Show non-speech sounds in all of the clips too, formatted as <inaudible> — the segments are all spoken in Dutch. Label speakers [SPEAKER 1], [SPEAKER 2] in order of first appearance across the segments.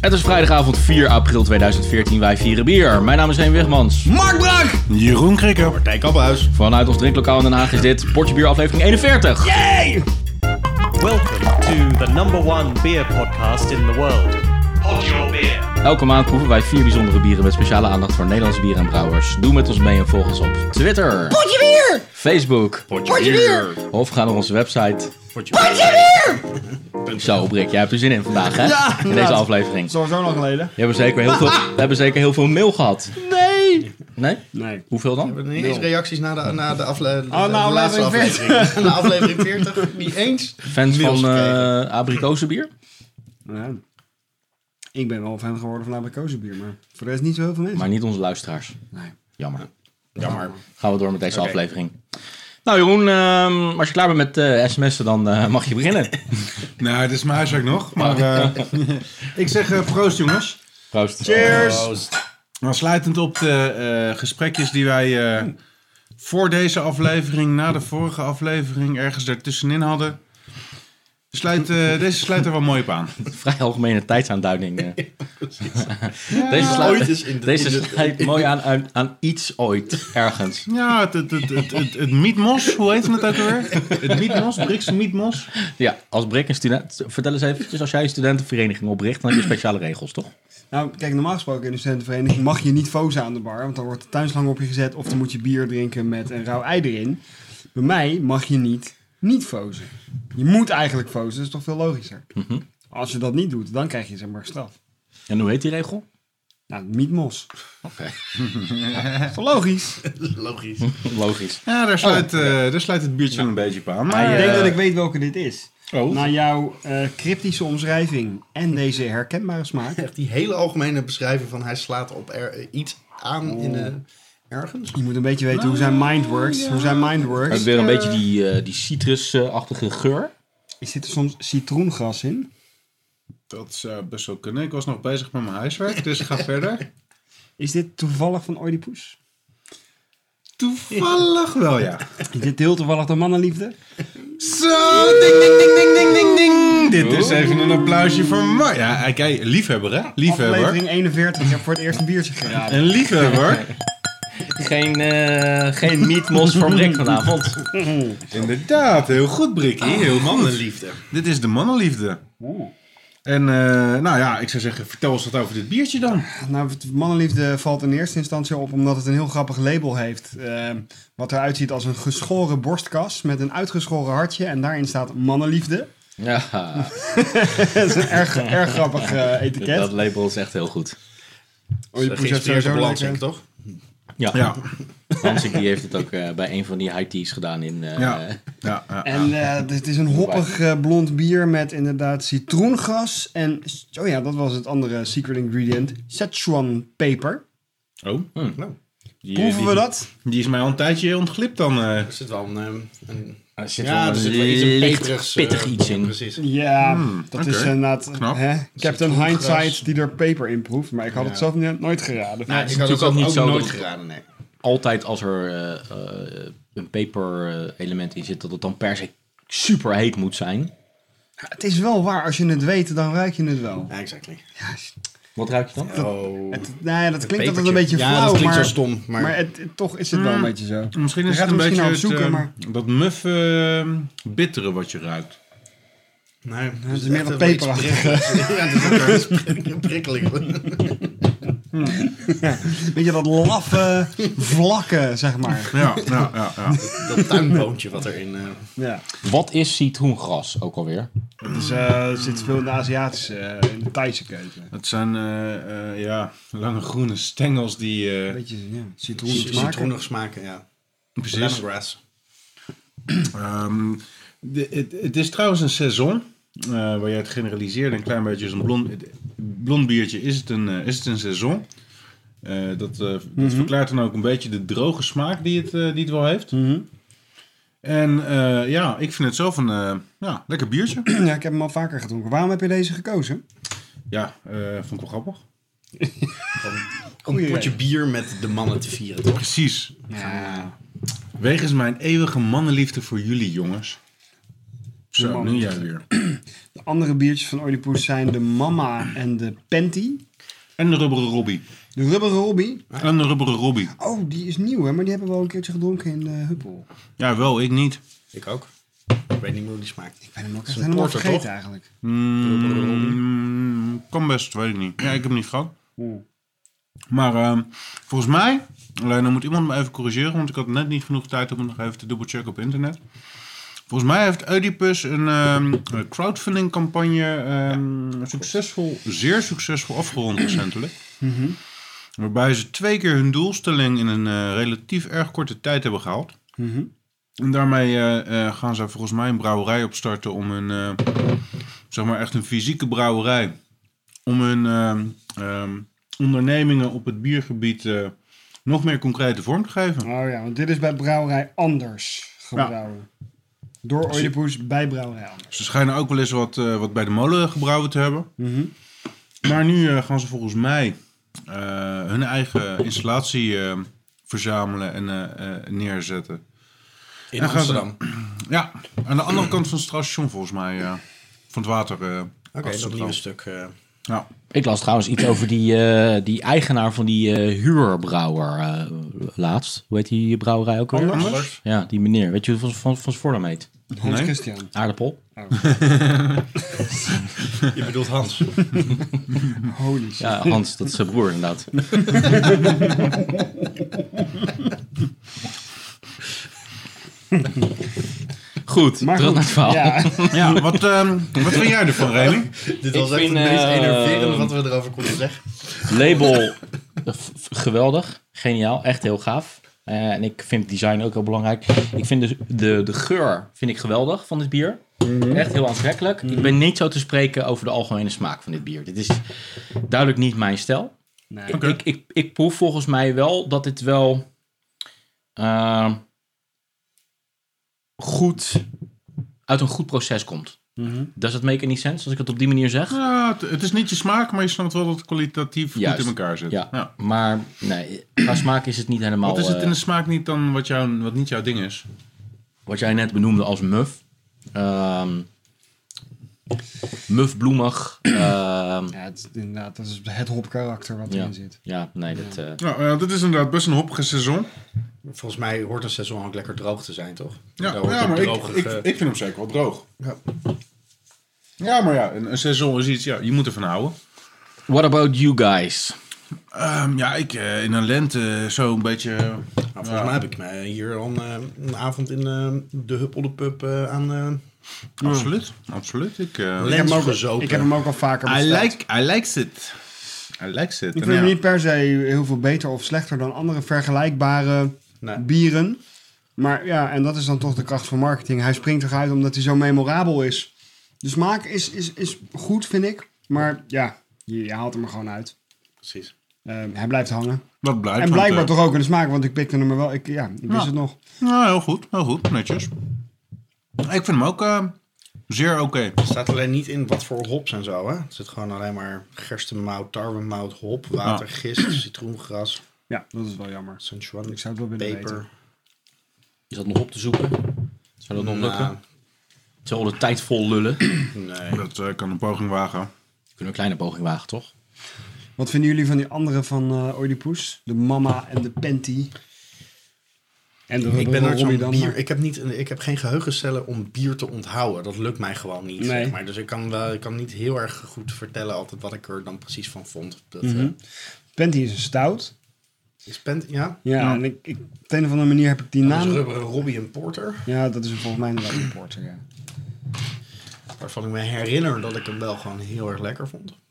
[SPEAKER 1] Het is vrijdagavond 4 april 2014. Wij vieren bier. Mijn naam is Heen Wegmans.
[SPEAKER 2] Mark Brak!
[SPEAKER 3] Jeroen Krikker.
[SPEAKER 2] Martijn Kamphuis.
[SPEAKER 1] Vanuit ons drinklokaal in Den Haag is dit Portje Bier aflevering 41.
[SPEAKER 2] Hey!
[SPEAKER 4] Welcome to the number one beer podcast in the world. Pod your beer.
[SPEAKER 1] Elke maand proeven wij vier bijzondere bieren met speciale aandacht voor Nederlandse bieren en brouwers. Doe met ons mee en volg ons op Twitter,
[SPEAKER 2] Potje bier!
[SPEAKER 1] Facebook
[SPEAKER 2] Potje bier!
[SPEAKER 1] of ga naar onze website.
[SPEAKER 2] Potje bier!
[SPEAKER 1] Zo, Brik, jij hebt er zin in vandaag, hè?
[SPEAKER 2] Ja,
[SPEAKER 1] in
[SPEAKER 2] inderdaad.
[SPEAKER 1] deze aflevering. We
[SPEAKER 3] Sowieso lang geleden.
[SPEAKER 1] hebben zeker heel
[SPEAKER 2] <laughs>
[SPEAKER 1] veel, we hebben zeker heel veel mail gehad.
[SPEAKER 2] Nee!
[SPEAKER 1] Nee?
[SPEAKER 2] Nee.
[SPEAKER 1] Hoeveel dan?
[SPEAKER 5] Niet eens reacties na de, na de, afle de,
[SPEAKER 2] na
[SPEAKER 5] de laatste
[SPEAKER 2] aflevering
[SPEAKER 5] aflevering. na aflevering 40. Niet eens.
[SPEAKER 1] Fans
[SPEAKER 5] Mails
[SPEAKER 1] van
[SPEAKER 5] gekregen.
[SPEAKER 1] eh abrikozenbier?
[SPEAKER 2] Ja. Ik ben wel fan geworden van Abacozenbier, maar voor de rest niet zo heel veel mensen.
[SPEAKER 1] Maar niet onze luisteraars.
[SPEAKER 2] Nee.
[SPEAKER 1] Jammer. Nou,
[SPEAKER 5] Jammer.
[SPEAKER 1] Gaan we door met deze aflevering. Nou Jeroen, ehm, als je klaar bent met eh sms'en, dan eh, mag je
[SPEAKER 5] <laughs>
[SPEAKER 1] beginnen.
[SPEAKER 3] Nou, het is mijn huiswerk nog. Maar eh, <laughs> ik zeg eh, proost jongens.
[SPEAKER 1] Proost.
[SPEAKER 3] Cheers! Maar sluitend op de eh, gesprekjes die wij eh, voor deze aflevering, na de vorige aflevering, ergens daartussenin hadden. Sluit, eh, deze sluit er wel mooi op aan.
[SPEAKER 1] <laughs> Vrij algemene tijdsaanduiding.
[SPEAKER 5] <laughs>
[SPEAKER 1] eh. <laughs> Deze sluit,
[SPEAKER 5] Ooit is in de-
[SPEAKER 1] deze
[SPEAKER 5] in de-
[SPEAKER 1] sluit mooi aan, aan, aan iets ooit,
[SPEAKER 5] <laughs>
[SPEAKER 1] ergens.
[SPEAKER 3] Ja, het, het, het, het, het, het mietmos, hoe heet het ook alweer? Het mietmos, Brikse mietmos.
[SPEAKER 1] Ja, als Brik een student... Vertel eens eventjes, als jij een studentenvereniging opricht, dan heb
[SPEAKER 5] <clears throat>
[SPEAKER 1] je speciale regels, toch?
[SPEAKER 2] Nou, kijk, normaal gesproken in de studentenvereniging mag je niet fozen aan de bar, want dan wordt de tuinslang op je gezet of dan moet je bier drinken met een rauw ei erin. Bij mij mag je niet niet fozen. Je moet eigenlijk fozen, dat is toch veel logischer.
[SPEAKER 3] Mhm.
[SPEAKER 2] Als je dat niet doet, dan krijg je zeg maar straf.
[SPEAKER 1] En hoe heet die regel?
[SPEAKER 2] Nou, niet mos.
[SPEAKER 1] Oké.
[SPEAKER 2] Toch Logisch. Oh.
[SPEAKER 5] Logisch.
[SPEAKER 1] <laughs> Logisch.
[SPEAKER 3] Ja, daar sluit, eh, daar sluit het biertje wel een beetje op aan. Maar,
[SPEAKER 2] ik
[SPEAKER 3] eh,
[SPEAKER 2] denk dat ik weet welke dit is.
[SPEAKER 3] oh.
[SPEAKER 2] Na jouw eh, cryptische omschrijving en deze herkenbare smaak.
[SPEAKER 5] Echt die hele algemene beschrijving van hij slaat op er, iets aan in de, ergens.
[SPEAKER 2] Je moet een beetje weten hoe zijn mind works. Hoe zijn mind
[SPEAKER 5] Dus,
[SPEAKER 1] Maar
[SPEAKER 2] works.
[SPEAKER 1] weer een beetje die, eh, die citrusachtige geur.
[SPEAKER 2] Er zit er soms citroengras in.
[SPEAKER 3] Dat zou best wel kunnen. Ik was nog bezig met mijn huiswerk, dus ga verder.
[SPEAKER 2] Is dit toevallig van Oedipus?
[SPEAKER 3] Toevallig wel, ja.
[SPEAKER 2] Is dit heel toevallig de mannenliefde?
[SPEAKER 3] Zo, ding, ding, ding, ding, ding, ding, ding. Dit is even een applausje voor Mark. Ja, kijk, liefhebber, hè? Liefhebber.
[SPEAKER 2] Aflevering 41. Ik heb voor het eerst een biertje gedaan.
[SPEAKER 3] Een
[SPEAKER 2] <laughs>
[SPEAKER 3] liefhebber.
[SPEAKER 1] Geen, eh geen meatmos voor Brik vanavond.
[SPEAKER 3] Inderdaad, heel goed,
[SPEAKER 2] Ah,
[SPEAKER 3] Brikkie. Heel mannenliefde.
[SPEAKER 5] Liefde.
[SPEAKER 3] Dit is de mannenliefde. En, eh, nou ja, ik zou zeggen, vertel ons wat over dit biertje dan.
[SPEAKER 2] Nou, het mannenliefde valt in eerste instantie op omdat het een heel grappig label heeft. eh, wat eruit ziet als een geschoren borstkas met een uitgeschoren hartje. En daarin staat mannenliefde. <laughs>
[SPEAKER 1] Ja,
[SPEAKER 2] dat is een erg, erg grappig eh,
[SPEAKER 1] dat
[SPEAKER 2] etiket.
[SPEAKER 1] label is echt heel goed.
[SPEAKER 5] Dus,
[SPEAKER 2] Oedipus heeft
[SPEAKER 5] Geïnspireerd op
[SPEAKER 2] sowieso
[SPEAKER 5] Lansing,
[SPEAKER 2] lekker-
[SPEAKER 5] toch?
[SPEAKER 1] Ja,
[SPEAKER 2] <laughs>
[SPEAKER 3] Ja,
[SPEAKER 1] Hansik die heeft het ook eh, bij een van die high teas gedaan in... eh,
[SPEAKER 3] ja, ja. ja.
[SPEAKER 2] En eh, het is een hoppig eh, blond bier met inderdaad citroengras. En, oh ja, dat was het andere secret ingredient. Szechuan peper. Eh.
[SPEAKER 3] Oh,
[SPEAKER 2] hm.
[SPEAKER 1] die-
[SPEAKER 5] eh,
[SPEAKER 2] Proeven
[SPEAKER 1] die-
[SPEAKER 2] we dat?
[SPEAKER 3] die is mij al een tijdje ontglipt dan. eh.
[SPEAKER 5] Er zit wel een... ehm, een
[SPEAKER 1] Er zit
[SPEAKER 5] ja,
[SPEAKER 1] wel
[SPEAKER 5] er
[SPEAKER 1] een
[SPEAKER 5] zit wel iets een
[SPEAKER 1] licht
[SPEAKER 5] peterigs, eh,
[SPEAKER 1] pittig iets in.
[SPEAKER 5] Precies.
[SPEAKER 2] Ja,
[SPEAKER 5] Hmm,
[SPEAKER 2] dat
[SPEAKER 3] oké.
[SPEAKER 2] is inderdaad
[SPEAKER 3] Knap.
[SPEAKER 2] hè, Captain
[SPEAKER 5] Citroengras.
[SPEAKER 2] Hindsight die er peper in proeft. Maar ik had het
[SPEAKER 5] Ja.
[SPEAKER 2] zelf niet- nooit geraden.
[SPEAKER 5] Nou,
[SPEAKER 1] is
[SPEAKER 5] ik had
[SPEAKER 1] natuurlijk
[SPEAKER 5] het ook
[SPEAKER 1] ook niet
[SPEAKER 5] niet
[SPEAKER 1] zo
[SPEAKER 5] nooit
[SPEAKER 1] dat-
[SPEAKER 5] geraden, nee.
[SPEAKER 1] Altijd als er eh, eh, een peper-element in zit, dat het dan per se super heet moet zijn.
[SPEAKER 2] Het is wel waar, als je het weet, dan ruik je het wel.
[SPEAKER 5] Ja, exactly.
[SPEAKER 1] Wat ruikt je dan?
[SPEAKER 5] Oh.
[SPEAKER 2] Het, nou ja, dat klinkt altijd een
[SPEAKER 5] pepertje.
[SPEAKER 2] beetje
[SPEAKER 5] Ja,
[SPEAKER 2] flauw,
[SPEAKER 5] dat klinkt
[SPEAKER 2] maar,
[SPEAKER 5] zo stom, maar-
[SPEAKER 2] het, het- toch is het wel een beetje zo.
[SPEAKER 3] Misschien is
[SPEAKER 2] Je gaat
[SPEAKER 3] het een
[SPEAKER 2] er misschien
[SPEAKER 3] beetje
[SPEAKER 2] naar op zoeken,
[SPEAKER 3] het,
[SPEAKER 2] maar-
[SPEAKER 3] eh, dat muf eh, bittere wat je ruikt.
[SPEAKER 5] Nee, het
[SPEAKER 2] is meer
[SPEAKER 5] echt
[SPEAKER 2] een
[SPEAKER 5] wel iets
[SPEAKER 2] peperachtig.
[SPEAKER 5] prikkeligs. Ja, het is ook wel iets prikkeligs.
[SPEAKER 2] Weet je, dat laffe vlakken, zeg maar.
[SPEAKER 3] Ja, ja, ja. ja.
[SPEAKER 5] Dat tuinboontje wat erin... eh,
[SPEAKER 2] Ja.
[SPEAKER 1] Wat is citroengras ook alweer?
[SPEAKER 2] Dus eh, er zit veel in de Aziatische, eh, in de Thaise keuken.
[SPEAKER 3] Het zijn eh, eh, ja, lange groene stengels die... eh,
[SPEAKER 2] Een beetje ja, citroen smaken.
[SPEAKER 5] Citroenig smaken, ja.
[SPEAKER 3] precies.
[SPEAKER 5] Lemongrass.
[SPEAKER 3] Ehm, de- het, het is trouwens een saison. eh, waar jij het generaliseerde een klein beetje als een blond, het- blond biertje. Is het een, eh, is het een saison? Eh, dat, eh, dat verklaart dan ook een beetje de droge smaak die het, eh, die het wel heeft. En eh, ja, ik vind het zelf een eh, ja, lekker biertje.
[SPEAKER 2] Ja, ik heb hem al vaker gedronken. Waarom heb je deze gekozen?
[SPEAKER 3] Ja, eh, vond ik wel grappig.
[SPEAKER 5] Om een
[SPEAKER 2] Goeie
[SPEAKER 5] potje bier met de mannen te vieren, toch?
[SPEAKER 3] Precies.
[SPEAKER 2] Ja.
[SPEAKER 3] Wegens mijn eeuwige mannenliefde voor jullie, jongens. Zo, nu jij weer.
[SPEAKER 2] andere biertjes van Oedipus zijn de Mama en de Penty.
[SPEAKER 3] En de rubberen Robbie.
[SPEAKER 2] De Rubber Robbie.
[SPEAKER 3] En de rubberen Robbie.
[SPEAKER 2] Oh, die is nieuw hè, maar die hebben we al een keertje gedronken in eh, Huppel.
[SPEAKER 3] Ja, wel, ik niet.
[SPEAKER 5] Ik ook. Ik weet niet meer hoe die smaakt.
[SPEAKER 2] Ik ben hem ook
[SPEAKER 5] is
[SPEAKER 2] echt
[SPEAKER 5] een
[SPEAKER 2] helemaal
[SPEAKER 5] porter,
[SPEAKER 2] vergeten
[SPEAKER 5] toch?
[SPEAKER 2] eigenlijk.
[SPEAKER 3] Mm, kan best, weet ik niet. Ja, ik heb hem niet gehad. Maar ehm, volgens mij, alleen dan moet iemand me even corrigeren, want ik had net niet genoeg tijd om het nog even te dubbelchecken op internet. Volgens mij heeft Oedipus een ehm, een crowdfunding-campagne ehm, succesvol, zeer succesvol afgerond recentelijk. Waarbij ze twee keer hun doelstelling in een eh, relatief erg korte tijd hebben gehaald. En daarmee eh, eh, gaan ze volgens mij een brouwerij opstarten om een, eh, zeg maar echt een fysieke brouwerij, om hun ehm, ehm, ondernemingen op het biergebied eh, nog meer concrete vorm te geven.
[SPEAKER 2] Oh ja, want dit is bij Brouwerij Anders gebrouwen. Door Oedipus bij Brouwerij Anders.
[SPEAKER 3] Ze schijnen ook wel eens wat, eh, wat bij de molen gebrouwen te hebben. Maar nu eh, gaan ze volgens mij eh, hun eigen installatie eh, verzamelen en eh, eh, neerzetten.
[SPEAKER 5] In
[SPEAKER 3] Dan gaan ze-
[SPEAKER 5] Amsterdam. Oké,
[SPEAKER 3] Ja, aan de andere kant van het station volgens mij. eh, van het water. eh,
[SPEAKER 5] dat
[SPEAKER 3] Amsterdam.
[SPEAKER 5] nieuwe stuk. eh,
[SPEAKER 3] Ja.
[SPEAKER 1] Ik las trouwens iets over die, eh, die eigenaar van die eh, huurbrouwer eh, laatst. Hoe heet die brouwerij ook alweer?
[SPEAKER 3] Anders?
[SPEAKER 1] Ja, die meneer. Weet je hoe van, van, van zijn voornaam heet?
[SPEAKER 2] Hans
[SPEAKER 3] Nee.
[SPEAKER 2] Christian.
[SPEAKER 1] Aardappel?
[SPEAKER 5] je bedoelt <laughs> Hans.
[SPEAKER 2] Holy shit. <laughs>
[SPEAKER 1] Ja, Hans, dat is zijn broer inderdaad. Goed,
[SPEAKER 2] Maar
[SPEAKER 1] terug
[SPEAKER 2] goed,
[SPEAKER 1] naar het verhaal.
[SPEAKER 2] Ja,
[SPEAKER 3] Ja, wat, ehm, wat vind jij ervan,
[SPEAKER 1] <laughs>
[SPEAKER 3] Remy?
[SPEAKER 5] Dit was echt
[SPEAKER 1] vind,
[SPEAKER 5] het meest
[SPEAKER 1] eh,
[SPEAKER 5] enerverende wat we erover konden zeggen.
[SPEAKER 1] Label, eh, f- f- geweldig, geniaal, echt heel gaaf. Eh, en ik vind design ook heel belangrijk. Ik vind de, de, de geur vind ik geweldig van dit bier. Echt heel aantrekkelijk. Ik ben niet zo te spreken over de algemene smaak van dit bier. Dit is duidelijk niet mijn stijl.
[SPEAKER 2] Nee.
[SPEAKER 1] Ik, ik, ik, ik proef volgens mij wel dat dit wel eh, goed uit een goed proces komt. Does that make any sense als ik het op die manier zeg?
[SPEAKER 3] Ja, Ah, het, het is niet je smaak, maar je snapt wel dat het kwalitatief
[SPEAKER 1] Juist.
[SPEAKER 3] goed in elkaar zit.
[SPEAKER 1] Ja, maar nee, qua smaak is het niet helemaal...
[SPEAKER 3] Dus, Wat is het
[SPEAKER 1] eh,
[SPEAKER 3] in de smaak niet dan wat, jou, wat niet jouw ding is?
[SPEAKER 1] wat jij net benoemde als muf. Ehm muf, bloemig. ehm,
[SPEAKER 2] Ja, het, is inderdaad, dat is het hop karakter wat
[SPEAKER 1] ja,
[SPEAKER 2] erin zit.
[SPEAKER 1] ja, nee, dat... eh,
[SPEAKER 3] Nou, eh, dit is inderdaad best een hoppige seizoen.
[SPEAKER 5] Volgens mij hoort een seizoen ook lekker droog te zijn, toch?
[SPEAKER 3] Ja,
[SPEAKER 5] Daar hoort
[SPEAKER 3] ja
[SPEAKER 5] ook
[SPEAKER 3] maar ik,
[SPEAKER 5] drogig,
[SPEAKER 3] ik,
[SPEAKER 5] eh,
[SPEAKER 3] ik vind hem zeker wel droog.
[SPEAKER 5] Ja.
[SPEAKER 3] Ja, maar ja, een, een seizoen is iets, ja, je moet ervan houden.
[SPEAKER 1] what about you guys?
[SPEAKER 3] Ehm, ja, ik eh, in een lente zo een beetje... eh,
[SPEAKER 5] Nou,
[SPEAKER 3] ja.
[SPEAKER 5] volgens mij heb ik mij hier al een, eh, een avond in eh, de Huppel de Pub eh, aan eh
[SPEAKER 3] Absoluut, absoluut. Ik, eh,
[SPEAKER 5] Lens
[SPEAKER 2] Ik heb, hem ook,
[SPEAKER 5] gezopen.
[SPEAKER 2] ik heb hem ook al vaker besteld.
[SPEAKER 3] I likes it. I likes it.
[SPEAKER 2] Ik
[SPEAKER 3] En
[SPEAKER 2] vind hem
[SPEAKER 3] ja,
[SPEAKER 2] niet per se heel veel beter of slechter dan andere vergelijkbare
[SPEAKER 5] Nee.
[SPEAKER 2] bieren. Maar ja, en dat is dan toch de kracht van marketing. Hij springt eruit omdat hij zo memorabel is. De smaak is, is, is goed, vind ik. Maar ja, je, je haalt hem er gewoon uit.
[SPEAKER 5] Precies.
[SPEAKER 2] Eh, hij blijft hangen.
[SPEAKER 3] dat blijkt.
[SPEAKER 2] En
[SPEAKER 3] want,
[SPEAKER 2] blijkbaar
[SPEAKER 3] eh,
[SPEAKER 2] toch ook in de smaak, want ik pikte hem er wel. Ik, ja, ik wist
[SPEAKER 3] Ja.
[SPEAKER 2] het nog.
[SPEAKER 3] Nou, heel goed, heel goed, netjes. Ik vind hem ook eh, zeer oké.
[SPEAKER 5] Er staat alleen niet in wat voor hops en zo, hè? Er zit gewoon alleen maar gerstenmout, tarwemout, hop, water, gist, citroengras,
[SPEAKER 2] Ja, dat is wel jammer.
[SPEAKER 5] San Juan,
[SPEAKER 2] Ik zou het wel willen weten.
[SPEAKER 5] peper.
[SPEAKER 1] Is dat nog op te zoeken? Zou dat nog
[SPEAKER 5] Nou,
[SPEAKER 1] lukken? Zullen we de tijd vol lullen? <clears throat> We
[SPEAKER 5] nee.
[SPEAKER 3] Dat eh, kan een poging wagen.
[SPEAKER 1] kunnen een kleine poging wagen, toch?
[SPEAKER 2] Wat vinden jullie van die andere van eh Oedipus? De Mama en de Penty. En de
[SPEAKER 5] Ik ben nooit
[SPEAKER 2] Robbie
[SPEAKER 5] zo'n
[SPEAKER 2] dan, eh,
[SPEAKER 5] bier.
[SPEAKER 2] maar-
[SPEAKER 5] Ik heb, niet, een- ik heb geen geheugencellen om bier te onthouden. Dat lukt mij gewoon niet.
[SPEAKER 2] Nee.
[SPEAKER 5] Zeg maar. Dus ik kan, wel, ik kan niet heel erg goed vertellen altijd wat ik er dan precies van vond. Dat, eh,
[SPEAKER 2] Mhm. Penty is een stout.
[SPEAKER 5] is Pent, ja?
[SPEAKER 2] Ja, en ik, ik, op de een of andere manier heb ik die
[SPEAKER 5] Dat is
[SPEAKER 2] naam.
[SPEAKER 5] rubberen Robbie en Porter.
[SPEAKER 2] Ja, dat is een volgens mij inderdaad een porter, ja.
[SPEAKER 5] Waarvan ik me herinner dat ik hem wel gewoon heel erg lekker vond. Maar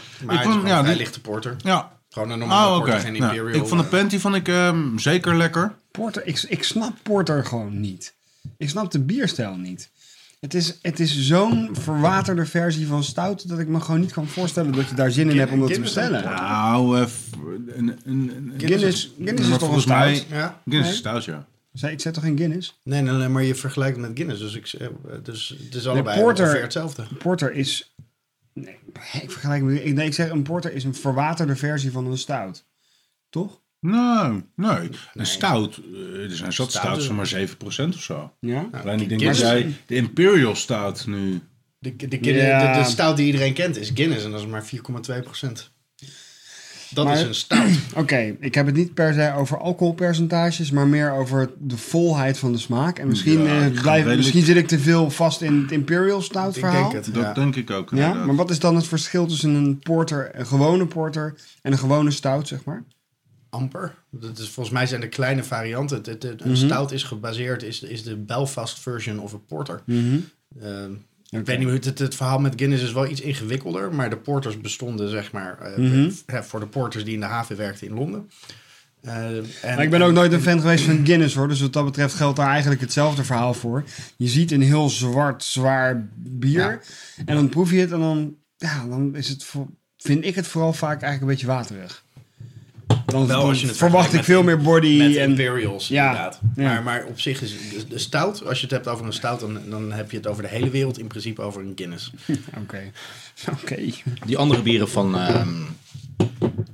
[SPEAKER 3] Ik
[SPEAKER 5] hij
[SPEAKER 3] vond-
[SPEAKER 5] is gewoon
[SPEAKER 3] ja,
[SPEAKER 5] een vrij
[SPEAKER 3] dit-
[SPEAKER 5] lichte porter.
[SPEAKER 3] Ja.
[SPEAKER 5] Gewoon een normale
[SPEAKER 3] Ah, oké.
[SPEAKER 5] porter, geen
[SPEAKER 3] Nou,
[SPEAKER 5] imperial.
[SPEAKER 3] ik vond de
[SPEAKER 5] eh,
[SPEAKER 3] panty vond ik ehm, zeker lekker.
[SPEAKER 2] Porter, ik, ik snap porter gewoon niet. Ik snap de bierstijl niet. Het is, het is zo'n verwaterde versie van stout dat ik me gewoon niet kan voorstellen dat je daar zin in hebt om dat te
[SPEAKER 5] Guinness en
[SPEAKER 2] bestellen.
[SPEAKER 3] Nou, eh, f- een, een, een,
[SPEAKER 2] Guinness, Guinness is
[SPEAKER 3] maar
[SPEAKER 2] toch een
[SPEAKER 3] volgens mij-
[SPEAKER 2] stout?
[SPEAKER 5] Ja.
[SPEAKER 3] Guinness
[SPEAKER 2] Nee.
[SPEAKER 3] is stout, ja.
[SPEAKER 2] Zij, ik zet toch geen Guinness?
[SPEAKER 5] Nee, nee, nee, maar je vergelijkt het met Guinness. Dus, ik, eh, dus het is allebei
[SPEAKER 2] porter-
[SPEAKER 5] ongeveer hetzelfde.
[SPEAKER 2] Porter is... Nee, ik vergelijk me... Ik, nee, ik zeg een porter is een verwaterde versie van een stout. Toch?
[SPEAKER 3] Nee, nee. Een stout, eh, er zijn zat
[SPEAKER 5] Stout
[SPEAKER 3] stouts
[SPEAKER 5] is-
[SPEAKER 3] van maar 7% of zo.
[SPEAKER 2] Ja?
[SPEAKER 3] Alleen ik denk dat
[SPEAKER 5] Guinness-
[SPEAKER 3] jij de imperial stout nu
[SPEAKER 5] De, de, Guinness-
[SPEAKER 2] Ja.
[SPEAKER 5] de, de stout die iedereen kent is Guinness en dat is maar 4,2 Dat
[SPEAKER 2] Maar-
[SPEAKER 5] is een stout.
[SPEAKER 2] Oké, ik heb het niet per se over alcoholpercentages, maar meer over de volheid van de smaak. En misschien,
[SPEAKER 3] Ja,
[SPEAKER 2] eh,
[SPEAKER 3] die
[SPEAKER 2] blijf-
[SPEAKER 3] gaan redelijk-
[SPEAKER 2] misschien zit ik te veel vast in het Imperial Stout
[SPEAKER 5] ik
[SPEAKER 2] verhaal.
[SPEAKER 5] denk het.
[SPEAKER 3] Dat
[SPEAKER 5] ja.
[SPEAKER 3] denk ik ook.
[SPEAKER 2] Ja,
[SPEAKER 3] inderdaad.
[SPEAKER 2] maar wat is dan het verschil tussen een porter, een gewone porter en een gewone stout, zeg maar?
[SPEAKER 5] Amper. Dat is, volgens mij zijn de kleine varianten. Het, het- het- een
[SPEAKER 2] Mhm.
[SPEAKER 5] stout is gebaseerd, is, is de Belfast version of een porter.
[SPEAKER 2] Mhm.
[SPEAKER 5] Ehm, Ik weet niet hoe het, het, het verhaal met Guinness is wel iets ingewikkelder, maar de porters bestonden zeg maar eh,
[SPEAKER 2] Mhm.
[SPEAKER 5] eh, voor de porters die in de haven werkten in Londen. Eh, en,
[SPEAKER 2] Maar ik ben ook nooit een fan geweest van Guinness hoor, dus wat dat betreft geldt daar eigenlijk hetzelfde verhaal voor. Je ziet een heel zwart, zwaar bier
[SPEAKER 5] Ja.
[SPEAKER 2] en dan proef je het en dan, ja, dan is het, voor- vind ik het vooral vaak eigenlijk een beetje waterig. Dan,
[SPEAKER 5] Wel,
[SPEAKER 2] dan
[SPEAKER 5] als je het
[SPEAKER 2] verwacht
[SPEAKER 5] vergelijkt
[SPEAKER 2] ik veel meer body
[SPEAKER 5] Met
[SPEAKER 2] en...
[SPEAKER 5] Imperials,
[SPEAKER 2] Ja,
[SPEAKER 5] inderdaad.
[SPEAKER 2] ja.
[SPEAKER 5] Maar, maar op zich is de, de stout, als je het hebt over een stout, dan, dan heb je het over de hele wereld in principe over een Guinness.
[SPEAKER 2] Oké, oké.
[SPEAKER 1] Die andere bieren van ehm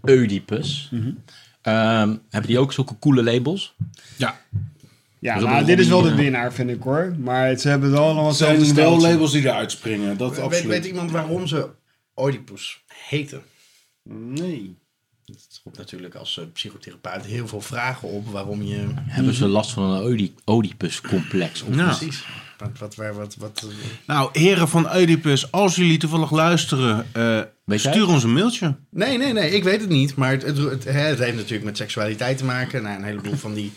[SPEAKER 1] Oedipus.
[SPEAKER 2] Mhm.
[SPEAKER 1] ehm, hebben die ook zulke coole labels?
[SPEAKER 3] Ja.
[SPEAKER 2] Ja,
[SPEAKER 1] Dus op
[SPEAKER 2] nou,
[SPEAKER 1] een
[SPEAKER 2] dit is wel de
[SPEAKER 1] goede-
[SPEAKER 2] winnaar vind ik hoor, maar ze hebben het allemaal
[SPEAKER 3] Het zijn
[SPEAKER 2] hetzelfde
[SPEAKER 3] wel
[SPEAKER 2] steltje.
[SPEAKER 3] labels die eruit springen. Dat
[SPEAKER 5] Weet,
[SPEAKER 3] absoluut.
[SPEAKER 5] weet iemand waarom ze Oedipus heten?
[SPEAKER 3] Nee.
[SPEAKER 5] Het roept natuurlijk als eh, psychotherapeut heel veel vragen op waarom je...
[SPEAKER 1] Hebben
[SPEAKER 2] Mhm.
[SPEAKER 1] ze last van een Oedi- Oedipus-complex? of-
[SPEAKER 3] Ja.
[SPEAKER 5] Precies. Wat, wat, waar- wat, wat, eh,
[SPEAKER 3] Nou, heren van Oedipus, als jullie toevallig luisteren, eh,
[SPEAKER 1] Weet jij?
[SPEAKER 3] stuur ons een mailtje.
[SPEAKER 5] Nee, nee, nee, ik weet het niet. Maar het, het, het, hè, het heeft natuurlijk met seksualiteit te maken. Nou, een heleboel van die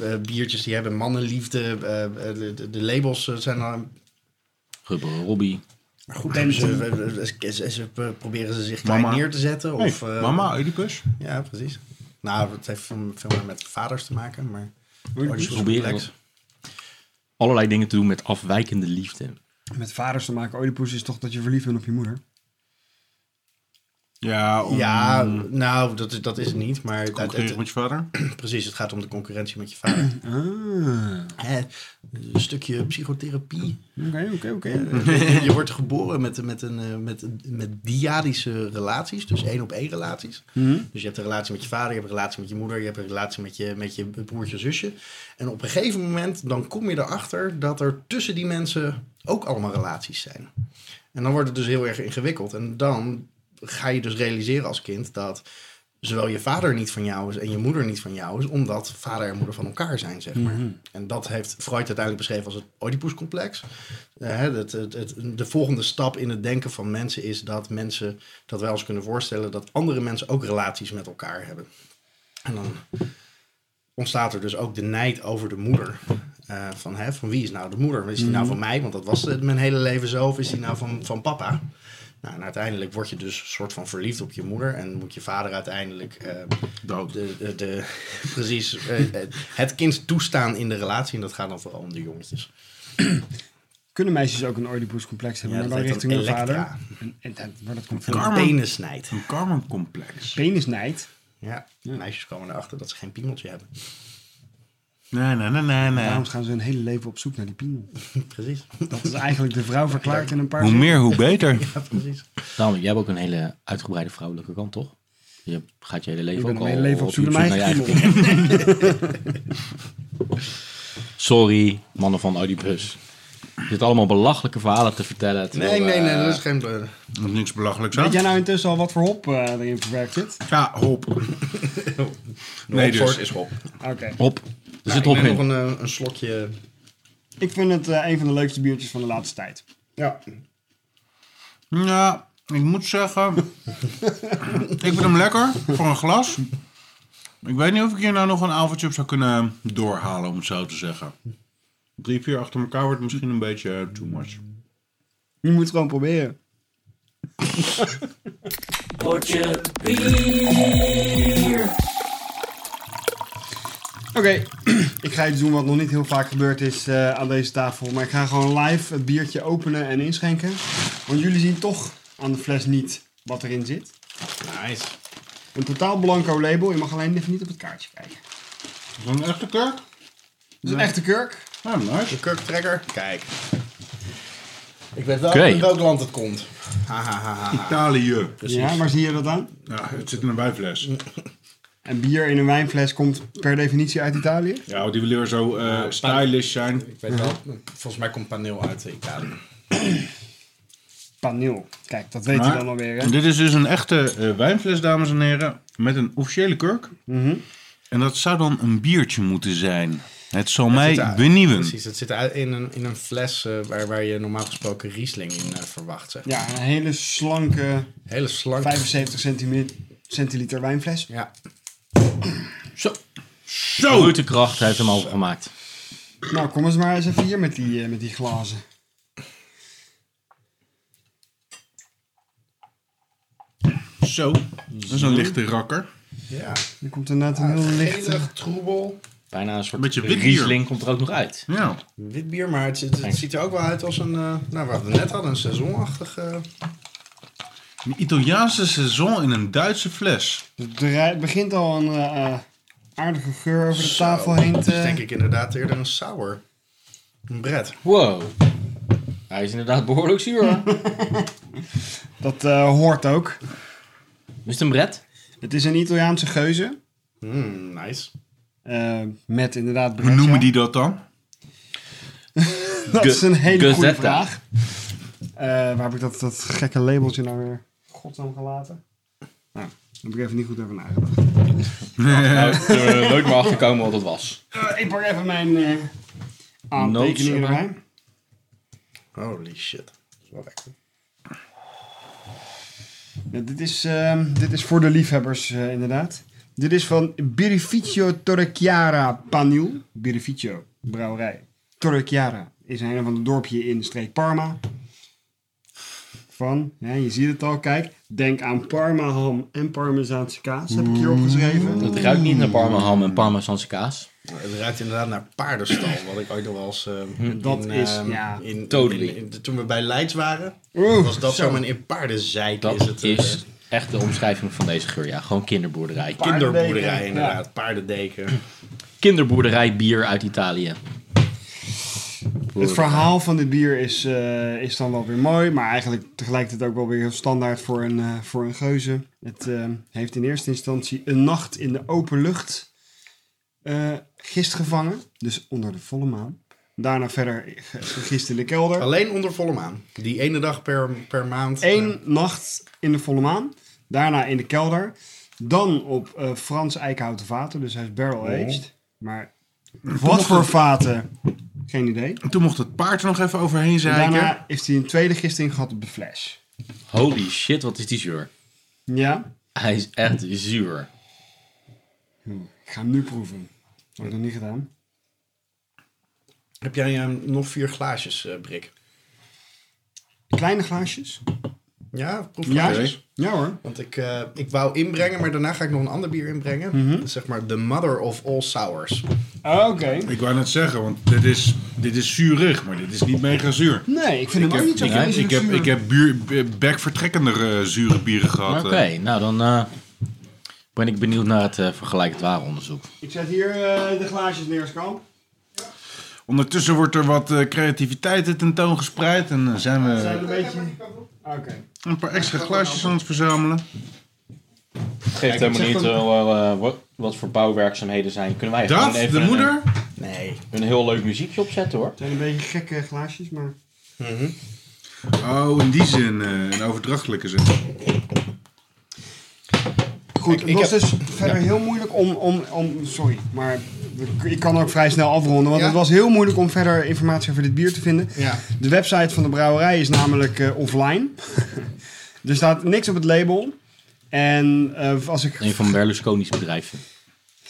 [SPEAKER 5] eh, biertjes die hebben mannenliefde. eh, eh, de, de labels eh, zijn al...
[SPEAKER 1] Rubber Robbie.
[SPEAKER 5] Maar goed, hebben ze, eh, eh, ze- ze- eh, proberen ze zich klein
[SPEAKER 3] Mama.
[SPEAKER 5] neer te zetten? Of,
[SPEAKER 3] Hey,
[SPEAKER 5] eh,
[SPEAKER 3] mama, Oedipus.
[SPEAKER 5] Ja, precies. Nou, het heeft veel veel meer met vaders te maken, maar... Oedipus
[SPEAKER 1] proberen
[SPEAKER 5] complex.
[SPEAKER 1] Allerlei dingen te doen met afwijkende liefde.
[SPEAKER 2] Met vaders te maken, Oedipus is toch dat je verliefd bent op je moeder?
[SPEAKER 3] Ja, om
[SPEAKER 5] Ja, nou, dat is, dat is het niet, maar... het- het-
[SPEAKER 3] concurreren met je vader.
[SPEAKER 5] precies, het gaat om de concurrentie met je vader.
[SPEAKER 3] <clears throat>
[SPEAKER 2] Ah,
[SPEAKER 5] Hè, een stukje psychotherapie.
[SPEAKER 2] oké, oké, oké.
[SPEAKER 5] Eh, <laughs> je wordt geboren met, met, een, eh, met, met diadische relaties, dus één op één relaties. Dus je hebt een relatie met je vader, je hebt een relatie met je moeder, je hebt een relatie met je, met je broertje, zusje. En op een gegeven moment dan kom je erachter dat er tussen die mensen ook allemaal relaties zijn. En dan wordt het dus heel erg ingewikkeld. En dan ga je dus realiseren als kind dat zowel je vader niet van jou is en je moeder niet van jou is, omdat vader en moeder van elkaar zijn, zeg maar. En dat heeft Freud uiteindelijk beschreven als het Oedipuscomplex. Eh, hè, dat- het, het, de volgende stap in het denken van mensen is dat mensen, dat wij ons kunnen voorstellen dat andere mensen ook relaties met elkaar hebben. En dan ontstaat er dus ook de nijd over de
[SPEAKER 3] <laughs>
[SPEAKER 5] moeder. Eh, van, hè, van wie is nou de moeder? Is die
[SPEAKER 3] Mhm.
[SPEAKER 5] nou van mij? Want dat was het mijn hele leven zo. Of is die nou van, van papa? Nou, en uiteindelijk word je dus een soort van verliefd op je moeder. En moet je vader uiteindelijk eh,
[SPEAKER 3] Dood.
[SPEAKER 5] de, de, de, <laughs> precies eh, eh, het kind toestaan in de relatie. En dat gaat dan vooral om de jongetjes.
[SPEAKER 2] Kunnen meisjes ook een Oedipus-complex hebben,
[SPEAKER 5] Ja,
[SPEAKER 2] maar
[SPEAKER 5] dat
[SPEAKER 2] dan
[SPEAKER 5] heet
[SPEAKER 2] richting
[SPEAKER 5] dan
[SPEAKER 2] hun vader?
[SPEAKER 5] Elektra.
[SPEAKER 2] En, en dat, maar dat komt van
[SPEAKER 3] Karma.
[SPEAKER 5] Penis snijdt.
[SPEAKER 3] Een karmencomplex.
[SPEAKER 2] penisnijd.
[SPEAKER 5] Ja, meisjes komen erachter dat ze geen piemeltje hebben. <laughs>
[SPEAKER 3] Nee, nee, nee, nee, nee.
[SPEAKER 2] Daarom gaan ze hun hele leven op zoek naar die piemel.
[SPEAKER 5] precies. <laughs>
[SPEAKER 2] Dat is eigenlijk de vrouw verklaard in een paar
[SPEAKER 3] Hoe
[SPEAKER 2] zinnen.
[SPEAKER 3] meer, hoe beter. <laughs>
[SPEAKER 5] Ja, precies.
[SPEAKER 1] Daarom, jij hebt ook een hele uitgebreide vrouwelijke kant, toch? Je gaat je hele leven
[SPEAKER 2] Ik
[SPEAKER 1] ook
[SPEAKER 2] ben
[SPEAKER 1] al
[SPEAKER 2] mijn leven op zoek naar mijn eigen
[SPEAKER 1] je eigen kind. <laughs> Sorry, mannen van Oedipus. Je zit allemaal belachelijke verhalen te vertellen. terwijl,
[SPEAKER 5] Nee, nee, nee,
[SPEAKER 1] eh,
[SPEAKER 5] dat is geen... eh,
[SPEAKER 3] Er is niks belachelijks
[SPEAKER 2] Weet jij
[SPEAKER 3] aan.
[SPEAKER 2] nou intussen al wat voor hop eh, erin verwerkt zit?
[SPEAKER 3] Ja, hop. Nee,
[SPEAKER 5] Hopsoort
[SPEAKER 3] dus.
[SPEAKER 5] is hop.
[SPEAKER 2] Oké.
[SPEAKER 1] Hop, er zit
[SPEAKER 5] ik
[SPEAKER 1] hop
[SPEAKER 5] ben nog
[SPEAKER 1] in.
[SPEAKER 5] een, eh, een slokje...
[SPEAKER 2] Ik vind het eh, een van de leukste biertjes van de laatste tijd.
[SPEAKER 5] Ja.
[SPEAKER 3] Ja, ik moet zeggen... ik vind hem lekker, voor een glas. Ik weet niet of ik hier nou nog een avondje op zou kunnen doorhalen, om het zo te zeggen. Drie, vier achter elkaar wordt misschien een beetje eh, too much.
[SPEAKER 2] Je moet het gewoon proberen. Oké, <clears throat> ik ga iets doen wat nog niet heel vaak gebeurd is eh, aan deze tafel. Maar ik ga gewoon live het biertje openen en inschenken. Want jullie zien toch aan de fles niet wat erin zit.
[SPEAKER 5] Nice.
[SPEAKER 2] Een totaal blanco label. Je mag alleen even niet op het kaartje kijken.
[SPEAKER 3] Is dat een echte kurk?
[SPEAKER 2] Het is een echte kurk.
[SPEAKER 3] Ja, nice.
[SPEAKER 5] De kurktrekker. Kijk. Ik weet wel
[SPEAKER 1] Oké.
[SPEAKER 5] uit welk land het komt. Ha, ha, ha, ha, ha.
[SPEAKER 3] Italië.
[SPEAKER 2] Ja, waar zie je dat aan?
[SPEAKER 3] Ja, het zit in een wijnfles.
[SPEAKER 2] En bier in een wijnfles komt per definitie uit Italië.
[SPEAKER 3] Ja, want die wil weer zo eh, stylish zijn.
[SPEAKER 2] Mhm.
[SPEAKER 5] Ik weet wel. Volgens mij komt paneel uit eh, Italië.
[SPEAKER 2] paneel. Kijk, dat weet
[SPEAKER 3] Maar-
[SPEAKER 2] je dan alweer. Hè?
[SPEAKER 3] Dit is dus een echte eh, wijnfles, dames en heren, met een officiële kurk.
[SPEAKER 2] Mhm.
[SPEAKER 3] En dat zou dan een biertje moeten zijn. Het zal
[SPEAKER 5] zit
[SPEAKER 3] mij
[SPEAKER 5] daar.
[SPEAKER 3] benieuwen.
[SPEAKER 5] Precies, het zit uit- in een, in een fles eh, waar, waar je normaal gesproken Riesling in eh, verwacht. Zeg.
[SPEAKER 2] Ja, een hele slanke
[SPEAKER 5] Hele slank.
[SPEAKER 2] 75 centime- centiliter wijnfles.
[SPEAKER 5] Ja,
[SPEAKER 1] Zo.
[SPEAKER 3] Zo!
[SPEAKER 1] Grote kracht heeft hem overgemaakt.
[SPEAKER 2] Nou, kom eens maar eens even hier met die, eh, met die glazen.
[SPEAKER 3] Zo. Dat is een lichte rakker.
[SPEAKER 5] ja.
[SPEAKER 2] Er komt inderdaad
[SPEAKER 5] Ah,
[SPEAKER 2] een heel eh, lichte...
[SPEAKER 5] Gelig, troebel,
[SPEAKER 1] Bijna een soort
[SPEAKER 3] Beetje wit
[SPEAKER 1] Riesling komt er ook nog uit.
[SPEAKER 3] Ja.
[SPEAKER 5] wit bier, maar het, het, het ziet er ook wel uit als een, eh, nou wat we net hadden, een seizoenachtig. eh,
[SPEAKER 3] Een Italiaanse saison in een Duitse fles.
[SPEAKER 2] Het dra- begint al een eh, eh, aardige geur over de
[SPEAKER 5] zo.
[SPEAKER 2] tafel eh, heen
[SPEAKER 5] Oh, Het is
[SPEAKER 2] te...
[SPEAKER 5] denk ik inderdaad eerder een sour. Een bret.
[SPEAKER 1] Wow. Hij is inderdaad behoorlijk zuur. hoor.
[SPEAKER 2] Dat eh, hoort ook.
[SPEAKER 1] Is het een bret?
[SPEAKER 2] Het is een Italiaanse geuze.
[SPEAKER 5] Mm, nice.
[SPEAKER 2] eh, met inderdaad
[SPEAKER 3] Hoe
[SPEAKER 2] Breccia.
[SPEAKER 3] noemen die dat dan?
[SPEAKER 2] Dat is een hele goede
[SPEAKER 1] Gazzetta.
[SPEAKER 2] vraag. Eh, waar heb ik dat, dat gekke labeltje nou weer godsnaam gelaten? Nou, daar heb ik even niet goed over nagedacht.
[SPEAKER 1] Nou, zullen we er nooit meer achter komen wat het was.
[SPEAKER 2] Eh, ik pak even mijn eh aantekeningen
[SPEAKER 1] Notes,
[SPEAKER 2] erbij.
[SPEAKER 5] Holy shit. Dat is wel lekker.
[SPEAKER 2] Ja, dit, is, ehm, dit is voor de liefhebbers, eh, inderdaad. Dit is van Birrificio Torrechiara Panil. Birrificio, brouwerij. Torrechiara is een van de dorpje in de streek Parma. Van, ja, je ziet het al, kijk. Denk aan Parma ham en Parmezaanse kaas, heb ik hier opgeschreven.
[SPEAKER 1] Het ruikt niet naar parmaham en parmezaanse kaas.
[SPEAKER 5] Het ruikt inderdaad naar paardenstal, wat ik ooit nog wel eens... eh, in,
[SPEAKER 2] <clears throat> Dat is,
[SPEAKER 5] eh,
[SPEAKER 2] ja,
[SPEAKER 5] in,
[SPEAKER 1] totally.
[SPEAKER 5] in- in- toen we bij Leids waren,
[SPEAKER 2] Oeh,
[SPEAKER 5] was dat
[SPEAKER 2] zo.
[SPEAKER 5] zo. maar in paardenzijk
[SPEAKER 1] Dat
[SPEAKER 5] is het. eh,
[SPEAKER 1] is echt de omschrijving van deze geur. Ja, gewoon kinderboerderij. Ki-
[SPEAKER 5] kinderboerderij
[SPEAKER 2] Paardendeken,
[SPEAKER 5] inderdaad, paardendeken. <clears throat>
[SPEAKER 1] Kinderboerderij bier uit Italië.
[SPEAKER 2] Het verhaal van dit bier is, eh, is dan wel weer mooi, maar eigenlijk tegelijkertijd ook wel weer heel standaard voor een, eh, voor een geuze. Het eh, heeft in eerste instantie een nacht in de open lucht eh, gist gevangen, dus onder de volle maan. Daarna verder ge- gegist in de kelder.
[SPEAKER 5] Alleen onder volle maan. Die ene dag per, per maand. eh,
[SPEAKER 2] Eén nacht in de volle maan, daarna in de kelder. Dan op eh, Frans eikenhouten vaten, dus hij is barrel aged. Maar wat voor vaten? Geen idee.
[SPEAKER 3] En toen mocht het paard er nog even overheen zeiken.
[SPEAKER 2] Daarna heeft hij een tweede gisting gehad op de fles.
[SPEAKER 1] Holy shit, wat is die zuur.
[SPEAKER 2] Ja,
[SPEAKER 1] Hij is echt zuur.
[SPEAKER 2] ik ga hem nu proeven. Heb ik nog niet gedaan.
[SPEAKER 5] Heb jij eh, nog vier glaasjes, eh, Brik?
[SPEAKER 2] Kleine glaasjes?
[SPEAKER 5] Ja,
[SPEAKER 2] Ja,
[SPEAKER 5] proefglaasjes.
[SPEAKER 2] ja hoor.
[SPEAKER 5] Want ik, eh, ik wou inbrengen, maar daarna ga ik nog een ander bier inbrengen.
[SPEAKER 2] Mhm.
[SPEAKER 5] Zeg maar de mother of all sours.
[SPEAKER 2] Oké.
[SPEAKER 3] Ik wou net zeggen, want dit is, dit is zuurig, maar dit is niet mega zuur.
[SPEAKER 2] Nee, ik vind hem ook niet zo
[SPEAKER 3] Ik heb, ik heb, ik heb buur, bekvertrekkender eh, zure bieren gehad.
[SPEAKER 1] Oké, nou dan eh, ben ik benieuwd naar het eh, vergelijkend ware onderzoek.
[SPEAKER 2] Ik zet hier eh, de glaasjes neer, Skamp.
[SPEAKER 3] eh. Ondertussen wordt er wat eh, creativiteit tentoon gespreid. En eh, zijn we
[SPEAKER 2] Zijn we een beetje... Oké.
[SPEAKER 3] een paar extra glaasjes aan het verzamelen.
[SPEAKER 1] Geeft helemaal niet eh, wat, voor bouwwerkzaamheden zijn. Kunnen wij
[SPEAKER 3] Dat, de moeder.
[SPEAKER 5] Nee.
[SPEAKER 1] eh, een heel leuk muziekje opzetten hoor.
[SPEAKER 2] Het zijn een beetje gekke glaasjes, maar...
[SPEAKER 3] Oh, in die zin, eh een overdrachtelijke zin.
[SPEAKER 2] Goed, het
[SPEAKER 5] ik
[SPEAKER 2] was
[SPEAKER 5] heb-
[SPEAKER 2] dus verder heel moeilijk om, om, om... Sorry, maar we- ik kan ook vrij snel afronden. Want
[SPEAKER 5] Ja.
[SPEAKER 2] het was heel moeilijk om verder informatie over dit bier te vinden.
[SPEAKER 5] Ja.
[SPEAKER 2] De website van de brouwerij is namelijk eh, offline. <laughs> er staat niks op het label. En eh, als ik
[SPEAKER 1] Een van Berlusconi's bedrijven.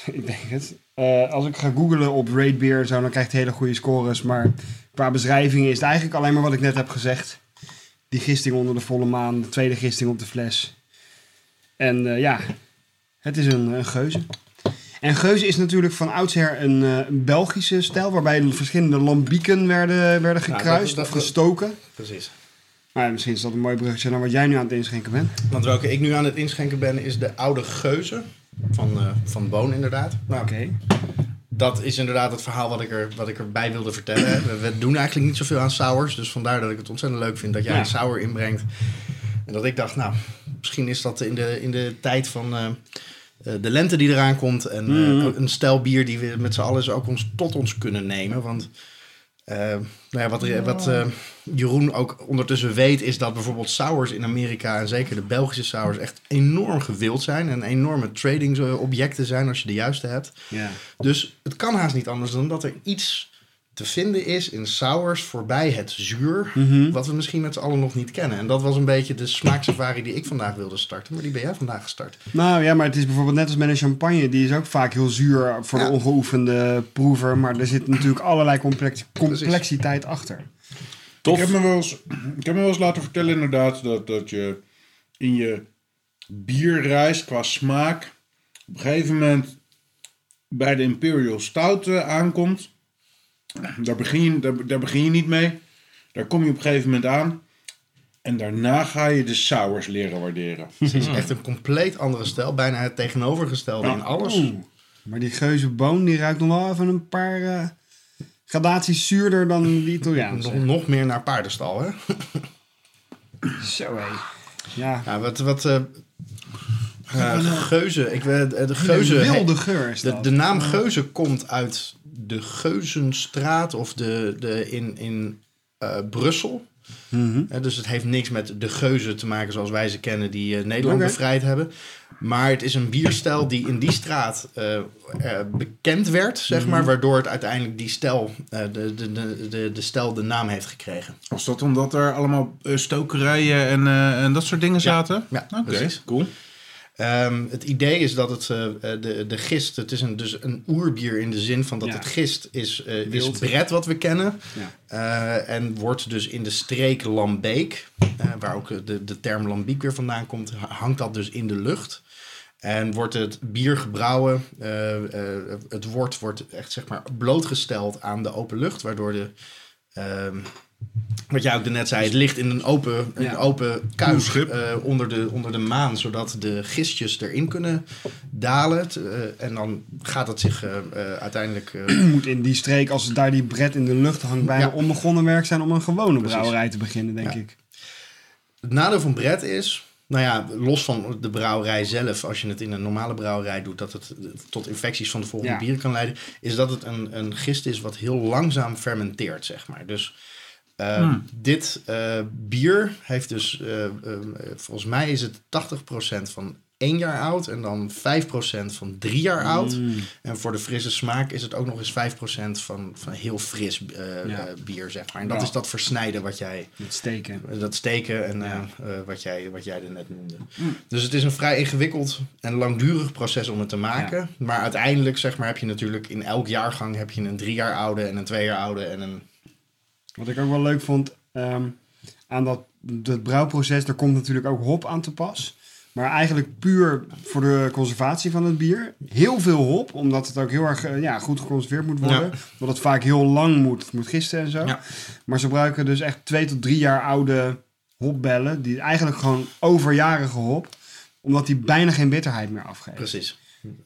[SPEAKER 2] <laughs> Ik denk het. Eh, als ik ga googlen op Raid Beer en zo, dan krijgt hij hele goede scores. Maar qua beschrijving is het eigenlijk alleen maar wat ik net heb gezegd. Die gisting onder de volle maan, de tweede gisting op de fles. En eh, ja, het is een, een geuze. En geuze is natuurlijk van oudsher een, eh, een Belgische stijl, waarbij verschillende lambieken werden, werden
[SPEAKER 5] Nou, dat-
[SPEAKER 2] gekruist
[SPEAKER 5] dat-
[SPEAKER 2] of gestoken.
[SPEAKER 5] Precies.
[SPEAKER 2] Maar ja, misschien is dat een mooi bruggetje naar wat jij nu aan het inschenken bent.
[SPEAKER 5] Want welke ik nu aan het inschenken ben, is de oude geuze. Van, eh, van Boon inderdaad. Nou, Dat is inderdaad het verhaal wat ik, er, wat ik erbij wilde vertellen. We, we doen eigenlijk niet zoveel aan sours. Dus vandaar dat ik het ontzettend leuk vind dat jij
[SPEAKER 2] Ja.
[SPEAKER 5] een sour inbrengt. En dat ik dacht, nou, misschien is dat in de, in de tijd van eh, eh, de lente die eraan komt. En eh,
[SPEAKER 2] Mhm.
[SPEAKER 5] een stijl bier die we met z'n allen eens ook ons, tot ons kunnen nemen. Want Eh, nou ja, wat er- wat eh, Jeroen ook ondertussen weet, is dat bijvoorbeeld sours in Amerika, en zeker de Belgische sours, echt enorm gewild zijn. En enorme tradingsobjecten zijn als je de juiste hebt.
[SPEAKER 2] Ja.
[SPEAKER 5] Dus het kan haast niet anders dan dat er iets te vinden is in sours voorbij het zuur, wat we misschien met z'n allen nog niet kennen. En dat was een beetje de smaaksafari die ik vandaag wilde starten, maar die ben jij vandaag gestart.
[SPEAKER 2] Nou ja, maar het is bijvoorbeeld net als met een champagne. Die is ook vaak heel zuur voor
[SPEAKER 5] Ja.
[SPEAKER 2] de ongeoefende proever. Maar er zit natuurlijk allerlei complex- complexiteit achter.
[SPEAKER 1] Tof.
[SPEAKER 3] Ik heb me wel eens, ik heb me wel eens laten vertellen inderdaad dat, dat je in je bierreis qua smaak op een gegeven moment bij de Imperial Stout eh, aankomt. Daar begin, je, daar, daar begin je niet mee. Daar kom je op een gegeven moment aan. En daarna ga je de sours leren waarderen.
[SPEAKER 5] Dus het is echt een compleet andere stijl, bijna het tegenovergestelde in alles.
[SPEAKER 2] Oeh, Maar die geuze boon die ruikt nog wel even een paar eh, gradaties zuurder dan die Italiaanse.
[SPEAKER 5] Nog, nog meer naar paardenstal, hè?
[SPEAKER 2] Zo hé. Ja.
[SPEAKER 5] Ja, wat, wat eh eh, geuzen, ik weet, eh, de geuzen...
[SPEAKER 2] Een wilde geur is
[SPEAKER 5] De,
[SPEAKER 2] dat.
[SPEAKER 5] de naam Geuzen komt uit de Geuzenstraat of de, de in, in eh, Brussel. Eh, dus het heeft niks met de Geuzen te maken zoals wij ze kennen die eh, Nederland
[SPEAKER 2] Oké.
[SPEAKER 5] bevrijd hebben. Maar het is een bierstijl die in die straat eh, eh, bekend werd, zeg maar. Waardoor het uiteindelijk die stijl, eh, de, de, de, de, de stijl de naam heeft gekregen.
[SPEAKER 3] Was dat omdat er allemaal eh, stokerijen en, eh, en dat soort dingen zaten?
[SPEAKER 5] ja,
[SPEAKER 3] Oké,
[SPEAKER 5] precies.
[SPEAKER 3] cool.
[SPEAKER 5] Ehm, het idee is dat het, eh, eh, de, de gist, het is een, dus een oerbier in de zin van dat
[SPEAKER 2] Ja.
[SPEAKER 5] het gist is, eh is
[SPEAKER 2] Wild.
[SPEAKER 5] bret wat we kennen.
[SPEAKER 2] Ja.
[SPEAKER 5] Eh, en wordt dus in de streek Lambeek, eh, waar ook eh, de, de term Lambiek weer vandaan komt, ha- hangt dat dus in de lucht. En wordt het bier gebrouwen, eh, eh, het wort wordt echt zeg maar blootgesteld aan de open lucht, waardoor de, ehm, wat jij ook net zei, het ligt in een open,
[SPEAKER 2] Ja.
[SPEAKER 5] een open kuif
[SPEAKER 3] Koelschip.
[SPEAKER 5] eh, onder, de, onder de maan, zodat de gistjes erin kunnen dalen. T- eh, en dan gaat het zich eh, eh, uiteindelijk eh,
[SPEAKER 2] moet in die streek, als daar die bret in de lucht hangt, bijna
[SPEAKER 5] Ja.
[SPEAKER 2] onbegonnen werk zijn om een gewone brouwerij te beginnen, denk
[SPEAKER 5] Ja.
[SPEAKER 2] ik.
[SPEAKER 5] Het nadeel van Brett is, nou ja, los van de brouwerij zelf, als je het in een normale brouwerij doet, dat het eh, tot infecties van de volgende
[SPEAKER 2] Ja.
[SPEAKER 5] bieren kan leiden, is dat het een, een gist is wat heel langzaam fermenteert, zeg maar. Dus eh,
[SPEAKER 2] Hmm.
[SPEAKER 5] dit eh, bier heeft dus, eh, eh, volgens mij is het 80% van één jaar oud en dan 5% van drie jaar oud.
[SPEAKER 2] Hmm.
[SPEAKER 5] En voor de frisse smaak is het ook nog eens 5% van, van heel fris eh,
[SPEAKER 2] Ja.
[SPEAKER 5] eh, bier, zeg maar. En dat
[SPEAKER 2] Ja.
[SPEAKER 5] is dat versnijden wat jij
[SPEAKER 2] Met steken.
[SPEAKER 5] dat steken en eh, eh, wat, jij, wat jij er net noemde.
[SPEAKER 3] Mm.
[SPEAKER 5] Dus het is een vrij ingewikkeld en langdurig proces om het te maken. Maar uiteindelijk zeg maar, heb je natuurlijk in elk jaargang heb je een drie jaar oude en een twee jaar oude. En een,
[SPEAKER 2] Wat ik ook wel leuk vond ehm, aan dat, dat brouwproces, daar komt natuurlijk ook hop aan te pas. Maar eigenlijk puur voor de conservatie van het bier. Heel veel hop, omdat het ook heel erg eh, ja, goed geconserveerd moet worden.
[SPEAKER 5] Ja.
[SPEAKER 2] Omdat het vaak heel lang moet. Het moet gisten en zo.
[SPEAKER 5] Ja.
[SPEAKER 2] Maar ze gebruiken dus echt twee tot drie jaar oude hopbellen. Die eigenlijk gewoon overjarige hop. Omdat die bijna geen bitterheid meer afgeven.
[SPEAKER 5] precies.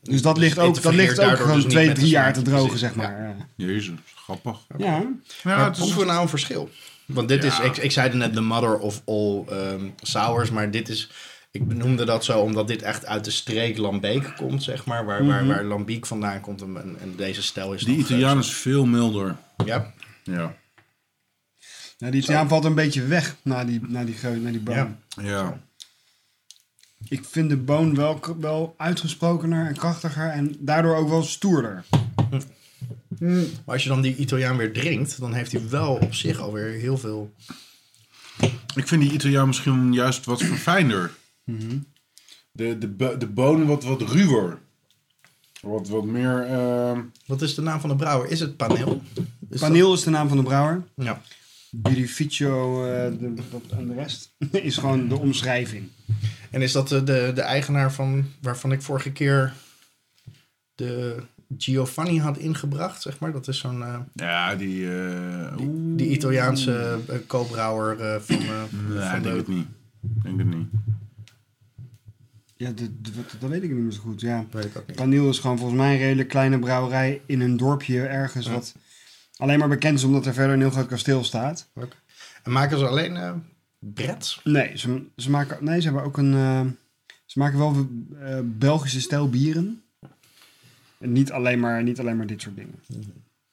[SPEAKER 2] Dus dat ligt
[SPEAKER 5] het
[SPEAKER 2] ook, dat
[SPEAKER 5] vergeert
[SPEAKER 2] ligt ook
[SPEAKER 5] daardoor
[SPEAKER 2] gewoon
[SPEAKER 5] dus niet
[SPEAKER 2] twee,
[SPEAKER 5] met de
[SPEAKER 2] drie jaar
[SPEAKER 5] smaak,
[SPEAKER 2] te drogen,
[SPEAKER 5] precies.
[SPEAKER 2] zeg maar. Ja.
[SPEAKER 3] Jezus, grappig.
[SPEAKER 2] ja.
[SPEAKER 3] Ja,
[SPEAKER 5] maar
[SPEAKER 3] het is
[SPEAKER 5] proeven we nou een verschil? Want dit is,
[SPEAKER 3] Ja.
[SPEAKER 5] ik, ik zei er net, de mother of all ehm, sours. Maar dit is, ik benoemde dat zo omdat dit echt uit de streek Lambeek komt, zeg maar. Waar, waar,
[SPEAKER 3] Mhm.
[SPEAKER 5] waar Lambiek vandaan komt en, en- en deze stijl is
[SPEAKER 3] Die
[SPEAKER 5] dan-
[SPEAKER 3] Italiaan is veel milder.
[SPEAKER 5] Ja,
[SPEAKER 3] Ja.
[SPEAKER 2] Nou, die Italiaan valt een beetje weg na die, na die, geu- na die boom.
[SPEAKER 5] Ja.
[SPEAKER 3] Ja.
[SPEAKER 2] Ik vind de boon wel, wel uitgesprokener en krachtiger en daardoor ook wel stoerder.
[SPEAKER 5] Maar als je dan die Italiaan weer drinkt, dan heeft hij wel op zich alweer heel veel.
[SPEAKER 3] Ik vind die Italiaan misschien juist wat verfijnder.
[SPEAKER 5] Mhm.
[SPEAKER 3] De, de, bo- de bonen wat, wat ruwer. Wat, wat meer... ehm,
[SPEAKER 5] Wat is de naam van de brouwer? Is het Paneel? Is
[SPEAKER 2] Paneel is de naam van de brouwer.
[SPEAKER 5] dat- Ja.
[SPEAKER 2] Birificio eh, de, dat- en de rest <laughs> is gewoon de omschrijving.
[SPEAKER 5] En is dat eh, de, de, de eigenaar van waarvan ik vorige keer de Giovanni had ingebracht, zeg maar? Dat is zo'n eh,
[SPEAKER 3] ja, die... eh oeh.
[SPEAKER 5] die Italiaanse eh, co-brouwer eh, van. eh,
[SPEAKER 3] Nee,
[SPEAKER 5] van
[SPEAKER 3] ik denk het niet. Ik denk het niet.
[SPEAKER 2] Ja, de, de- wat- dat weet ik niet meer zo goed. Ja.
[SPEAKER 5] Weet ik ook niet.
[SPEAKER 2] Paneel is gewoon volgens mij een redelijk kleine brouwerij in een dorpje ergens wat alleen maar bekend is omdat er verder een heel groot kasteel staat.
[SPEAKER 5] Oké. En maken ze alleen eh Brett?
[SPEAKER 2] Nee, ze, ze, maken, nee, ze hebben ook een. eh, ze maken wel eh, Belgische stijl bieren. En niet alleen, maar, niet alleen maar dit soort dingen.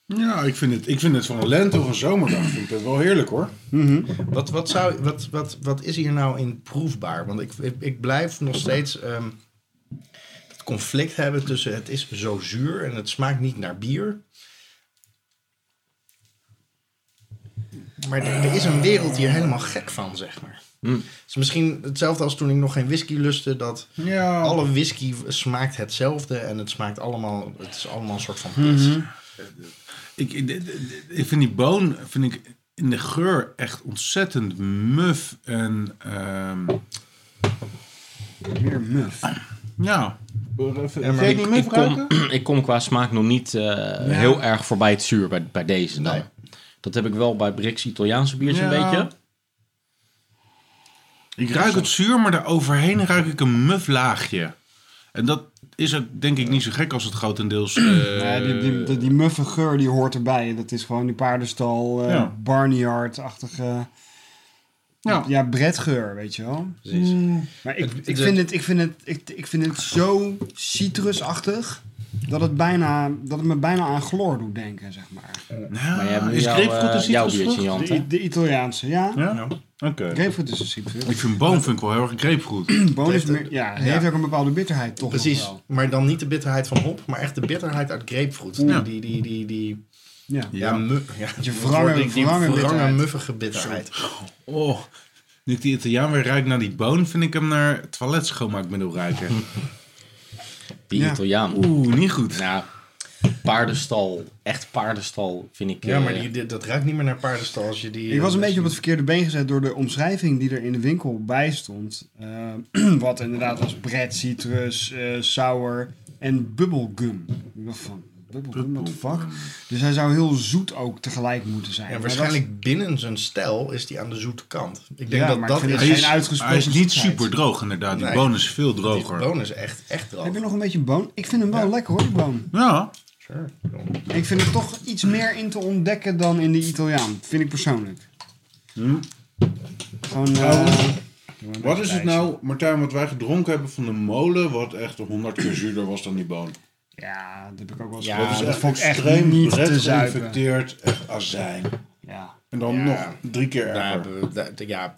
[SPEAKER 3] Ja, ik vind het, ik vind het voor een lente of een zomerdag vind ik dat wel heerlijk hoor.
[SPEAKER 5] Wat, wat, zou, wat, wat, wat is hier nou in proefbaar? Want ik, ik, ik blijf nog steeds ehm, het conflict hebben tussen het is zo zuur en het smaakt niet naar bier. Maar er, er is een wereld hier helemaal gek van, zeg maar.
[SPEAKER 3] Hmm.
[SPEAKER 5] Het is misschien hetzelfde als toen ik nog geen whisky lustte. Dat
[SPEAKER 3] Ja.
[SPEAKER 5] alle whisky smaakt hetzelfde en het smaakt allemaal, het is allemaal een soort van
[SPEAKER 3] Mhm.
[SPEAKER 5] pis.
[SPEAKER 3] Ik, ik, ik vind die boon vind ik in de geur echt ontzettend muf en ehm,
[SPEAKER 2] Meer muf.
[SPEAKER 3] Eh, ja.
[SPEAKER 5] Ja, maar
[SPEAKER 3] Kun je het
[SPEAKER 5] ik-
[SPEAKER 3] niet
[SPEAKER 1] Ik
[SPEAKER 3] meebruiken?
[SPEAKER 1] kom, <clears throat> ik kom qua smaak nog niet eh, heel erg voorbij het zuur bij, bij deze dan.
[SPEAKER 5] Nee.
[SPEAKER 1] Dat heb ik wel bij Brix Italiaanse biertje een
[SPEAKER 3] Ja.
[SPEAKER 1] beetje.
[SPEAKER 3] Ik ruik het zuur, maar daaroverheen ruik ik een muf laagje. En dat is ook denk ik niet zo gek als het grotendeels... eh
[SPEAKER 2] Ja, die, die, die, die muffe geur die hoort erbij. Dat is gewoon die paardenstal, eh
[SPEAKER 3] Ja.
[SPEAKER 2] barnyard-achtige... Ja.
[SPEAKER 3] Ja.
[SPEAKER 2] ja, bredgeur, weet je wel. Mm.
[SPEAKER 5] Precies.
[SPEAKER 2] Maar ik,
[SPEAKER 5] Het-
[SPEAKER 2] ik,
[SPEAKER 5] het-
[SPEAKER 2] vind het, ik, vind het, ik, ik vind het zo citrusachtig... Dat het, bijna, dat het me bijna aan chloor doet denken, zeg maar.
[SPEAKER 3] Nou,
[SPEAKER 1] Maar jij hebt nu
[SPEAKER 3] is
[SPEAKER 1] jouw,
[SPEAKER 3] grapefruit een
[SPEAKER 1] eh, jouw
[SPEAKER 3] citrusvrucht?
[SPEAKER 1] biertje in je hand, hè?
[SPEAKER 2] De, de Italiaanse, ja.
[SPEAKER 3] Ja? Oké.
[SPEAKER 2] Grapefruit is een citrus.
[SPEAKER 3] Ik vind boon vind ik wel heel erg grapefruit.
[SPEAKER 1] <clears throat>
[SPEAKER 2] Boon is
[SPEAKER 5] heeft
[SPEAKER 2] meer,
[SPEAKER 5] een-
[SPEAKER 2] ja, het
[SPEAKER 5] ja.
[SPEAKER 2] heeft ook een bepaalde bitterheid toch nog
[SPEAKER 5] Precies,
[SPEAKER 2] wel.
[SPEAKER 5] maar dan niet de bitterheid van hop, maar echt de bitterheid uit grapefruit.
[SPEAKER 3] Ja.
[SPEAKER 5] Die, die, die, die,
[SPEAKER 2] Ja.
[SPEAKER 5] ja, mu- ja,
[SPEAKER 2] je
[SPEAKER 5] dat
[SPEAKER 2] wrange-
[SPEAKER 5] wordt die, die
[SPEAKER 2] wrange
[SPEAKER 5] wrange,
[SPEAKER 2] bitterheid.
[SPEAKER 5] muffige bitterheid.
[SPEAKER 3] Oh, nu ik die Italiaan weer ruik naar die boon, vind ik hem naar toilet schoonmaakmiddel
[SPEAKER 1] <laughs>
[SPEAKER 3] ruiken.
[SPEAKER 1] Die
[SPEAKER 2] Ja.
[SPEAKER 1] Italiaan.
[SPEAKER 3] Oeh, niet goed.
[SPEAKER 1] Nou, paardenstal. Echt paardenstal vind ik.
[SPEAKER 5] Ja,
[SPEAKER 1] eh,
[SPEAKER 5] maar die, die- dat ruikt niet meer naar paardenstal als je die...
[SPEAKER 2] Ik was een
[SPEAKER 5] eh,
[SPEAKER 2] beetje op het verkeerde been gezet door de omschrijving die er in de winkel bij stond. Eh, <clears throat> wat inderdaad was bread, citrus, eh sour en bubblegum. Ik dacht van, bubblegum, what the fuck? Dus hij zou heel zoet ook tegelijk moeten zijn.
[SPEAKER 5] Ja,
[SPEAKER 2] Maar
[SPEAKER 5] waarschijnlijk binnen zijn stijl is die aan de zoete kant. Ik denk
[SPEAKER 2] Ja,
[SPEAKER 5] dat
[SPEAKER 2] maar
[SPEAKER 5] dat
[SPEAKER 2] ik vind
[SPEAKER 5] is...
[SPEAKER 2] het
[SPEAKER 3] Hij is,
[SPEAKER 2] geen uitgesproken
[SPEAKER 3] hij is niet
[SPEAKER 2] zoetheid.
[SPEAKER 3] super droog inderdaad. Die
[SPEAKER 5] Nee.
[SPEAKER 3] boon is veel
[SPEAKER 5] Die
[SPEAKER 3] droger.
[SPEAKER 5] boon is echt, echt
[SPEAKER 2] dat-
[SPEAKER 5] droog.
[SPEAKER 2] Heb je nog een beetje boon? Ik vind hem wel
[SPEAKER 5] Ja.
[SPEAKER 2] lekker hoor, die boon.
[SPEAKER 3] Ja,
[SPEAKER 5] Sure.
[SPEAKER 2] Ik vind er toch iets meer in te ontdekken dan in de Italiaan. Vind ik persoonlijk.
[SPEAKER 5] Hm?
[SPEAKER 2] Gewoon...
[SPEAKER 5] Oh.
[SPEAKER 2] eh,
[SPEAKER 3] wat is het nou, Martijn, wat wij gedronken hebben van de molen, wat echt 100 keer zuurder was dan die boon?
[SPEAKER 2] ja, dat heb ik ook wel eens
[SPEAKER 5] Ja,
[SPEAKER 2] gehoord.
[SPEAKER 5] dat is
[SPEAKER 2] Ah, dat vond ik echt niet te zuipen.
[SPEAKER 3] geïnfecteerd, echt azijn.
[SPEAKER 2] Ja.
[SPEAKER 3] En dan
[SPEAKER 5] Ja.
[SPEAKER 3] nog drie keer
[SPEAKER 5] Daar
[SPEAKER 3] erger.
[SPEAKER 5] hebben we- daar- ja.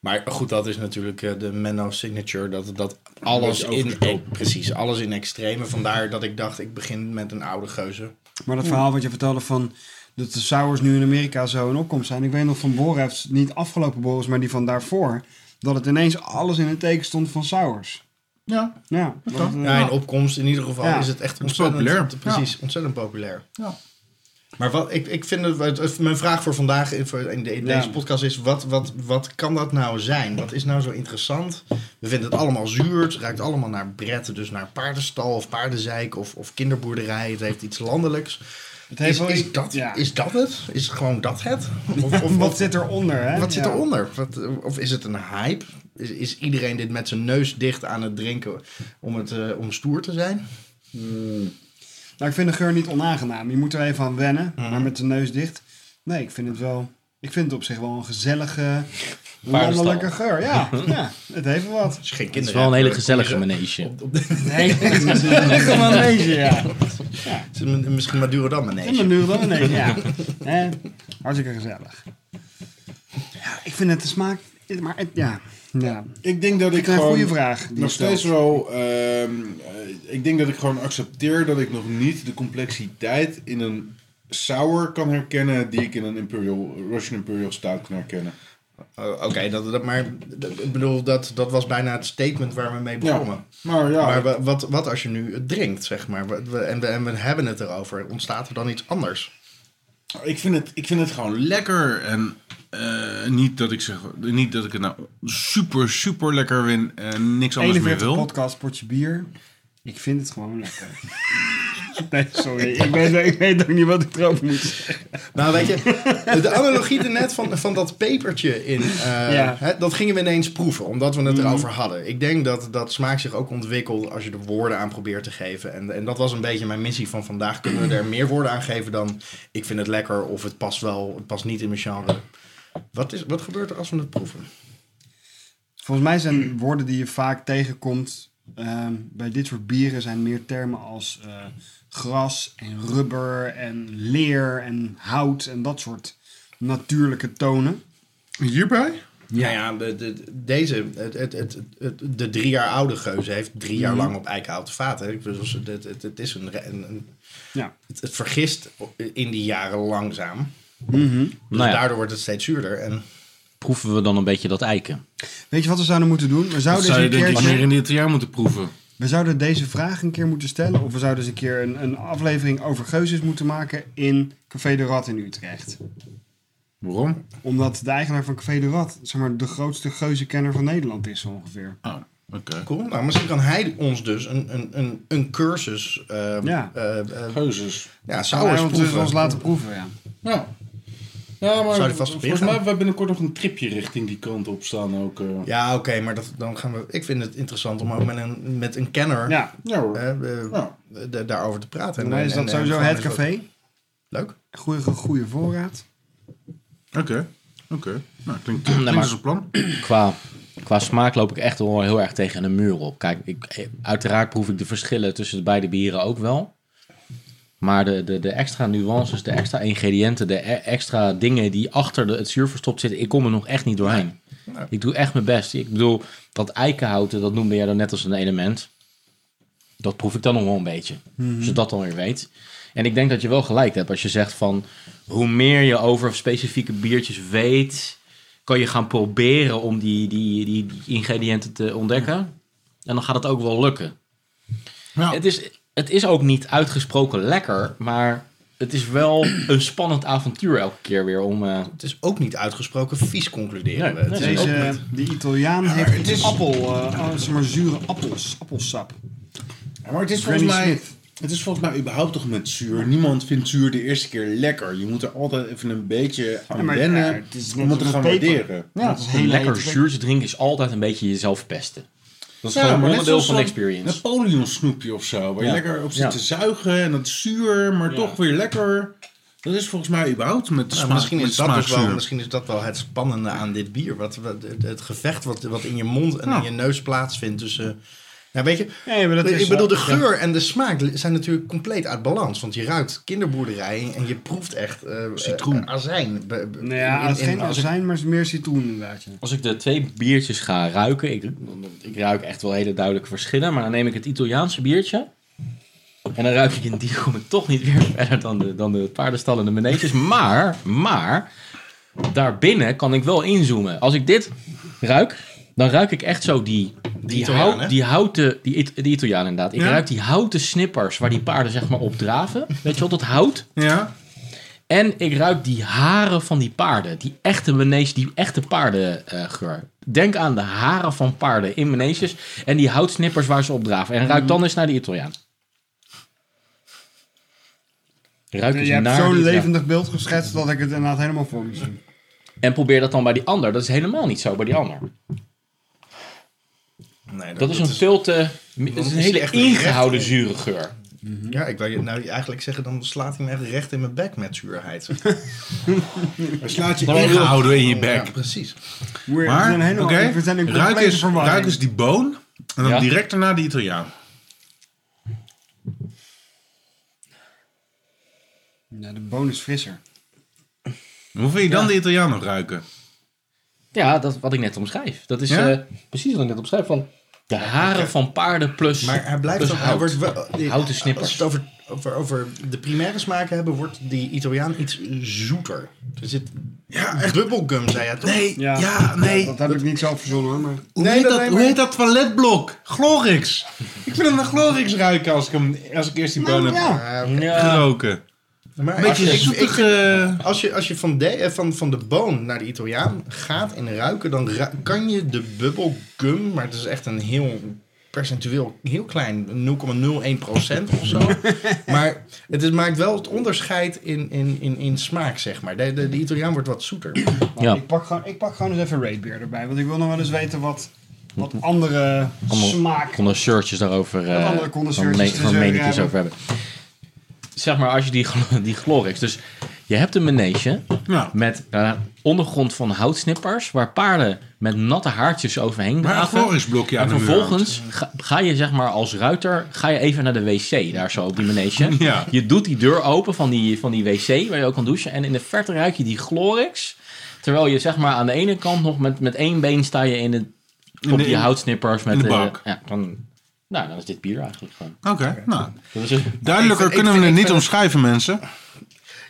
[SPEAKER 5] Maar goed, dat is natuurlijk eh, de Menno Signature. Dat, dat alles,
[SPEAKER 3] Beetje
[SPEAKER 5] in,
[SPEAKER 3] overgestoken.
[SPEAKER 5] eh, precies, alles in extreme. Vandaar dat ik dacht, ik begin met een oude geuze.
[SPEAKER 2] Maar dat verhaal wat je vertelde van dat de sours nu in Amerika zo in opkomst zijn. Ik weet nog van Borrefs, niet afgelopen Borrefs, maar die van daarvoor. Dat het ineens alles in het teken stond van sours.
[SPEAKER 3] Ja,
[SPEAKER 2] Ja, dat, eh,
[SPEAKER 5] Ja, in opkomst in ieder geval
[SPEAKER 2] Ja.
[SPEAKER 5] is het echt
[SPEAKER 3] is
[SPEAKER 5] ontzettend
[SPEAKER 3] populair.
[SPEAKER 5] Precies, ontzettend populair.
[SPEAKER 3] Ja.
[SPEAKER 5] Maar wat, ik, ik vind het- het, het- mijn vraag voor vandaag in, voor- in de- in
[SPEAKER 2] Ja.
[SPEAKER 5] deze podcast is: wat, wat, wat kan dat nou zijn? Wat is nou zo interessant? We vinden het allemaal zuur, het ruikt allemaal naar bretten, dus naar paardenstal of paardenzeik of, of kinderboerderij. Het heeft iets landelijks.
[SPEAKER 2] het
[SPEAKER 5] Is,
[SPEAKER 2] heeft wel
[SPEAKER 5] is,
[SPEAKER 2] iets-
[SPEAKER 5] dat,
[SPEAKER 2] ja.
[SPEAKER 5] is dat het? Is gewoon
[SPEAKER 2] <laughs>
[SPEAKER 5] dat het? Of,
[SPEAKER 2] Ja,
[SPEAKER 5] of- of-
[SPEAKER 2] wat zit eronder, hè?
[SPEAKER 5] wat zit
[SPEAKER 2] Ja.
[SPEAKER 5] eronder? Wat, of is het een hype? Is, is iedereen dit met zijn neus dicht aan het drinken om, het, eh, om stoer te zijn?
[SPEAKER 2] Nou, ik vind de geur niet onaangenaam. Je moet er even aan wennen,
[SPEAKER 5] Mhm.
[SPEAKER 2] maar met de neus dicht. Nee, ik vind het wel... Ik vind het op zich wel een gezellige,
[SPEAKER 1] Paardenstal.
[SPEAKER 2] landelijke geur.
[SPEAKER 5] <laughs>
[SPEAKER 2] Ja, ja, het heeft wel wat.
[SPEAKER 5] Het is geen
[SPEAKER 1] het is
[SPEAKER 5] kinderen.
[SPEAKER 1] wel een hele
[SPEAKER 5] hebben, kom je
[SPEAKER 1] gezellige manege.
[SPEAKER 5] zo- Op, op de,
[SPEAKER 2] <laughs> Nee, gewoon een beetje, ja.
[SPEAKER 5] het is een- misschien Maduro dan
[SPEAKER 2] En dan
[SPEAKER 5] manege.
[SPEAKER 2] nu dan ineens, ja. Hè? Hartstikke gezellig. Ja, ik vind het de smaak... Maar het, ja, ja.
[SPEAKER 3] ik denk dat
[SPEAKER 2] Ik
[SPEAKER 3] ik
[SPEAKER 2] vind een
[SPEAKER 3] gewoon
[SPEAKER 2] goede vraag. Die
[SPEAKER 3] nog
[SPEAKER 2] nog
[SPEAKER 3] steeds wel... ehm, eh, ik denk dat ik gewoon accepteer dat ik nog niet de complexiteit in een sour kan herkennen die ik in een Imperial, Russian Imperial Stout kan herkennen.
[SPEAKER 5] Oh, Oké, dat, dat, maar dat- ik bedoel, dat, dat was bijna het statement waar we mee begonnen.
[SPEAKER 3] Ja, maar ja,
[SPEAKER 5] Maar wa- wat, wat als je nu het drinkt, zeg maar, Wat- we- en we, en we hebben het erover, ontstaat er dan iets anders?
[SPEAKER 3] Nou, Ik vind het, ik vind het gewoon lekker. En eh, niet, dat ik zeg, niet dat ik het nou super, super lekker win en niks anders dus meer
[SPEAKER 2] 41
[SPEAKER 3] wil.
[SPEAKER 2] podcast, potje bier. Ik vind het gewoon lekker. <laughs> Nee, sorry. Ik weet, ik weet ook niet wat ik erover moet zeggen.
[SPEAKER 5] Nou, weet je, de analogie net van, van dat pepertje in, eh,
[SPEAKER 2] Ja.
[SPEAKER 5] hè, dat gingen we ineens proeven, omdat we het erover hadden. Ik denk dat, dat smaak zich ook ontwikkelt als je er woorden aan probeert te geven. En, en dat was een beetje mijn missie van vandaag. Kunnen we er meer woorden aan geven dan ik vind het lekker of het past wel, het past niet in mijn genre? Wat, is, wat gebeurt er als we het proeven?
[SPEAKER 2] Volgens mij zijn woorden die je vaak tegenkomt... Ehm, bij dit soort bieren zijn meer termen als eh, gras en rubber en leer en hout en dat soort natuurlijke tonen.
[SPEAKER 3] Hierbij?
[SPEAKER 5] Ja, Nou ja de, de, deze, het, het, het, het- de drie jaar oude geuze heeft drie jaar lang op eikenhouten vaten. hè. Ik bedoel, ze- het, het, het is een, re- een, een-
[SPEAKER 2] Ja.
[SPEAKER 5] het, het vergist in die jaren langzaam. Dus
[SPEAKER 1] Nou ja.
[SPEAKER 5] daardoor wordt het steeds zuurder. En
[SPEAKER 1] Proeven we dan een beetje dat eiken?
[SPEAKER 2] Weet je wat we zouden moeten doen? We
[SPEAKER 3] Dat
[SPEAKER 2] zouden,
[SPEAKER 3] zou je
[SPEAKER 2] eens een
[SPEAKER 3] denk ik
[SPEAKER 2] keertje-
[SPEAKER 3] meer in dit jaar moeten proeven.
[SPEAKER 2] we zouden deze vraag een keer moeten stellen. Of we zouden eens een keer een, een aflevering over geuzes moeten maken in Café de Rat in Utrecht.
[SPEAKER 3] Waarom?
[SPEAKER 2] Omdat de eigenaar van Café de Rat zeg maar, de grootste geuzenkenner van Nederland is ongeveer.
[SPEAKER 3] Oh, oké.
[SPEAKER 5] cool, nou, misschien kan hij ons dus een, een, een, een cursus eh
[SPEAKER 2] Ja.
[SPEAKER 5] ja. eh eh,
[SPEAKER 3] Geuzes.
[SPEAKER 5] ja,
[SPEAKER 2] Zou hij ons,
[SPEAKER 5] sours Oh,
[SPEAKER 2] dus
[SPEAKER 5] proeven.
[SPEAKER 2] ons laten proeven, ja.
[SPEAKER 3] Ja. Nou, Ja, maar
[SPEAKER 5] Zou die vast op
[SPEAKER 3] volgens
[SPEAKER 5] ingaan?
[SPEAKER 3] mij hebben we binnenkort nog een tripje richting die kant op staan ook. eh.
[SPEAKER 5] Ja, oké, maar dat, dan gaan we. Ik vind het interessant om ook met een, met een kenner
[SPEAKER 2] Ja,
[SPEAKER 3] Ja hoor.
[SPEAKER 5] eh, eh,
[SPEAKER 3] Ja.
[SPEAKER 5] da- daarover te praten.
[SPEAKER 2] dan is
[SPEAKER 5] en-
[SPEAKER 2] dat
[SPEAKER 5] en-
[SPEAKER 2] sowieso
[SPEAKER 5] en gewoon
[SPEAKER 2] het
[SPEAKER 5] eens
[SPEAKER 2] café.
[SPEAKER 5] wat- Leuk.
[SPEAKER 2] Goeie, goede voorraad.
[SPEAKER 3] Oké. Oké. Nou, klinkt, klinkt
[SPEAKER 1] maar-
[SPEAKER 3] als een plan.
[SPEAKER 1] Qua, qua smaak loop ik echt wel heel erg tegen een muur op. Kijk, ik, eh, uiteraard proef ik de verschillen tussen de beide bieren ook wel. Maar de, de, de extra nuances, de extra ingrediënten, de e- extra dingen die achter de, het zuur verstopt zitten, ik kom er nog echt niet doorheen. Ik doe echt mijn best. Ik bedoel, dat eikenhouten, dat noemde jij dan net als een element. Dat proef ik dan nog wel een beetje.
[SPEAKER 2] Mhm.
[SPEAKER 1] Als je dat dan weer weet. En ik denk dat je wel gelijk hebt als je zegt van... hoe meer je over specifieke biertjes weet... kan je gaan proberen om die, die, die, die ingrediënten te ontdekken. En dan gaat het ook wel lukken.
[SPEAKER 2] Nou.
[SPEAKER 3] Ja.
[SPEAKER 1] Het, is, het is ook niet uitgesproken lekker, maar... Het is
[SPEAKER 2] <clears throat>
[SPEAKER 1] wel een spannend avontuur elke keer weer om... eh,
[SPEAKER 5] Het is ook niet uitgesproken vies, concluderen
[SPEAKER 1] Nee,
[SPEAKER 5] we. Het
[SPEAKER 1] nee,
[SPEAKER 5] is ook-
[SPEAKER 2] Deze, eh, de Italiaan heeft iets appel, eh, oh, zeg maar zure appels, appelsap.
[SPEAKER 3] Maar het is,
[SPEAKER 2] Granny
[SPEAKER 3] volgens mij,
[SPEAKER 2] Smith.
[SPEAKER 3] het is volgens mij überhaupt toch met zuur. Niemand vindt zuur de eerste keer lekker. Je moet er altijd even een beetje aan
[SPEAKER 2] Ja, maar
[SPEAKER 3] wennen.
[SPEAKER 2] ja, het is net
[SPEAKER 3] je moet het
[SPEAKER 2] als
[SPEAKER 3] gaan
[SPEAKER 2] met peper.
[SPEAKER 3] waarderen. Ja,
[SPEAKER 2] dat is
[SPEAKER 1] een
[SPEAKER 2] heel
[SPEAKER 1] lekker
[SPEAKER 2] heet.
[SPEAKER 1] zuurtje drinken is altijd een beetje jezelf pesten. Dat is
[SPEAKER 3] Ja,
[SPEAKER 1] gewoon
[SPEAKER 3] maar net
[SPEAKER 1] onderdeel
[SPEAKER 3] zoals
[SPEAKER 1] van de
[SPEAKER 3] zo'n
[SPEAKER 1] experience.
[SPEAKER 3] Napoleon snoepje of zo. Waar
[SPEAKER 1] Ja.
[SPEAKER 3] je lekker op zit
[SPEAKER 1] Ja.
[SPEAKER 3] te zuigen. En dat is zuur, maar toch weer lekker. Dat is volgens mij überhaupt met
[SPEAKER 5] Nou,
[SPEAKER 3] smaak,
[SPEAKER 5] misschien,
[SPEAKER 3] met
[SPEAKER 5] is dat dus wel,
[SPEAKER 3] smaakzuur.
[SPEAKER 5] misschien is dat wel het spannende aan dit bier. Wat, wat- het- het gevecht wat, wat in je mond en
[SPEAKER 3] Ja.
[SPEAKER 5] in je neus plaatsvindt. Dus, eh, ja, weet je,
[SPEAKER 2] Nee, maar dat is
[SPEAKER 5] ik bedoel,
[SPEAKER 2] zo.
[SPEAKER 5] de geur en de smaak li- zijn natuurlijk compleet uit balans. Want je ruikt kinderboerderij en je proeft echt eh,
[SPEAKER 3] Citroen.
[SPEAKER 5] eh, azijn. Be- be-
[SPEAKER 2] Nou ja,
[SPEAKER 5] in- in-
[SPEAKER 2] het is geen
[SPEAKER 5] in- als-
[SPEAKER 2] azijn, maar het is meer citroen inderdaad. ja.
[SPEAKER 1] Als ik de twee biertjes ga ruiken, ik, ik ruik echt wel hele duidelijke verschillen, maar dan neem ik het Italiaanse biertje. En dan ruik ik in die kom ik toch niet weer <laughs> verder dan de, dan de paardenstal en de meneetjes. Maar, maar, daarbinnen kan ik wel inzoomen. Als ik dit ruik, dan ruik ik echt zo die, die,
[SPEAKER 5] Italiaan,
[SPEAKER 1] hout,
[SPEAKER 5] hè?
[SPEAKER 1] die houten, die, It- die Italiaan inderdaad. Ik
[SPEAKER 3] Ja.
[SPEAKER 1] ruik die houten snippers waar die paarden zeg maar op draven. Weet je wel, dat hout.
[SPEAKER 3] Ja?
[SPEAKER 1] En ik ruik die haren van die paarden. Die echte manege, die echte paardengeur. Denk aan de haren van paarden in meneges. En die houtsnippers waar ze op draven. En
[SPEAKER 5] Mm.
[SPEAKER 1] ruik dan eens naar die Italiaan. Ruik eens
[SPEAKER 2] Je hebt
[SPEAKER 1] naar
[SPEAKER 2] zo'n
[SPEAKER 1] die Italiaan.
[SPEAKER 2] levendig beeld geschetst dat ik het inderdaad helemaal voor me
[SPEAKER 3] <laughs>
[SPEAKER 2] zie.
[SPEAKER 1] En probeer dat dan bij die ander. Dat is helemaal niet zo bij die ander.
[SPEAKER 5] Nee,
[SPEAKER 1] Dat is een veel te... Het is
[SPEAKER 5] is
[SPEAKER 1] een
[SPEAKER 5] die
[SPEAKER 1] hele
[SPEAKER 5] echt een
[SPEAKER 1] ingehouden zure geur.
[SPEAKER 5] Ja, ik wil je nou eigenlijk zeggen, dan slaat hij me echt recht in mijn bek met zuurheid.
[SPEAKER 3] Hij slaat je
[SPEAKER 1] Nou, maar-
[SPEAKER 3] ingehouden in je bek.
[SPEAKER 5] Ja, precies.
[SPEAKER 2] We
[SPEAKER 3] Maar,
[SPEAKER 2] zijn helemaal,
[SPEAKER 3] oké,
[SPEAKER 2] we zijn in
[SPEAKER 3] ruik,
[SPEAKER 2] complete
[SPEAKER 3] eens,
[SPEAKER 2] verwarring.
[SPEAKER 3] ruik eens die boon. En dan
[SPEAKER 1] Ja.
[SPEAKER 3] direct daarna de Italiaan.
[SPEAKER 2] Ja, de boon is frisser.
[SPEAKER 3] Hoe vind je dan de Italiaan nog ruiken?
[SPEAKER 1] Ja, dat wat ik net omschrijf. Dat is
[SPEAKER 3] Ja?
[SPEAKER 1] eh, precies wat ik net omschrijf. Van de haren van paarden plus
[SPEAKER 5] Maar hij blijft
[SPEAKER 1] plus
[SPEAKER 5] ook, hij
[SPEAKER 1] Dus hout.
[SPEAKER 5] wordt wel, die-
[SPEAKER 1] Houten snippers.
[SPEAKER 5] Als we het over, over, over de primaire smaken hebben, wordt die Italiaan iets zoeter. Er zit ja, echt bubblegum, zei hij toch?
[SPEAKER 3] Nee,
[SPEAKER 2] Ja.
[SPEAKER 3] ja, nee.
[SPEAKER 2] Dat heb ik niet zelf verzonnen hoor, maar...
[SPEAKER 3] Hoe,
[SPEAKER 5] Nee,
[SPEAKER 3] heet
[SPEAKER 5] dat
[SPEAKER 3] dat,
[SPEAKER 5] neem
[SPEAKER 3] hoe
[SPEAKER 5] ik-
[SPEAKER 3] heet dat toiletblok? Glorix. Ik vind hem naar Glorix ruiken als ik, hem, als ik eerst die boon heb
[SPEAKER 5] Maar-
[SPEAKER 1] Ja,
[SPEAKER 3] geroken.
[SPEAKER 5] maar
[SPEAKER 3] Een
[SPEAKER 5] als je,
[SPEAKER 3] beetje eh,
[SPEAKER 5] ik- ik-
[SPEAKER 3] zoetige...
[SPEAKER 5] als je, als je van, de, eh, van, van de boon naar de Italiaan gaat en ruiken, dan ru- kan je de bubblegum, maar het is echt een heel percentueel, heel klein, 0,01% of
[SPEAKER 1] <laughs>
[SPEAKER 5] zo. maar het is, maakt wel het onderscheid in, in, in, in smaak, zeg maar. De, de, de Italiaan wordt wat zoeter.
[SPEAKER 1] Ja.
[SPEAKER 2] Ik, pak gewoon, ik pak gewoon eens even Raid Beer erbij, want ik wil nog wel eens weten wat, wat andere
[SPEAKER 1] Allemaal
[SPEAKER 2] smaak...
[SPEAKER 1] condenseurtjes daarover. eh,
[SPEAKER 2] Wat andere condenseurtjes
[SPEAKER 1] van me-
[SPEAKER 2] te
[SPEAKER 1] van
[SPEAKER 2] zeggen
[SPEAKER 1] meningjes
[SPEAKER 2] hebben.
[SPEAKER 1] over hebben. Zeg maar, als je die, gl- die Glorix. Dus Je hebt een manege
[SPEAKER 3] Nou,
[SPEAKER 1] met eh, ondergrond van houtsnippers... waar paarden met natte haartjes overheen
[SPEAKER 3] maar een
[SPEAKER 1] draven.
[SPEAKER 3] floringsblokje aan
[SPEAKER 1] en
[SPEAKER 3] de muur hangt.
[SPEAKER 1] vervolgens ga, ga je zeg maar als ruiter ga je even naar de wc daar zo op die manege.
[SPEAKER 3] <laughs> Ja.
[SPEAKER 1] Je doet die deur open van die, van die wc waar je ook kan douchen. En in de verte ruik je die Glorix. Terwijl je zeg maar aan de ene kant nog met, met één been sta je in de, op
[SPEAKER 3] de-
[SPEAKER 1] die houtsnippers. Met
[SPEAKER 3] in de
[SPEAKER 1] eh,
[SPEAKER 3] bank.
[SPEAKER 1] ja, dan, nou, dan is dit bier eigenlijk gewoon.
[SPEAKER 3] Oké, nou.
[SPEAKER 1] Dat is het. <laughs>
[SPEAKER 3] Duidelijker
[SPEAKER 5] Ik vind-
[SPEAKER 3] kunnen
[SPEAKER 5] ik vind-
[SPEAKER 3] we het niet
[SPEAKER 5] ik vind-
[SPEAKER 3] omschrijven, mensen.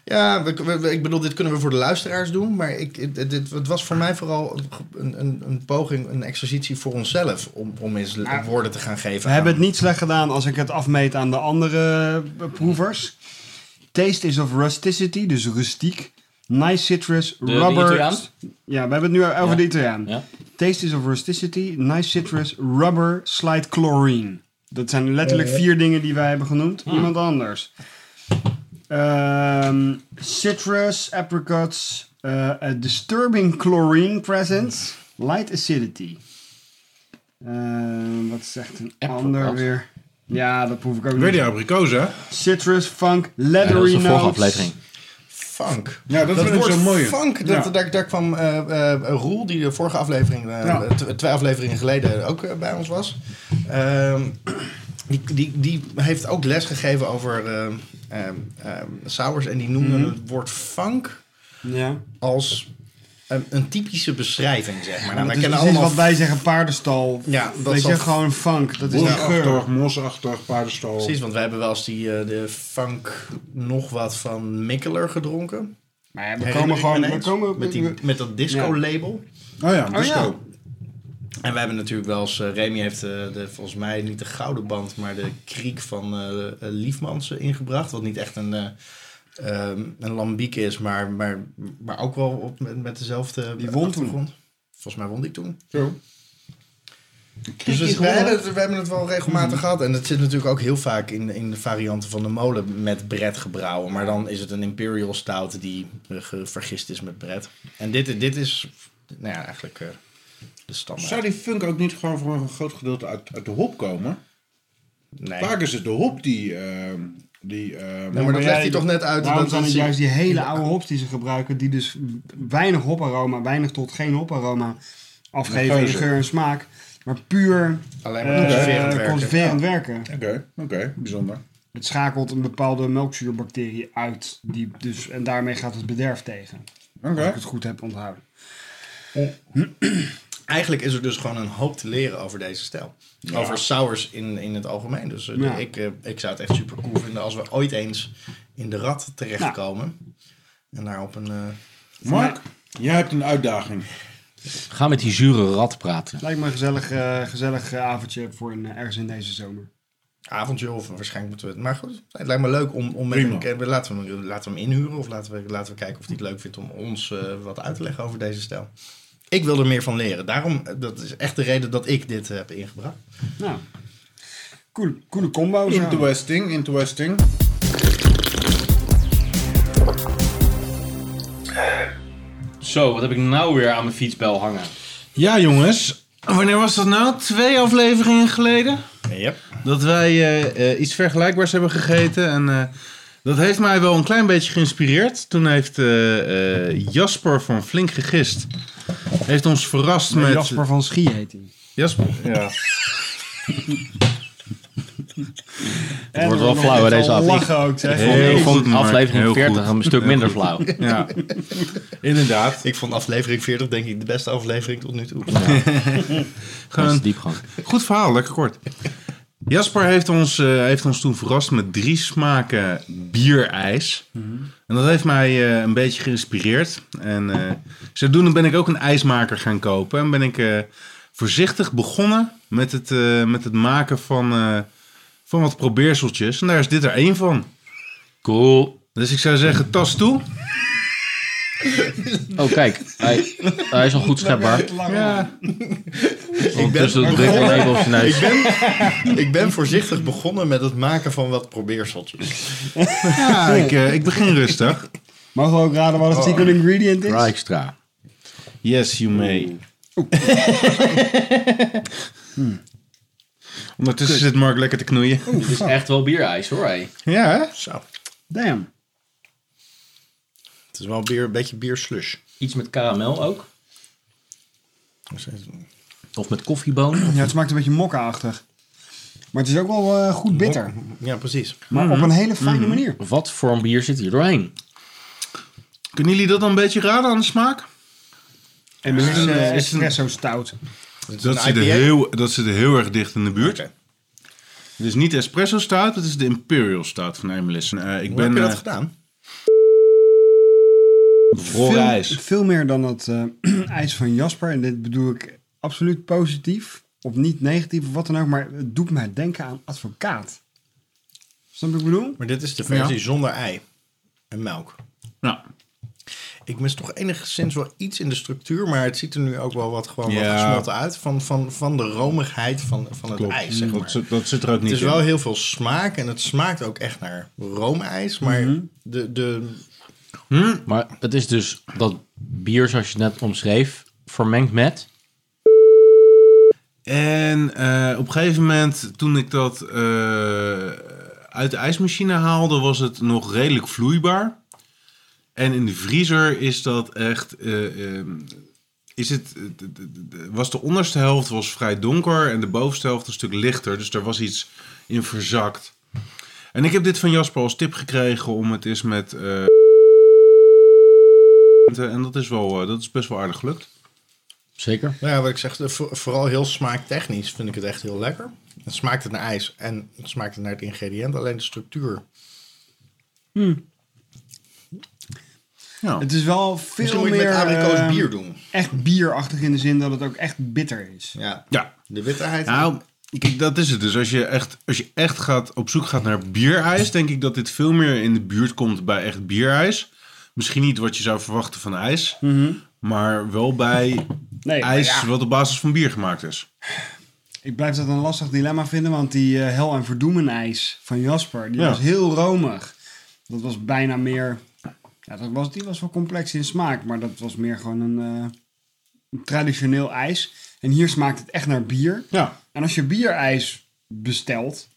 [SPEAKER 5] Ja, we- we- we- ik bedoel, dit kunnen we voor de luisteraars doen. Maar ik, het- het- dit, het was voor mij vooral een, een, een poging, een exercitie voor onszelf. Om, om eens
[SPEAKER 2] Maar-
[SPEAKER 5] woorden te gaan geven.
[SPEAKER 2] We hebben het niet slecht gedaan als ik het afmeet aan de andere eh, proevers. Taste is of rusticity, dus rustiek. Nice citrus,
[SPEAKER 1] de
[SPEAKER 2] rubber.
[SPEAKER 1] Italiaan?
[SPEAKER 2] ja, we hebben het nu over
[SPEAKER 1] Ja.
[SPEAKER 2] de Italiaan.
[SPEAKER 1] Ja.
[SPEAKER 2] Taste is of rusticity, nice citrus, rubber, slight chlorine. Dat zijn letterlijk vier dingen die wij hebben genoemd.
[SPEAKER 1] Ah.
[SPEAKER 2] Iemand anders. Ehm, citrus, apricots, eh, a disturbing chlorine presence, light acidity. Ehm, wat zegt een
[SPEAKER 1] Apricot.
[SPEAKER 2] ander weer? Ja, dat proef ik ook
[SPEAKER 3] Weer die
[SPEAKER 2] niet.
[SPEAKER 3] abrikozen.
[SPEAKER 2] Citrus, funk,
[SPEAKER 1] Ja,
[SPEAKER 2] leathery
[SPEAKER 1] dat was de vorige
[SPEAKER 2] notes.
[SPEAKER 1] aflevering.
[SPEAKER 5] Funk.
[SPEAKER 3] Ja, dat,
[SPEAKER 5] Dat
[SPEAKER 3] vind ik
[SPEAKER 5] woord
[SPEAKER 3] zo mooi.
[SPEAKER 5] funk, dat,
[SPEAKER 3] Ja.
[SPEAKER 5] daar, daar kwam eh eh, Roel, die de vorige aflevering, eh,
[SPEAKER 3] Ja.
[SPEAKER 5] tw- twee afleveringen geleden ook eh, bij ons was. Ehm, die, die, die heeft ook les gegeven over ehm ehm, ehm, sours en die noemde
[SPEAKER 3] Mhm.
[SPEAKER 5] het woord funk
[SPEAKER 2] Ja.
[SPEAKER 5] als een, een typische beschrijving, zeg maar. Nou,
[SPEAKER 2] Dat
[SPEAKER 5] wij
[SPEAKER 2] is
[SPEAKER 5] kennen
[SPEAKER 2] precies
[SPEAKER 5] allemaal...
[SPEAKER 2] wat wij zeggen, paardenstal.
[SPEAKER 5] Ja, dat
[SPEAKER 2] Weet
[SPEAKER 5] is
[SPEAKER 2] je,
[SPEAKER 5] al-
[SPEAKER 2] gewoon funk. Dat is een geur.
[SPEAKER 3] Boerachtig, mosachtig, paardenstol.
[SPEAKER 5] Precies, want wij hebben wel eens die, eh, de funk nog wat van Mikkeler gedronken.
[SPEAKER 2] Maar ja, we
[SPEAKER 5] Herinner
[SPEAKER 2] komen
[SPEAKER 5] ik
[SPEAKER 2] gewoon...
[SPEAKER 5] me
[SPEAKER 2] We
[SPEAKER 5] ineens.
[SPEAKER 2] komen,
[SPEAKER 5] met, die, met dat disco-label.
[SPEAKER 3] Oh ja,
[SPEAKER 2] Oh
[SPEAKER 3] disco.
[SPEAKER 2] ja.
[SPEAKER 5] En wij hebben natuurlijk wel eens, eh, Remy heeft eh, de, volgens mij niet de gouden band, maar de kriek van eh eh, Liefmans eh, ingebracht. Wat niet echt een, eh, ehm, een lambiek is, maar, maar, maar ook wel op, met, met dezelfde
[SPEAKER 2] Die won toen.
[SPEAKER 5] achtergrond. Volgens mij won die toen.
[SPEAKER 3] Zo.
[SPEAKER 5] Dus we, hebben het, we hebben het wel regelmatig
[SPEAKER 2] Mhm.
[SPEAKER 5] gehad. En het zit natuurlijk ook heel vaak in, in de varianten van de molen met Brett gebrouwen. Maar dan is het een Imperial Stout die eh, ge- vergist is met Brett. En dit, dit is nou ja, eigenlijk eh, de standaard.
[SPEAKER 3] dus Zou die funk ook niet gewoon voor een groot gedeelte uit, uit de hop komen?
[SPEAKER 5] Nee.
[SPEAKER 3] Vaak is het de hop die... ehm, die ehm,
[SPEAKER 5] Nee, maar dat
[SPEAKER 2] Maar
[SPEAKER 5] legt
[SPEAKER 2] jij-
[SPEAKER 5] hij toch net uit.
[SPEAKER 2] Daarom
[SPEAKER 5] Dat
[SPEAKER 2] zijn het
[SPEAKER 5] dat ze-
[SPEAKER 2] juist die hele oude hops die ze gebruiken, die dus weinig hoparoma, weinig tot geen hoparoma afgeven in
[SPEAKER 3] Geuze.
[SPEAKER 2] geur en smaak, maar puur
[SPEAKER 5] alleen maar
[SPEAKER 2] eh,
[SPEAKER 5] conserverend werken.
[SPEAKER 2] conserverend werken.
[SPEAKER 3] Oké, oké, bijzonder.
[SPEAKER 2] Het schakelt een bepaalde melkzuurbacterie uit, die dus, en daarmee gaat het bederf tegen.
[SPEAKER 3] Oké.
[SPEAKER 2] Als ik het goed heb onthouden.
[SPEAKER 5] Eigenlijk is er dus gewoon een hoop te leren over deze stijl. Over sours in, in het algemeen. Dus eh,
[SPEAKER 2] Ja.
[SPEAKER 5] ik, eh, ik zou het echt super cool vinden als we ooit eens in de rat terechtkomen. En daar op een... eh,
[SPEAKER 3] Mark, jij hebt een uitdaging.
[SPEAKER 1] Ga met die zure rat praten.
[SPEAKER 2] Lijkt me een gezellig, eh, gezellig eh, avondje voor een, eh, ergens in deze zomer.
[SPEAKER 5] avondje of waarschijnlijk moeten we het. Maar goed, het lijkt me leuk om, om met
[SPEAKER 3] Prima.
[SPEAKER 5] hem, eh, laten, we, hem- laten we hem inhuren of laten we, laten we kijken of hij het leuk vindt om ons eh, wat uit te leggen over deze stijl. Ik wil er meer van leren. Daarom, eh, dat is echt de reden dat ik dit eh, heb ingebracht.
[SPEAKER 2] Nou, cool, coole combo. zo.
[SPEAKER 3] Interesting, interesting.
[SPEAKER 1] Zo, wat heb ik nou weer aan mijn fietsbel hangen?
[SPEAKER 3] Ja, jongens. Wanneer was dat nou? Twee afleveringen geleden?
[SPEAKER 5] Yep.
[SPEAKER 3] Dat wij eh, eh, iets vergelijkbaars hebben gegeten. En eh, dat heeft mij wel een klein beetje geïnspireerd. Toen heeft eh, eh, Jasper van Flink Gegist... heeft ons verrast met...
[SPEAKER 2] Jasper van Schie heet hij.
[SPEAKER 3] Jasper, ja.
[SPEAKER 2] En
[SPEAKER 1] wordt wel
[SPEAKER 2] dan
[SPEAKER 1] flauw, hè, deze
[SPEAKER 2] al
[SPEAKER 1] aflevering.
[SPEAKER 2] Lachen ook, zeg.
[SPEAKER 1] Heel
[SPEAKER 3] Heel
[SPEAKER 1] goed,
[SPEAKER 3] goed, Mark.
[SPEAKER 1] aflevering
[SPEAKER 3] Heel
[SPEAKER 1] 40
[SPEAKER 3] goed.
[SPEAKER 1] een stuk minder
[SPEAKER 3] <laughs>
[SPEAKER 1] flauw.
[SPEAKER 3] ja. Inderdaad.
[SPEAKER 5] Ik vond aflevering 40 denk ik de beste aflevering tot nu toe.
[SPEAKER 1] Dat is
[SPEAKER 3] Gewoon
[SPEAKER 1] diepgang.
[SPEAKER 3] Goed verhaal, lekker kort. Jasper heeft ons, eh, heeft ons toen verrast met drie smaken bierijs. En dat heeft mij eh, een beetje geïnspireerd. En eh zodoende ben ik ook een ijsmaker gaan kopen. En ben ik eh, voorzichtig begonnen met het, eh, met het maken van, eh, van wat probeerseltjes. En daar is dit er één van.
[SPEAKER 1] Cool.
[SPEAKER 3] Dus ik zou zeggen, tas toe.
[SPEAKER 1] Oh, kijk. Hij, hij is al goed schepbaar.
[SPEAKER 3] Ja,
[SPEAKER 1] Ondertussen het bril even op zijn neus.
[SPEAKER 5] ik ben voorzichtig begonnen met het maken van wat probeerseltjes.
[SPEAKER 3] ja ik, eh, ik begin rustig.
[SPEAKER 2] Mogen we ook raden
[SPEAKER 1] Oh.
[SPEAKER 2] wat het secret ingredient is?
[SPEAKER 1] Rijkstra.
[SPEAKER 3] Yes, you may. <laughs> Hmm. Ondertussen zit Mark lekker te knoeien.
[SPEAKER 1] dus Dit is echt wel bierijs hoor. Hey.
[SPEAKER 3] Ja, hè?
[SPEAKER 5] Zo.
[SPEAKER 2] Damn.
[SPEAKER 5] Het is wel bier, een beetje bierslush.
[SPEAKER 1] Iets met karamel ook. Of met koffieboon.
[SPEAKER 2] Ja, het smaakt een beetje mokka-achtig. Maar het is ook wel eh, goed bitter.
[SPEAKER 5] Ja, precies.
[SPEAKER 2] Maar op een hele fijne manier.
[SPEAKER 1] Wat voor een bier zit hier doorheen?
[SPEAKER 3] Kunnen jullie dat dan een beetje raden aan de smaak?
[SPEAKER 2] En er is
[SPEAKER 3] een,
[SPEAKER 2] eh,
[SPEAKER 3] is een-
[SPEAKER 2] espresso stout.
[SPEAKER 3] Dat
[SPEAKER 5] een
[SPEAKER 3] zit, er
[SPEAKER 5] IPA?
[SPEAKER 3] heel, dat zit er heel erg dicht in de buurt.
[SPEAKER 5] Oké.
[SPEAKER 3] Het is niet de espresso stout, het is de imperial stout van Emelis. Eh ik
[SPEAKER 5] Hoe
[SPEAKER 3] ben
[SPEAKER 5] heb je dat
[SPEAKER 3] eh,
[SPEAKER 5] gedaan?
[SPEAKER 2] Veel,
[SPEAKER 3] voorreis.
[SPEAKER 2] veel meer dan dat eh, <clears throat> ijs van Jasper. En dit bedoel ik absoluut positief. Op niet negatief of wat dan ook. Maar het doet mij denken aan advocaat. Snap je wat ik bedoel?
[SPEAKER 5] Maar dit is de
[SPEAKER 3] Ja.
[SPEAKER 5] versie zonder ei en melk.
[SPEAKER 3] Ja.
[SPEAKER 5] Ik mis toch enigszins wel iets in de structuur, maar het ziet er nu ook wel wat gewoon wat
[SPEAKER 3] Ja.
[SPEAKER 5] gesmolten uit van, van, van de romigheid van, van het
[SPEAKER 3] Klopt. Mm, Hmm.
[SPEAKER 5] ijs. Zeg
[SPEAKER 3] dat,
[SPEAKER 5] maar.
[SPEAKER 3] zit- dat zit er ook niet
[SPEAKER 5] Het is
[SPEAKER 3] in.
[SPEAKER 5] wel heel veel smaak en het smaakt ook echt naar roomijs, maar
[SPEAKER 3] Mhm.
[SPEAKER 5] de, de,
[SPEAKER 1] Maar het is dus dat bier zoals je net omschreef, vermengd met...
[SPEAKER 3] En eh, op een gegeven moment, toen ik dat eh, uit de ijsmachine haalde, was het nog redelijk vloeibaar. En in de vriezer is dat echt. eh, ehm, is het, eh, d- d- d- was de onderste helft was vrij donker en de bovenste helft een stuk lichter. Dus er was iets in verzakt. En ik heb dit van Jasper als tip gekregen om het eens met. eh, en dat is, wel, eh, dat is best wel aardig gelukt.
[SPEAKER 1] Zeker.
[SPEAKER 5] nou ja, wat ik zeg, de- voor- vooral heel smaaktechnisch vind ik het echt heel lekker. Het smaakt het naar ijs en het smaakt het naar het ingrediënt, alleen de structuur.
[SPEAKER 3] Ja.
[SPEAKER 2] Het is wel
[SPEAKER 5] Misschien
[SPEAKER 2] veel
[SPEAKER 5] moet je
[SPEAKER 2] meer
[SPEAKER 5] het met abrikoos
[SPEAKER 2] eh,
[SPEAKER 5] bier doen.
[SPEAKER 2] echt bierachtig in de zin dat het ook echt bitter is.
[SPEAKER 5] Ja,
[SPEAKER 3] ja.
[SPEAKER 5] de witteheid.
[SPEAKER 3] Nou, kijk, dat is het. Dus als je echt, als je echt gaat, op zoek gaat naar bierijs, denk ik dat dit veel meer in de buurt komt bij echt bierijs. Misschien niet wat je zou verwachten van ijs, maar wel bij
[SPEAKER 2] Mhm. Nee, maar
[SPEAKER 3] ijs
[SPEAKER 2] ja,
[SPEAKER 3] wat op basis van bier gemaakt is.
[SPEAKER 2] ik blijf dat een lastig dilemma vinden, want die eh, hel en verdoemen ijs van Jasper, die
[SPEAKER 3] Ja.
[SPEAKER 2] was heel romig. Dat was bijna meer, ja, dat was, die was wel complex in smaak, maar dat was meer gewoon een, eh, een traditioneel ijs. En hier smaakt het echt naar bier.
[SPEAKER 3] Ja,
[SPEAKER 2] En als je bierijs bestelt,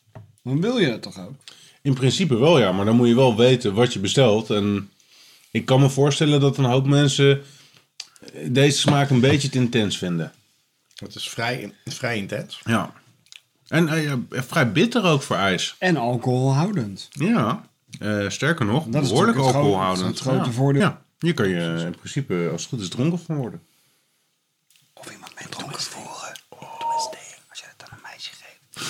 [SPEAKER 2] dan wil je het toch ook?
[SPEAKER 3] in principe wel ja, maar dan moet je wel weten wat je bestelt. En ik kan me voorstellen dat een hoop mensen deze smaak een beetje te intens vinden.
[SPEAKER 5] Het is vrij, in- vrij intens.
[SPEAKER 3] Ja. En eh, ja, vrij bitter ook voor ijs.
[SPEAKER 2] En alcoholhoudend.
[SPEAKER 3] Ja, eh, sterker nog,
[SPEAKER 2] Dat is
[SPEAKER 3] behoorlijk
[SPEAKER 2] natuurlijk het
[SPEAKER 3] alcoholhoudend.
[SPEAKER 2] grote- het grote
[SPEAKER 3] ja.
[SPEAKER 2] voordeel.
[SPEAKER 3] Ja, hier kan je in principe als het goed is dronken van worden.
[SPEAKER 2] Of iemand met dronken voren. Als je het aan een meisje geeft.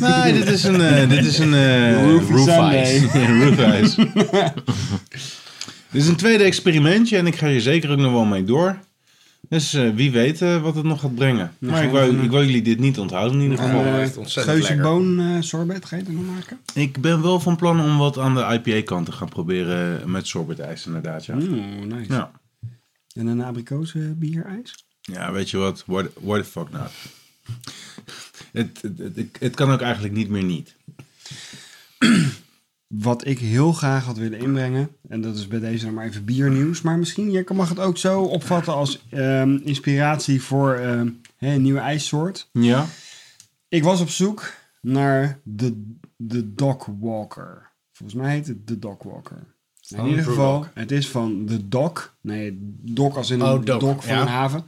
[SPEAKER 3] Nee, dit is een, eh, dit is een eh,
[SPEAKER 2] Roofy Sunday.
[SPEAKER 3] Roof ice. <laughs> dit is een tweede experimentje en ik ga hier zeker ook nog wel mee door. Dus eh, wie weet eh, wat het nog gaat brengen. Maar ik wou, ik wou jullie dit niet onthouden in ieder
[SPEAKER 2] Een
[SPEAKER 3] geval.
[SPEAKER 5] Oh,
[SPEAKER 2] eh,
[SPEAKER 5] echt ontzettend
[SPEAKER 2] geuzenboon eh, sorbet, ga je het nog maken?
[SPEAKER 3] Ik ben wel van plan om wat aan de IPA-kant te gaan proberen met sorbetijs inderdaad, ja.
[SPEAKER 2] Oeh, nice.
[SPEAKER 3] ja.
[SPEAKER 2] En een abrikozenbierijs?
[SPEAKER 3] Ja, weet je wat? What, what the fuck nou? Het, het, het, ik- het kan ook eigenlijk niet meer niet.
[SPEAKER 2] Wat ik heel graag had willen inbrengen, en dat is bij deze dan maar even biernieuws, maar misschien jij kan- mag het ook zo opvatten als ehm, inspiratie voor ehm, hè, een nieuwe ijssoort.
[SPEAKER 3] Ja.
[SPEAKER 2] Ik was op zoek naar de, de Dog Walker. Volgens mij heet het de Dog Walker. In ieder geval, het is van de Dog. Nee, Dog als in een
[SPEAKER 5] Oh,
[SPEAKER 2] dok,
[SPEAKER 5] dok,
[SPEAKER 2] van
[SPEAKER 5] ja.
[SPEAKER 2] een haven.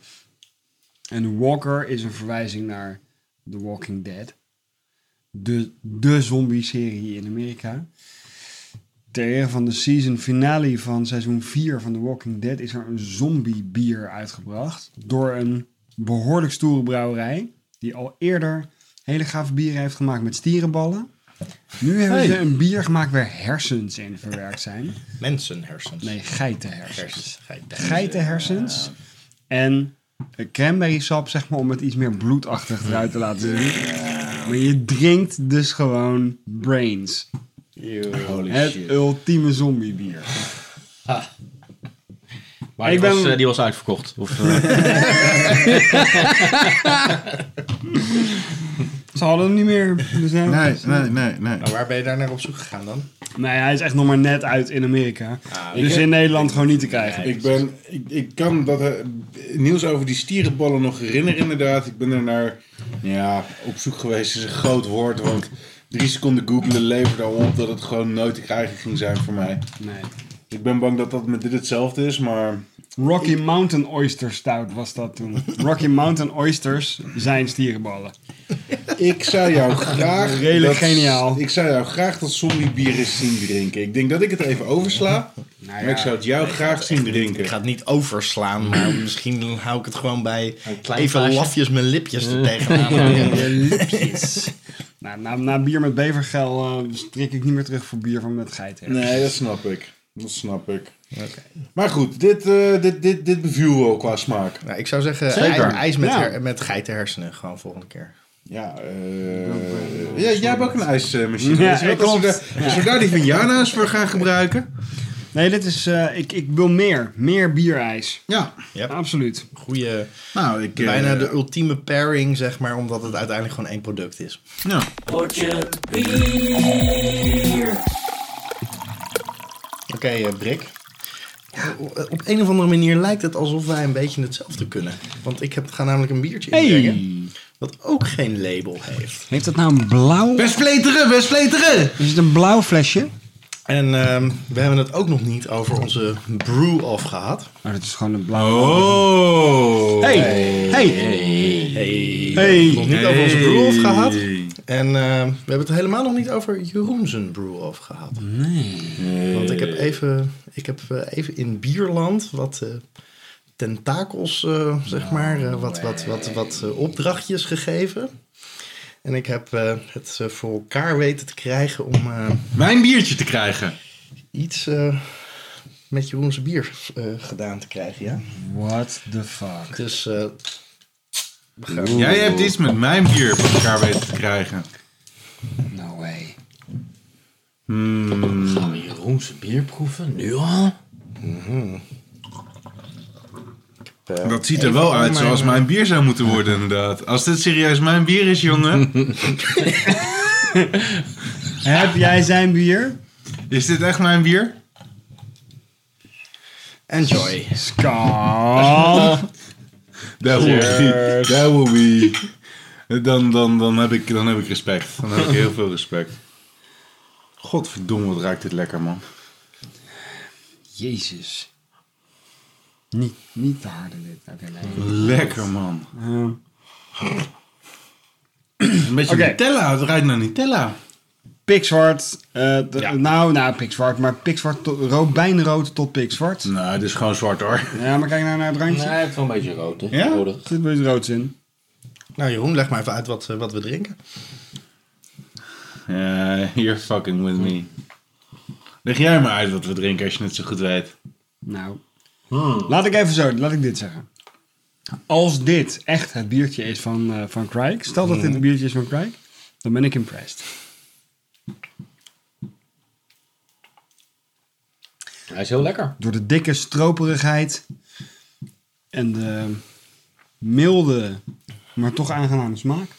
[SPEAKER 2] En Walker is een verwijzing naar The Walking Dead. De, de zombie-serie in Amerika. Ter ere van de season finale van seizoen 4 van The Walking Dead is er een zombie-bier uitgebracht. Door een behoorlijk stoere brouwerij. Die al eerder hele gave bieren heeft gemaakt met stierenballen. Nu hebben
[SPEAKER 3] Hey.
[SPEAKER 2] ze een bier gemaakt waar hersens in verwerkt zijn.
[SPEAKER 5] Mensenhersens.
[SPEAKER 2] Nee, geitenhersens.
[SPEAKER 5] Hersens. Geiten.
[SPEAKER 2] Geitenhersens. En een cranberry sap, zeg maar, om het iets meer bloedachtig eruit te laten zien. Maar je drinkt dus gewoon brains.
[SPEAKER 3] Holy
[SPEAKER 2] Het
[SPEAKER 3] shit.
[SPEAKER 2] ultieme zombiebier.
[SPEAKER 1] Maar
[SPEAKER 2] Ik
[SPEAKER 1] die, was,
[SPEAKER 2] ben-
[SPEAKER 1] eh, die was uitverkocht. Of,
[SPEAKER 3] <laughs>
[SPEAKER 1] eh,
[SPEAKER 2] Ze hadden hem niet meer. Dus ja.
[SPEAKER 3] Nee, nee, nee, nee.
[SPEAKER 5] Maar Nou, waar ben je daar naar op zoek gegaan dan?
[SPEAKER 2] Nee, hij is echt nog maar net uit in Amerika. dus in Nederland gewoon niet te krijgen.
[SPEAKER 3] Ik, ben, ik, ik kan dat eh, nieuws over die stierenballen nog herinneren, inderdaad. Ik ben er naar ja, op zoek geweest, is een groot woord. Want drie seconden googelen leverde al op dat het gewoon nooit te krijgen ging zijn voor mij.
[SPEAKER 2] Nee.
[SPEAKER 3] Ik ben bang dat dat met dit hetzelfde is, maar
[SPEAKER 2] Rocky Mountain Oyster Stout was dat toen. Rocky Mountain Oysters zijn stierenballen.
[SPEAKER 3] ik zou <laughs> jou graag...
[SPEAKER 2] Redelijk geniaal.
[SPEAKER 3] Ik zou jou graag dat zombiebier eens zien drinken. Ik denk dat ik het even oversla,
[SPEAKER 2] Nou
[SPEAKER 3] maar ik zou het jou graag zien drinken.
[SPEAKER 5] Ik ga het niet overslaan, maar <clears throat> misschien hou ik het gewoon bij
[SPEAKER 1] klein
[SPEAKER 5] even
[SPEAKER 1] glaasje.
[SPEAKER 5] lafjes mijn lipjes er tegenaan.
[SPEAKER 2] <laughs> Nou, na, na bier met bevergel eh strik ik niet meer terug voor bier van met geiten.
[SPEAKER 3] Nee, dat snap ik. Dat snap ik. Maar goed, dit, eh, dit, dit, dit beviel wel qua smaak.
[SPEAKER 5] Nou, ik zou zeggen,
[SPEAKER 1] Zeker.
[SPEAKER 5] ijs, ijs met,
[SPEAKER 2] Ja.
[SPEAKER 5] her- met geitenhersenen gewoon volgende keer.
[SPEAKER 3] Ja, eh, ja, jij hebt ook een ijsmachine.
[SPEAKER 2] Ja,
[SPEAKER 3] Dus ook als, we
[SPEAKER 2] klopt.
[SPEAKER 3] daar, als we daar die van Jana's voor gaan gebruiken.
[SPEAKER 2] Nee, dit is... eh, ik, ik wil meer. Meer bierijs.
[SPEAKER 3] Ja,
[SPEAKER 2] Absoluut.
[SPEAKER 5] Goeie,
[SPEAKER 3] nou, ik... eh,
[SPEAKER 5] bijna de ultieme pairing, zeg maar, omdat het uiteindelijk gewoon één product is.
[SPEAKER 3] ja.
[SPEAKER 5] Oké, eh, Brik. Ja, op een of andere manier lijkt het alsof wij een beetje hetzelfde kunnen. Want ik heb, ga namelijk een biertje inbrengen, wat ook geen label heeft.
[SPEAKER 2] Heeft dat nou een blauw...
[SPEAKER 3] Best pleteren, best pleteren!
[SPEAKER 2] Is het een blauw flesje?
[SPEAKER 5] En ehm, we hebben het ook nog niet over onze brew-off gehad.
[SPEAKER 2] Maar dat is gewoon een blauw...
[SPEAKER 3] Oh!
[SPEAKER 2] Hey! Hey!
[SPEAKER 5] Hey.
[SPEAKER 2] Hey.
[SPEAKER 5] Nog niet over onze brew-off gehad. En eh, we hebben het helemaal nog niet over Jeroen zijn brew-off gehad. Nee. Want ik heb even, ik heb, eh, even in Bierland wat eh, tentakels, eh, zeg maar, eh, wat, wat, wat, wat eh, opdrachtjes gegeven. En ik heb eh, het eh, voor elkaar weten te krijgen om eh,
[SPEAKER 3] Mijn biertje te krijgen.
[SPEAKER 5] iets eh, met Jeroen's bier eh, gedaan te krijgen, ja.
[SPEAKER 2] What the fuck?
[SPEAKER 5] Dus eh,
[SPEAKER 3] Jij hebt iets met mijn bier voor elkaar weten te krijgen.
[SPEAKER 2] No way.
[SPEAKER 1] Gaan we Jeroen's bier proeven? Nu al?
[SPEAKER 3] Dat ziet er wel uit zoals mijn eh, bier zou moeten worden, inderdaad. Als dit serieus mijn bier is, jongen,
[SPEAKER 2] Heb jij zijn bier?
[SPEAKER 3] is dit echt mijn bier?
[SPEAKER 5] enjoy.
[SPEAKER 2] Skam.
[SPEAKER 3] <laughs> Daar will be. Daar will be. Dan, dan, dan, heb ik, dan heb ik respect. Dan heb ik heel veel respect. Godverdomme, wat ruikt dit lekker, man.
[SPEAKER 2] Jezus. Niet, niet te harde dit. Oké, nee.
[SPEAKER 3] Lekker, man. Een beetje
[SPEAKER 2] Oké.
[SPEAKER 3] Nutella. Het ruikt naar Nutella.
[SPEAKER 2] Pikzwart. eh, de- Nou, nou, pikzwart. Maar pikzwart, tot, robijnrood tot pikzwart.
[SPEAKER 3] Nou, het is gewoon zwart, hoor.
[SPEAKER 2] Ja, maar kijk nou naar het randje.
[SPEAKER 1] Nee, hij heeft wel een beetje rood. hè?
[SPEAKER 3] Ja?
[SPEAKER 1] Nodig.
[SPEAKER 2] Er zit een beetje rood in.
[SPEAKER 5] Nou Jeroen, leg maar even uit wat, eh, wat we drinken.
[SPEAKER 3] Ja, Eh, you're fucking with me. Leg jij maar uit wat we drinken als je het zo goed weet.
[SPEAKER 2] Nou. Laat ik even zo, laat ik dit zeggen. Als dit echt het biertje is van, eh van Crijk, stel dat dit het biertje is van Crijk, dan ben ik impressed.
[SPEAKER 1] Hij is heel lekker.
[SPEAKER 2] Door de dikke stroperigheid en de milde, maar toch aangename smaak.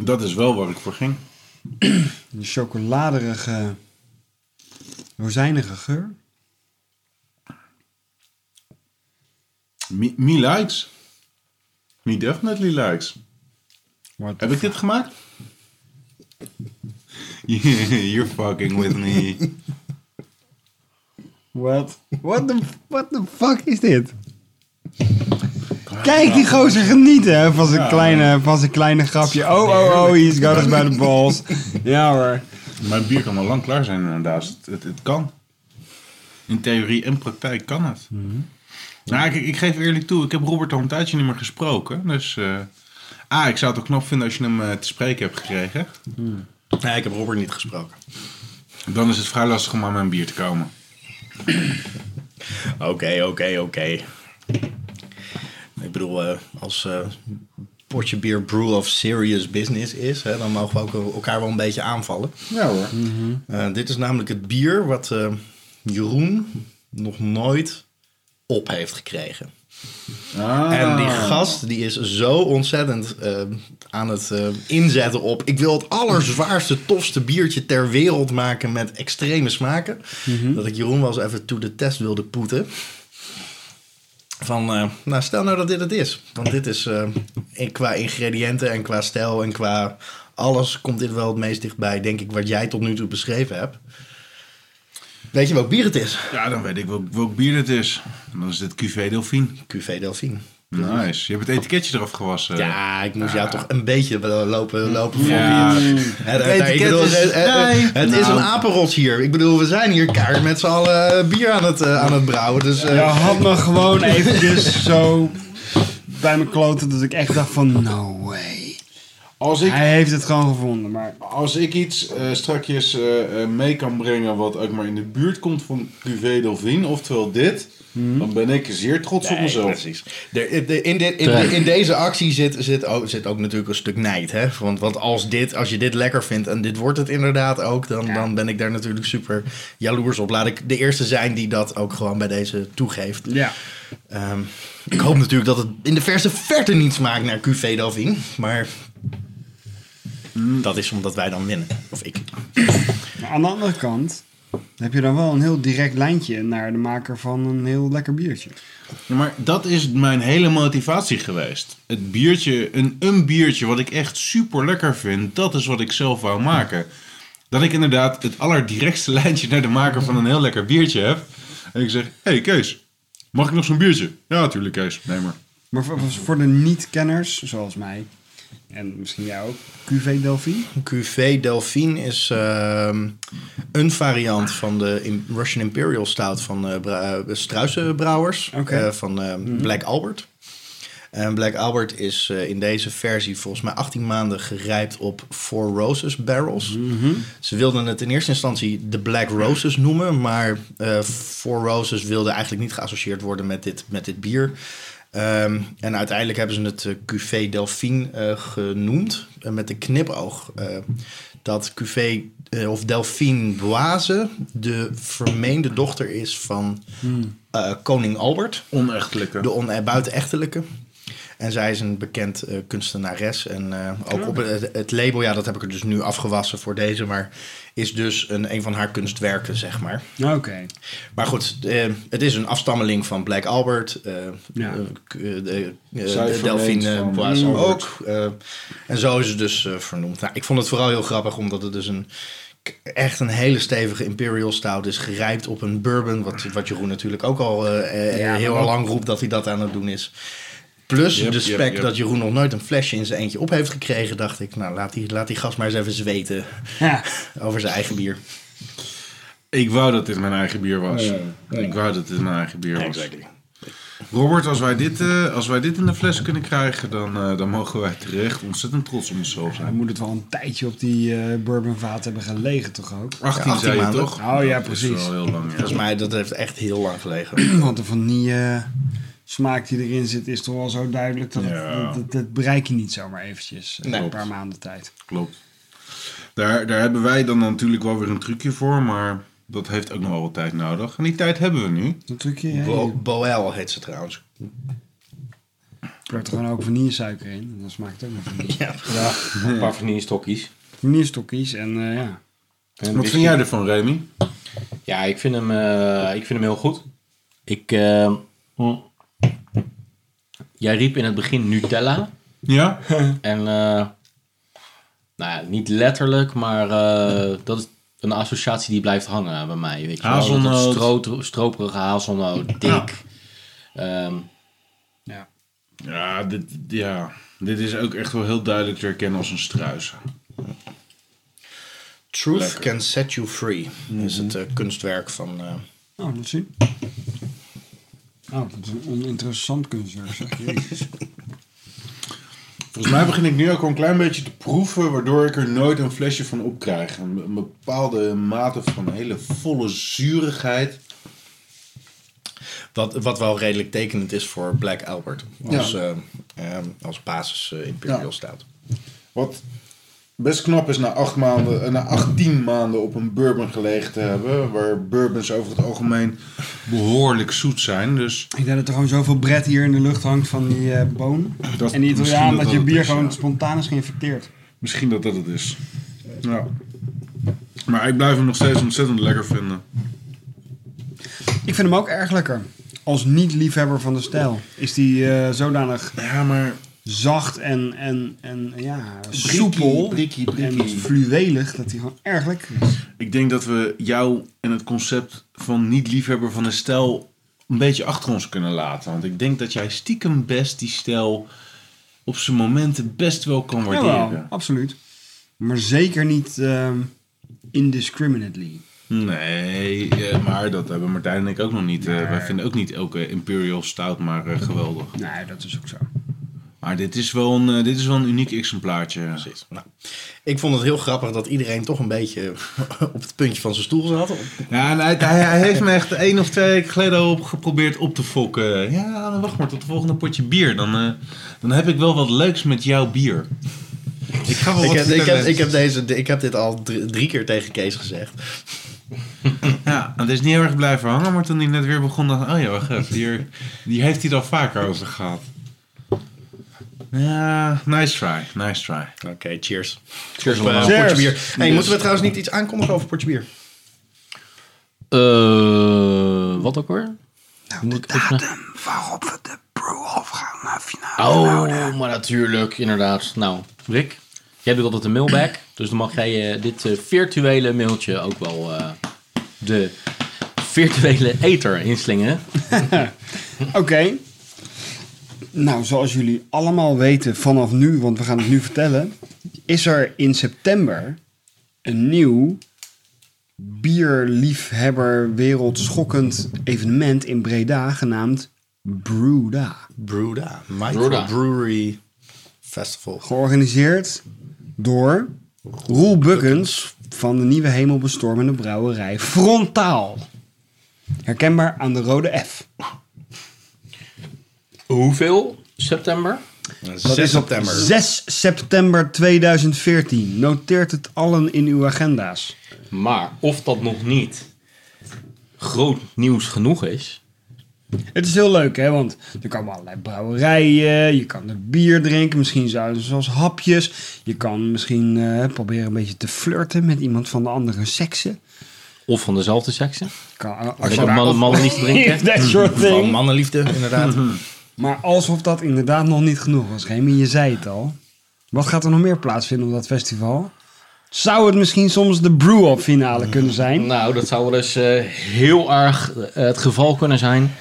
[SPEAKER 3] Dat is wel waar ik voor ging.
[SPEAKER 2] De chocoladerige, rozijnige geur.
[SPEAKER 3] Me, me likes. Me definitely likes.
[SPEAKER 2] What the
[SPEAKER 3] Heb ik dit gemaakt? <laughs> You're fucking with me.
[SPEAKER 2] What? What the, what the fuck is dit? Kijk die gozer genieten hè, van zijn kleine, van zijn kleine grapje. Oh, oh, oh, he's got us by the balls. Ja hoor.
[SPEAKER 3] Mijn bier kan al lang klaar zijn inderdaad. Het, het, het kan. In theorie en praktijk kan het. Nou, ik, ik geef eerlijk toe, ik heb Robert al een tijdje niet meer gesproken. Dus eh ah, ik zou het ook knap vinden als je hem eh, te spreken hebt gekregen.
[SPEAKER 5] Nee, ik heb Robert niet gesproken.
[SPEAKER 3] Dan is het vrij lastig om aan mijn bier te komen.
[SPEAKER 5] Oké, oké, oké. Ik bedoel, eh, als eh potje bier brew of serious business is, hè, dan mogen we ook elkaar wel een beetje aanvallen.
[SPEAKER 3] Ja hoor.
[SPEAKER 5] Eh, dit is namelijk het bier wat eh, Jeroen nog nooit op heeft gekregen. En die gast die is zo ontzettend eh, aan het eh, inzetten op. Ik wil het allerzwaarste, tofste biertje ter wereld maken met extreme smaken. Dat ik Jeroen wel eens even to de test wilde poeten. Van, eh, nou ehm, stel nou dat dit het is. Want dit is eh, in- qua ingrediënten en qua stijl en qua Alles komt dit wel het meest dichtbij, denk ik, wat jij tot nu toe beschreven hebt. Weet je welk bier het is?
[SPEAKER 3] Ja, dan weet ik welk, welk bier dit is. En Dan is dit QV Delphine.
[SPEAKER 5] QV Delphine.
[SPEAKER 3] Nice. Je hebt het etiketje eraf gewassen.
[SPEAKER 5] Ja, ik moest jou toch een beetje wel lopen, lopen
[SPEAKER 3] Ja.
[SPEAKER 5] voor je. Hè, daar- daar- ik
[SPEAKER 3] etiket
[SPEAKER 5] bedoel,
[SPEAKER 3] is-
[SPEAKER 5] Het het-
[SPEAKER 3] Nee.
[SPEAKER 5] het is
[SPEAKER 3] Nou.
[SPEAKER 5] een apenrots hier. Ik bedoel, we zijn hier kaart met z'n allen eh, bier aan het, eh, aan het brouwen. Dus, eh,
[SPEAKER 2] Je had me gewoon eventjes zo bij mijn kloten dat ik echt dacht van no way.
[SPEAKER 3] Als ik,
[SPEAKER 2] Hij heeft het gewoon gevonden, maar
[SPEAKER 3] als ik iets eh, strakjes eh, eh, mee kan brengen wat ook maar in de buurt komt van QV Delphine, oftewel dit, dan ben ik zeer trots op mezelf.
[SPEAKER 5] Precies. De- de- in, dit- in, de- in deze actie zit, zit, ook, zit ook natuurlijk een stuk nijd. Hè? Want, want als, dit, als je dit lekker vindt en dit wordt het inderdaad ook, dan, dan ben ik daar natuurlijk super jaloers op. Laat ik de eerste zijn die dat ook gewoon bij deze toegeeft.
[SPEAKER 2] ja.
[SPEAKER 5] Ehm, ik hoop natuurlijk dat het in de verse verte niet smaakt naar QV Delphine. Maar dat is omdat wij dan winnen. Of ik.
[SPEAKER 2] Maar aan de andere kant heb je dan wel een heel direct lijntje naar de maker van een heel lekker biertje.
[SPEAKER 3] Ja, maar dat is mijn hele motivatie geweest. Het biertje, een, een biertje wat ik echt super lekker vind, dat is wat ik zelf wou maken. Dat ik inderdaad het allerdirectste <laughs> lijntje naar de maker van een heel lekker biertje heb. En ik zeg, hey Kees, mag ik nog zo'n biertje? Ja, natuurlijk Kees, neem maar.
[SPEAKER 2] Maar voor, voor de niet-kenners, zoals mij, en misschien jij ook, QV Delphi.
[SPEAKER 5] QV Delphine is ehm, een variant van de Im- Russian Imperial Stout van eh bra- eh, Struisenbrouwers.
[SPEAKER 2] Oké.
[SPEAKER 5] eh, van eh, Black Albert. En Black Albert is eh, in deze versie volgens mij 18 maanden gerijpt op Four Roses barrels. Ze wilden het in eerste instantie de Black Roses noemen, maar eh, Four Roses wilde eigenlijk niet geassocieerd worden met dit, met dit bier. Ehm, en uiteindelijk hebben ze het eh, QV Delphine eh, genoemd, eh, met de knipoog eh, dat QV eh, of Delphine Boise de vermeende dochter is van eh, koning Albert.
[SPEAKER 3] Onechtelijke.
[SPEAKER 5] De on- eh, buitenechtelijke. En zij is een bekend eh, kunstenares. En eh, ook op het, het label, ja, dat heb ik er dus nu afgewassen voor deze. Maar is dus een, een van haar kunstwerken, zeg maar.
[SPEAKER 2] Oké.
[SPEAKER 5] Maar goed, eh, het is een afstammeling van Black Albert. eh
[SPEAKER 2] Ja.
[SPEAKER 5] eh, k- eh, de, eh,
[SPEAKER 3] Zij
[SPEAKER 5] de Delphine
[SPEAKER 3] verleent van
[SPEAKER 5] Bois
[SPEAKER 3] Albert.
[SPEAKER 5] ook. eh, en zo is het dus eh, vernoemd. Nou, ik vond het vooral heel grappig, omdat het dus een k- echt een hele stevige Imperial Stout is. Gerijpt op een bourbon, wat, wat Jeroen natuurlijk ook al eh, eh,
[SPEAKER 2] Ja, maar
[SPEAKER 5] heel
[SPEAKER 2] wat-
[SPEAKER 5] lang roept dat hij dat aan het doen is. Plus
[SPEAKER 3] Yep,
[SPEAKER 5] de
[SPEAKER 3] yep,
[SPEAKER 5] spek
[SPEAKER 3] yep.
[SPEAKER 5] dat Jeroen nog nooit een flesje in zijn eentje op heeft gekregen, dacht ik, nou laat die, laat die gast maar eens even zweten <laughs>
[SPEAKER 2] Ja.
[SPEAKER 5] over zijn eigen bier.
[SPEAKER 3] Ik wou dat dit mijn eigen bier was. Ik wou dat dit mijn eigen bier was.
[SPEAKER 5] Exactly.
[SPEAKER 3] Robert, als wij, dit, eh, als wij dit in de fles kunnen krijgen, dan, eh, dan mogen wij terecht ontzettend trots op onszelf
[SPEAKER 2] Hij
[SPEAKER 3] zijn.
[SPEAKER 2] moet het wel een tijdje op die eh bourbonvaat hebben gelegen toch ook?
[SPEAKER 3] 18,
[SPEAKER 5] Ja, 18
[SPEAKER 3] zei je
[SPEAKER 5] maanden.
[SPEAKER 3] toch?
[SPEAKER 2] Oh ja,
[SPEAKER 3] Dat is
[SPEAKER 2] precies.
[SPEAKER 3] wel heel lang, ja.
[SPEAKER 5] Volgens mij, dat heeft echt heel lang gelegen.
[SPEAKER 2] Want de vanille eh, smaak die erin zit is toch wel zo duidelijk dat,
[SPEAKER 3] Ja.
[SPEAKER 2] het, dat, dat bereik je niet zomaar eventjes eh,
[SPEAKER 5] Nee.
[SPEAKER 2] in een paar maanden tijd.
[SPEAKER 3] Klopt. Daar, daar hebben wij dan natuurlijk wel weer een trucje voor, maar dat heeft ook nog wel wat tijd nodig. En die tijd hebben we nu.
[SPEAKER 2] Dat trucje, hè?
[SPEAKER 5] Bo
[SPEAKER 2] je
[SPEAKER 5] Boel heet ze trouwens.
[SPEAKER 2] pleurt er gewoon ook vanillesuiker in. En dan smaakt het ook nog vanille.
[SPEAKER 5] Ja.
[SPEAKER 1] Ja, een paar vanille stokjes.
[SPEAKER 2] Vanillestokjes en eh, ja.
[SPEAKER 1] En
[SPEAKER 3] Wat
[SPEAKER 1] whisky.
[SPEAKER 3] vind jij ervan, Remy?
[SPEAKER 1] Ja, ik vind hem, eh, ik vind hem heel goed. Ik, eh, mm. jij riep in het begin Nutella.
[SPEAKER 3] Ja?
[SPEAKER 1] En eh, nou, ja, niet letterlijk, maar eh, dat is een associatie die blijft hangen bij mij. Weet je wel?
[SPEAKER 3] Hazelnoot.
[SPEAKER 1] Dat stroot- stroperige hazelnoot, dik. Ehm,
[SPEAKER 3] Ja dit, ja, dit is ook echt wel heel duidelijk te herkennen als een struis.
[SPEAKER 5] Truth
[SPEAKER 3] Lekker.
[SPEAKER 5] Can Set You Free is het eh, kunstwerk van... eh,
[SPEAKER 2] Oh, dat zien. Oh, dat is een oninteressant kunstwerk, zeg. Jezus.
[SPEAKER 3] Volgens mij begin ik nu ook al een klein beetje te proeven, waardoor ik er nooit een flesje van opkrijg. Een, een bepaalde mate van hele volle zurigheid.
[SPEAKER 5] wat, wat wel redelijk tekenend is voor Black Albert. Als, eh, eh, als basis eh, imperial
[SPEAKER 2] Ja.
[SPEAKER 5] staat.
[SPEAKER 3] Wat best knap is na acht maanden, eh, na 18 maanden op een bourbon gelegen te hebben. Waar bourbons over het algemeen behoorlijk zoet zijn. Dus
[SPEAKER 2] Ik denk dat er gewoon zoveel bret hier in de lucht hangt van die eh, boon.
[SPEAKER 3] Dat-
[SPEAKER 2] en die
[SPEAKER 3] misschien
[SPEAKER 2] Italiaan
[SPEAKER 3] dat
[SPEAKER 2] dat je
[SPEAKER 3] dat
[SPEAKER 2] bier
[SPEAKER 3] is,
[SPEAKER 2] gewoon
[SPEAKER 3] ja.
[SPEAKER 2] spontaan is geïnfecteerd.
[SPEAKER 3] misschien dat dat het is. Ja. Maar ik blijf hem nog steeds ontzettend lekker vinden.
[SPEAKER 2] Ik vind hem ook erg lekker. Als niet-liefhebber van de stijl is die eh, zodanig
[SPEAKER 3] Ja, maar
[SPEAKER 2] zacht en, en, en ja,
[SPEAKER 3] Brikkie,
[SPEAKER 2] soepel
[SPEAKER 3] brikkie,
[SPEAKER 2] en
[SPEAKER 3] brikkie.
[SPEAKER 2] fluwelig, dat hij gewoon erg lekker is.
[SPEAKER 3] Ik denk dat we jou en het concept van niet-liefhebber van een stijl een beetje achter ons kunnen laten. Want ik denk dat jij stiekem best die stijl op zijn momenten best wel kan waarderen.
[SPEAKER 2] Jawel, absoluut. Maar zeker niet ehm, indiscriminately.
[SPEAKER 3] Nee, eh, maar dat hebben Martijn en ik ook nog niet. eh, wij vinden ook niet elke Imperial Stout maar eh, geweldig.
[SPEAKER 2] Nee, dat is ook zo.
[SPEAKER 3] Maar dit is wel een, eh, dit is wel een uniek exemplaartje.
[SPEAKER 5] Precies. Nou, ik vond het heel grappig dat iedereen toch een beetje <laughs> op het puntje van zijn stoel zat.
[SPEAKER 3] Ja, en hij, hij- hij heeft me echt één of twee weken geleden al op geprobeerd op te fokken. Ja, dan wacht maar tot het volgende potje bier. Dan, eh, dan heb ik wel wat leuks met jouw bier. Ik ga wel
[SPEAKER 5] Ik
[SPEAKER 3] wat
[SPEAKER 5] heb, ik, heb,
[SPEAKER 3] vertellen.
[SPEAKER 5] ik, heb deze, ik heb dit al drie, drie keer tegen Kees gezegd.
[SPEAKER 3] Ja, en het is niet heel erg blijven hangen, maar toen hij net weer begon, dacht ik, oh ja, wacht even, hier, die heeft hij het al vaker over gehad. Ja, nice try, nice try.
[SPEAKER 5] Oké, cheers.
[SPEAKER 3] Cheers,
[SPEAKER 5] Op, eh,
[SPEAKER 3] allemaal.
[SPEAKER 5] Portje
[SPEAKER 2] Cheers.
[SPEAKER 5] bier. Hey, Moeten we trouwens niet iets aankondigen over Portje bier?
[SPEAKER 1] Eh, wat ook hoor? Moet ik even-
[SPEAKER 2] Waarop we de brew-off gaan naar finale.
[SPEAKER 1] Oh, maar natuurlijk, inderdaad. Nou, Rick, jij doet altijd een mailback. dus dan mag jij eh, dit eh, virtuele mailtje ook wel eh, de virtuele ether inslingen.
[SPEAKER 2] Oké. Nou, zoals jullie allemaal weten vanaf nu, want we gaan het nu vertellen, is er in september een nieuw bierliefhebber wereldschokkend evenement in Breda genaamd Brewda.
[SPEAKER 5] Bruda.
[SPEAKER 1] Bruda.
[SPEAKER 5] Microbrewery Festival.
[SPEAKER 2] Georganiseerd door Roel Bukkens van de Nieuwe Hemel Bestormende Brouwerij Frontaal. Herkenbaar aan de rode F.
[SPEAKER 1] Hoeveel? September?
[SPEAKER 5] 6 september.
[SPEAKER 2] 6 september 2014. Noteert het allen in uw agenda's.
[SPEAKER 1] Maar of dat nog niet groot nieuws genoeg is.
[SPEAKER 2] Het is heel leuk, hè? Want er komen allerlei brouwerijen. Je kan er bier drinken. Misschien zouden ze zoals hapjes. Je kan misschien eh, proberen een beetje te flirten met iemand van de andere sekse.
[SPEAKER 1] Of van dezelfde seksen.
[SPEAKER 2] Kan, als
[SPEAKER 1] Als je mannen, mannen
[SPEAKER 2] <laughs>
[SPEAKER 1] niet drinken.
[SPEAKER 2] dat soort
[SPEAKER 5] Van
[SPEAKER 2] dingen.
[SPEAKER 5] mannenliefde, inderdaad.
[SPEAKER 2] Maar alsof dat inderdaad nog niet genoeg was, Remy. Je zei het al. Wat gaat er nog meer plaatsvinden op dat festival? Zou het misschien soms de brew-up finale kunnen zijn?
[SPEAKER 1] Nou, dat zou wel eens eh, heel erg eh, het geval kunnen zijn.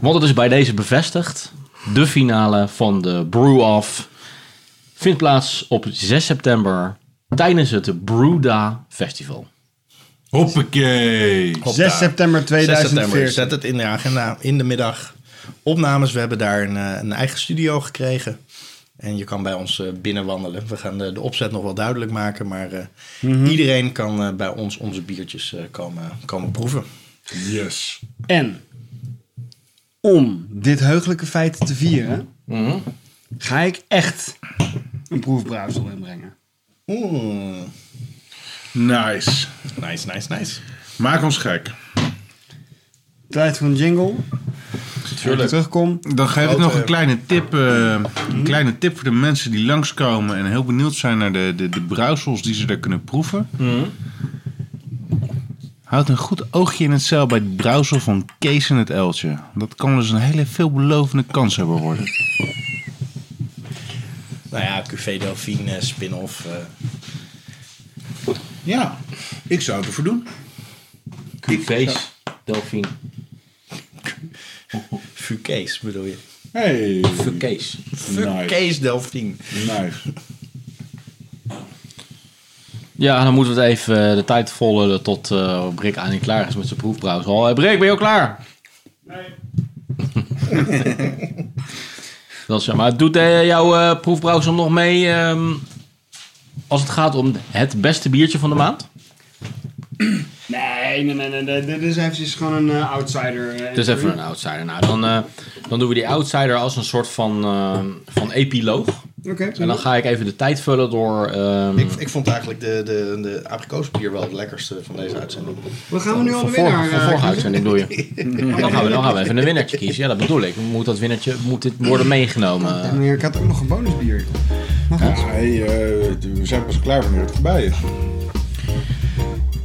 [SPEAKER 1] Want het is bij deze bevestigd. De finale van de Brew-Off vindt plaats op 6 september tijdens het Brewda Festival.
[SPEAKER 3] Hoppakee.
[SPEAKER 5] Hoppa.
[SPEAKER 2] 6 september
[SPEAKER 5] 6
[SPEAKER 2] 2014.
[SPEAKER 5] september. Zet het in de agenda, in de middag. Opnames, we hebben daar een, eh, een eigen studio gekregen. En je kan bij ons eh, binnenwandelen. We gaan de, de opzet nog wel duidelijk maken. Maar eh, iedereen kan eh, bij ons onze biertjes eh, komen, komen proeven.
[SPEAKER 3] Yes.
[SPEAKER 2] En om dit heugelijke feit te vieren, ga ik echt een proefbrouwsel inbrengen.
[SPEAKER 5] Oeh,
[SPEAKER 3] Nice.
[SPEAKER 5] nice, nice, nice.
[SPEAKER 3] Maak ons gek.
[SPEAKER 2] Tijd voor een jingle. Als ik terugkom.
[SPEAKER 3] Dan geef ik
[SPEAKER 5] Grote-
[SPEAKER 3] nog een kleine tip. eh, een kleine tip voor de mensen die langskomen en heel benieuwd zijn naar de, de, de brouwsels die ze daar kunnen proeven. Houd een goed oogje in het zeil bij het brouwsel van Kees en het Eltje. Dat kan dus een hele veelbelovende kans hebben worden.
[SPEAKER 5] Nou ja, QV Delphine eh, spin-off. eh,
[SPEAKER 3] Ja, ik zou het ervoor doen.
[SPEAKER 1] QV's, Delphine,
[SPEAKER 5] Fukees bedoel je.
[SPEAKER 3] Hey,
[SPEAKER 1] Fukees.
[SPEAKER 5] Fukees Delphine.
[SPEAKER 3] nice.
[SPEAKER 1] Ja, dan moeten we het even eh, de tijd volgen tot eh Brik aan klaar is met zijn proefbrouwsel. Hey, Brik, ben je al klaar? Nee. <laughs> Dat is, maar doet eh, jouw eh proefbrouwsel nog mee ehm, als het gaat om het beste biertje van de maand?
[SPEAKER 2] Nee, nee, nee, nee, nee. Dit is eventjes gewoon een eh, outsider. eh,
[SPEAKER 1] Het is even een outsider. Nou, dan, eh, dan doen we die outsider als een soort van, ehm, van epiloog.
[SPEAKER 2] Oké.
[SPEAKER 1] En dan ga ik even de tijd vullen door... ehm,
[SPEAKER 5] Ik, ik vond eigenlijk de, de, de abrikoosbier wel het lekkerste van deze uitzending.
[SPEAKER 2] Wat gaan we nu al
[SPEAKER 1] van
[SPEAKER 2] de
[SPEAKER 1] vorige,
[SPEAKER 2] winnaar
[SPEAKER 1] van
[SPEAKER 2] eh,
[SPEAKER 1] vorige
[SPEAKER 2] kiezen?
[SPEAKER 1] uitzending bedoel je. Mm, Dan gaan, we, dan gaan we even een winnaartje kiezen. Ja, dat bedoel ik. Moet dat winnaartje moet dit worden meegenomen?
[SPEAKER 2] Ja, maar Ik had ook nog een bonusbier.
[SPEAKER 3] eh, we zijn pas klaar wanneer het voorbij is.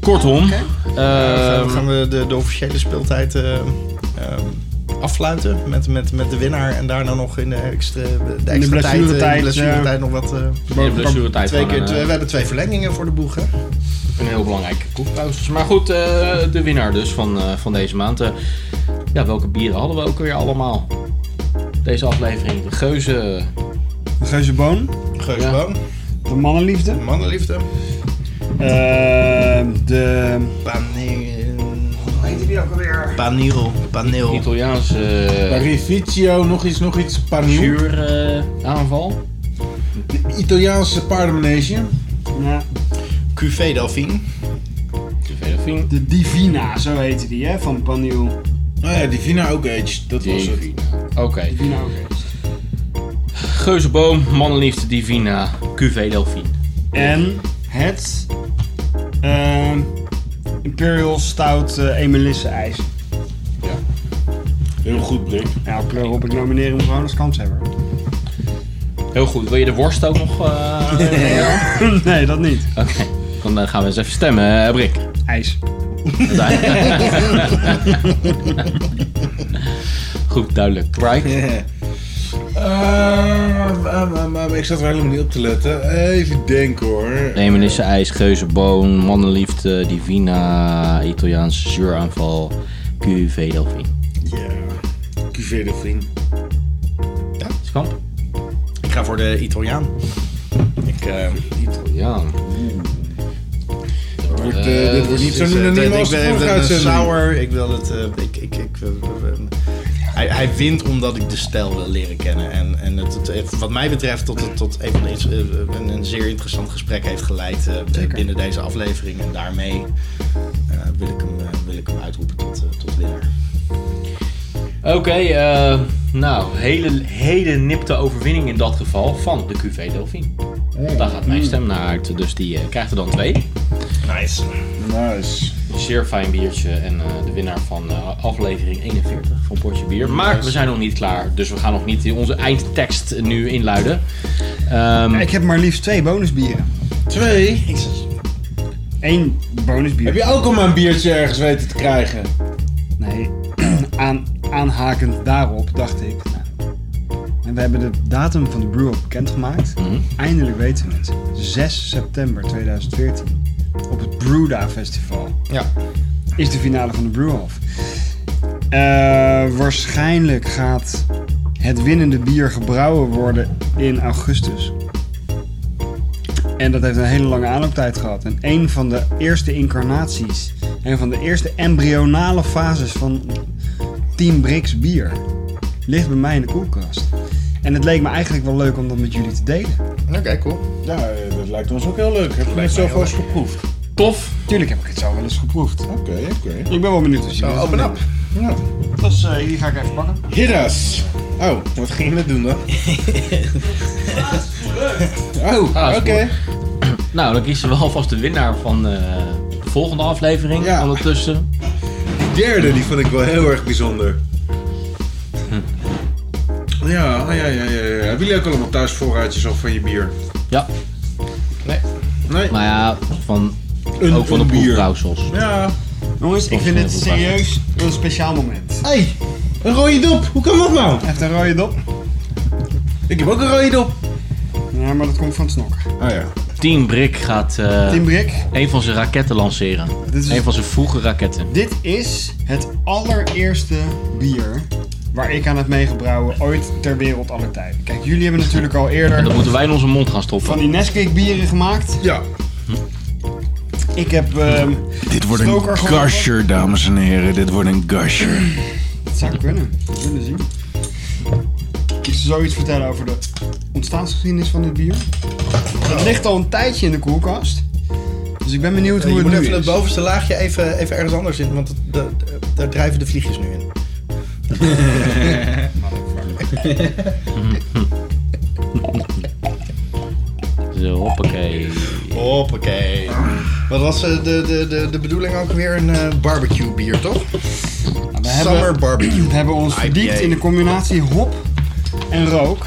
[SPEAKER 1] Kortom, ehm,
[SPEAKER 5] we gaan we de, de officiële speeltijd eh, ehm, affluiten met, met, met de winnaar. En daarna nog in de extra, de extra tijd,
[SPEAKER 2] blessuretijd,
[SPEAKER 5] eh, in de
[SPEAKER 2] ja.
[SPEAKER 5] blessuretijd nog wat. eh,
[SPEAKER 1] In de blessuretijd
[SPEAKER 5] twee
[SPEAKER 1] gewoon
[SPEAKER 5] keer,
[SPEAKER 1] een,
[SPEAKER 5] twee-
[SPEAKER 1] eh,
[SPEAKER 5] we hebben twee verlengingen voor de boeg. Hè?
[SPEAKER 1] Een heel belangrijke koek trouwens. Maar goed, eh, de winnaar dus van, eh, van deze maand. Eh, ja, welke bieren hadden we ook weer allemaal? Deze aflevering, de geuze.
[SPEAKER 2] De Geuze Boon,
[SPEAKER 5] Geusboom,
[SPEAKER 2] de Mannenliefde,
[SPEAKER 5] Mannenliefde.
[SPEAKER 2] eh, de
[SPEAKER 5] Paneel. Hoe heet die ook alweer? Paneel. Paneel.
[SPEAKER 1] Italiaanse eh,
[SPEAKER 3] Parificio, nog iets, nog iets. Panil.
[SPEAKER 1] zuur eh, aanval.
[SPEAKER 3] Italiaanse paardenmanege.
[SPEAKER 2] ja,
[SPEAKER 5] QV Delphine.
[SPEAKER 1] De Velofine.
[SPEAKER 2] de Divina, zo heette die, hè, van Paniel.
[SPEAKER 3] Nou ja, Divina ook Age, dat was het.
[SPEAKER 1] Divina. Oké.
[SPEAKER 2] Divina ook eens.
[SPEAKER 1] Geuzenboom, mannenliefde, Divina, QV Delphine.
[SPEAKER 2] En het eh, Imperial Stout eh Emelisse ijs.
[SPEAKER 3] Heel goed, Blik.
[SPEAKER 2] Ja, kleur op, ik nomineer hem gewoon als kanshebber.
[SPEAKER 1] Heel goed. Wil je de worst ook nog? eh,
[SPEAKER 2] <laughs> nee, dat niet.
[SPEAKER 1] Oké. Dan eh, gaan we eens even stemmen, eh, Brik.
[SPEAKER 2] Ijs.
[SPEAKER 1] Goed, duidelijk. Right? <laughs>
[SPEAKER 3] Eh, maar- maar- maar ik zat er helemaal niet op te letten. Even denken hoor.
[SPEAKER 1] Emelisse ijs, geuzenboon, mannenliefde, divina, Italiaanse zuuraanval, QV Delphine.
[SPEAKER 3] Ja, QV Delphine.
[SPEAKER 1] Skamp?
[SPEAKER 5] Ik ga voor de Italiaan.
[SPEAKER 3] Ik, eh,
[SPEAKER 1] Italiaan.
[SPEAKER 3] dit wordt, eh, dit wordt niet
[SPEAKER 5] Dus,
[SPEAKER 3] zo'n
[SPEAKER 5] eh,
[SPEAKER 3] unaniem
[SPEAKER 5] ik
[SPEAKER 3] als de
[SPEAKER 5] ben- ik
[SPEAKER 3] vorige
[SPEAKER 5] ben een
[SPEAKER 3] uitzending.
[SPEAKER 5] sour. Ik wil het. eh, ik, ik, ik, eh, eh, hij, hij wint omdat ik de stijl wil leren kennen. En, en het, het heeft wat mij betreft tot, tot, tot even een, iets- eh, een, een zeer interessant gesprek heeft geleid eh, binnen deze aflevering. En daarmee eh, wil, ik hem, eh, wil ik hem uitroepen tot, eh, tot winnaar.
[SPEAKER 1] Oké, eh, nou, hele, hele nipte overwinning in dat geval van de QV Delphine. Daar gaat mijn stem naar uit, dus die eh, krijgt er dan twee.
[SPEAKER 5] Nice.
[SPEAKER 3] Nice.
[SPEAKER 1] Een zeer fijn biertje en eh, de winnaar van eh, aflevering 41 van Potje Bier. Maar we zijn nog niet klaar, dus we gaan nog niet onze eindtekst nu inluiden. Ehm,
[SPEAKER 2] Ik heb maar liefst twee bonusbieren.
[SPEAKER 3] Twee.
[SPEAKER 2] Eén bonusbier.
[SPEAKER 3] Heb je ook al maar een biertje ergens weten te krijgen?
[SPEAKER 2] Nee, <clears throat> aan, aanhakend daarop dacht ik. Nou, en we hebben de datum van de brew up bekendgemaakt. Eindelijk weten we het. 6 september 2014. Op het Brewda Festival.
[SPEAKER 5] Ja.
[SPEAKER 2] Is de finale van de brew Off. Eh, waarschijnlijk gaat het winnende bier gebrouwen worden in augustus. En dat heeft een hele lange aanlooptijd gehad. En een van de eerste incarnaties, een van de eerste embryonale fases van Team Brix bier, ligt bij mij in de koelkast. En het leek me eigenlijk wel leuk om dat met jullie te delen.
[SPEAKER 5] Oké, cool.
[SPEAKER 3] Ja, eh, dat lijkt ons ook heel leuk. Heb je
[SPEAKER 5] mij
[SPEAKER 3] het zelf
[SPEAKER 5] heel
[SPEAKER 3] al eens geproefd?
[SPEAKER 1] tof.
[SPEAKER 2] Tuurlijk heb ik het zo wel eens geproefd.
[SPEAKER 3] Oké, oké.
[SPEAKER 2] Ik ben wel benieuwd of jullie
[SPEAKER 5] Nou, open up.
[SPEAKER 3] Ja.
[SPEAKER 2] Dus eh, hier ga ik even pakken.
[SPEAKER 3] Hiddas. Oh, wat ging je net doen <laughs> dan? Oh,
[SPEAKER 1] Ah,
[SPEAKER 3] oké.
[SPEAKER 1] is Nou, dan kiezen we <laughs> alvast de winnaar van eh, de volgende aflevering
[SPEAKER 3] Ja.
[SPEAKER 1] ondertussen.
[SPEAKER 3] derde, die vond ik wel heel erg bijzonder. Hm. Ja, ah, ja, ja, ja, ja. Hebben jullie ook allemaal thuis voorraadjes al van je bier?
[SPEAKER 1] Ja,
[SPEAKER 3] Nee.
[SPEAKER 1] maar ja, van,
[SPEAKER 3] Een-
[SPEAKER 1] ook van de
[SPEAKER 3] een bier.
[SPEAKER 1] proefbrouwsels.
[SPEAKER 3] Ja.
[SPEAKER 2] Jongens, ik
[SPEAKER 1] Of,
[SPEAKER 2] vind
[SPEAKER 1] eh,
[SPEAKER 2] dit
[SPEAKER 1] hoe praat je?
[SPEAKER 2] serieus een speciaal moment.
[SPEAKER 3] Hé, hey, een rode dop. Hoe kan dat nou?
[SPEAKER 2] Heeft een rode dop?
[SPEAKER 3] Ik heb ook een rode dop.
[SPEAKER 2] Ja, maar dat komt van het snokken.
[SPEAKER 3] Ah ja.
[SPEAKER 1] Team Brik gaat eh,
[SPEAKER 2] Team Brik,
[SPEAKER 1] een van zijn raketten lanceren.
[SPEAKER 2] Dit is-
[SPEAKER 1] Een van zijn vroege raketten.
[SPEAKER 2] Dit is het allereerste bier waar ik aan heb meegebrouwen ooit ter wereld aller tijden. Kijk, jullie hebben natuurlijk al
[SPEAKER 1] En dat
[SPEAKER 2] eerder
[SPEAKER 1] moeten wij in onze mond gaan stoppen.
[SPEAKER 2] van die Nesquik bieren gemaakt.
[SPEAKER 3] Ja.
[SPEAKER 2] Ik heb ehm
[SPEAKER 3] Dit
[SPEAKER 2] wordt een Stoker geworden. gasher,
[SPEAKER 3] dames en heren. Dit wordt een gasher.
[SPEAKER 2] het zou kunnen, we zullen zien. Ik zal zoiets vertellen over de ontstaansgeschiedenis van dit bier. Het ligt al een tijdje in de koelkast. Dus ik ben benieuwd
[SPEAKER 5] Eh,
[SPEAKER 2] hoe
[SPEAKER 5] je
[SPEAKER 2] het
[SPEAKER 5] moet
[SPEAKER 2] nu
[SPEAKER 5] even het
[SPEAKER 2] is.
[SPEAKER 5] bovenste laagje even, even ergens anders in, want het- de- de- daar drijven de vliegjes nu in.
[SPEAKER 1] Zo, hoppakee.
[SPEAKER 5] Hoppakee. Wat was eh, de, de, de, de bedoeling ook weer? Een eh, barbecue bier, toch?
[SPEAKER 2] Nou, We
[SPEAKER 5] Summer <clears throat> barbecue.
[SPEAKER 2] We hebben ons
[SPEAKER 5] IPA.
[SPEAKER 2] verdiept in de combinatie hop en rook.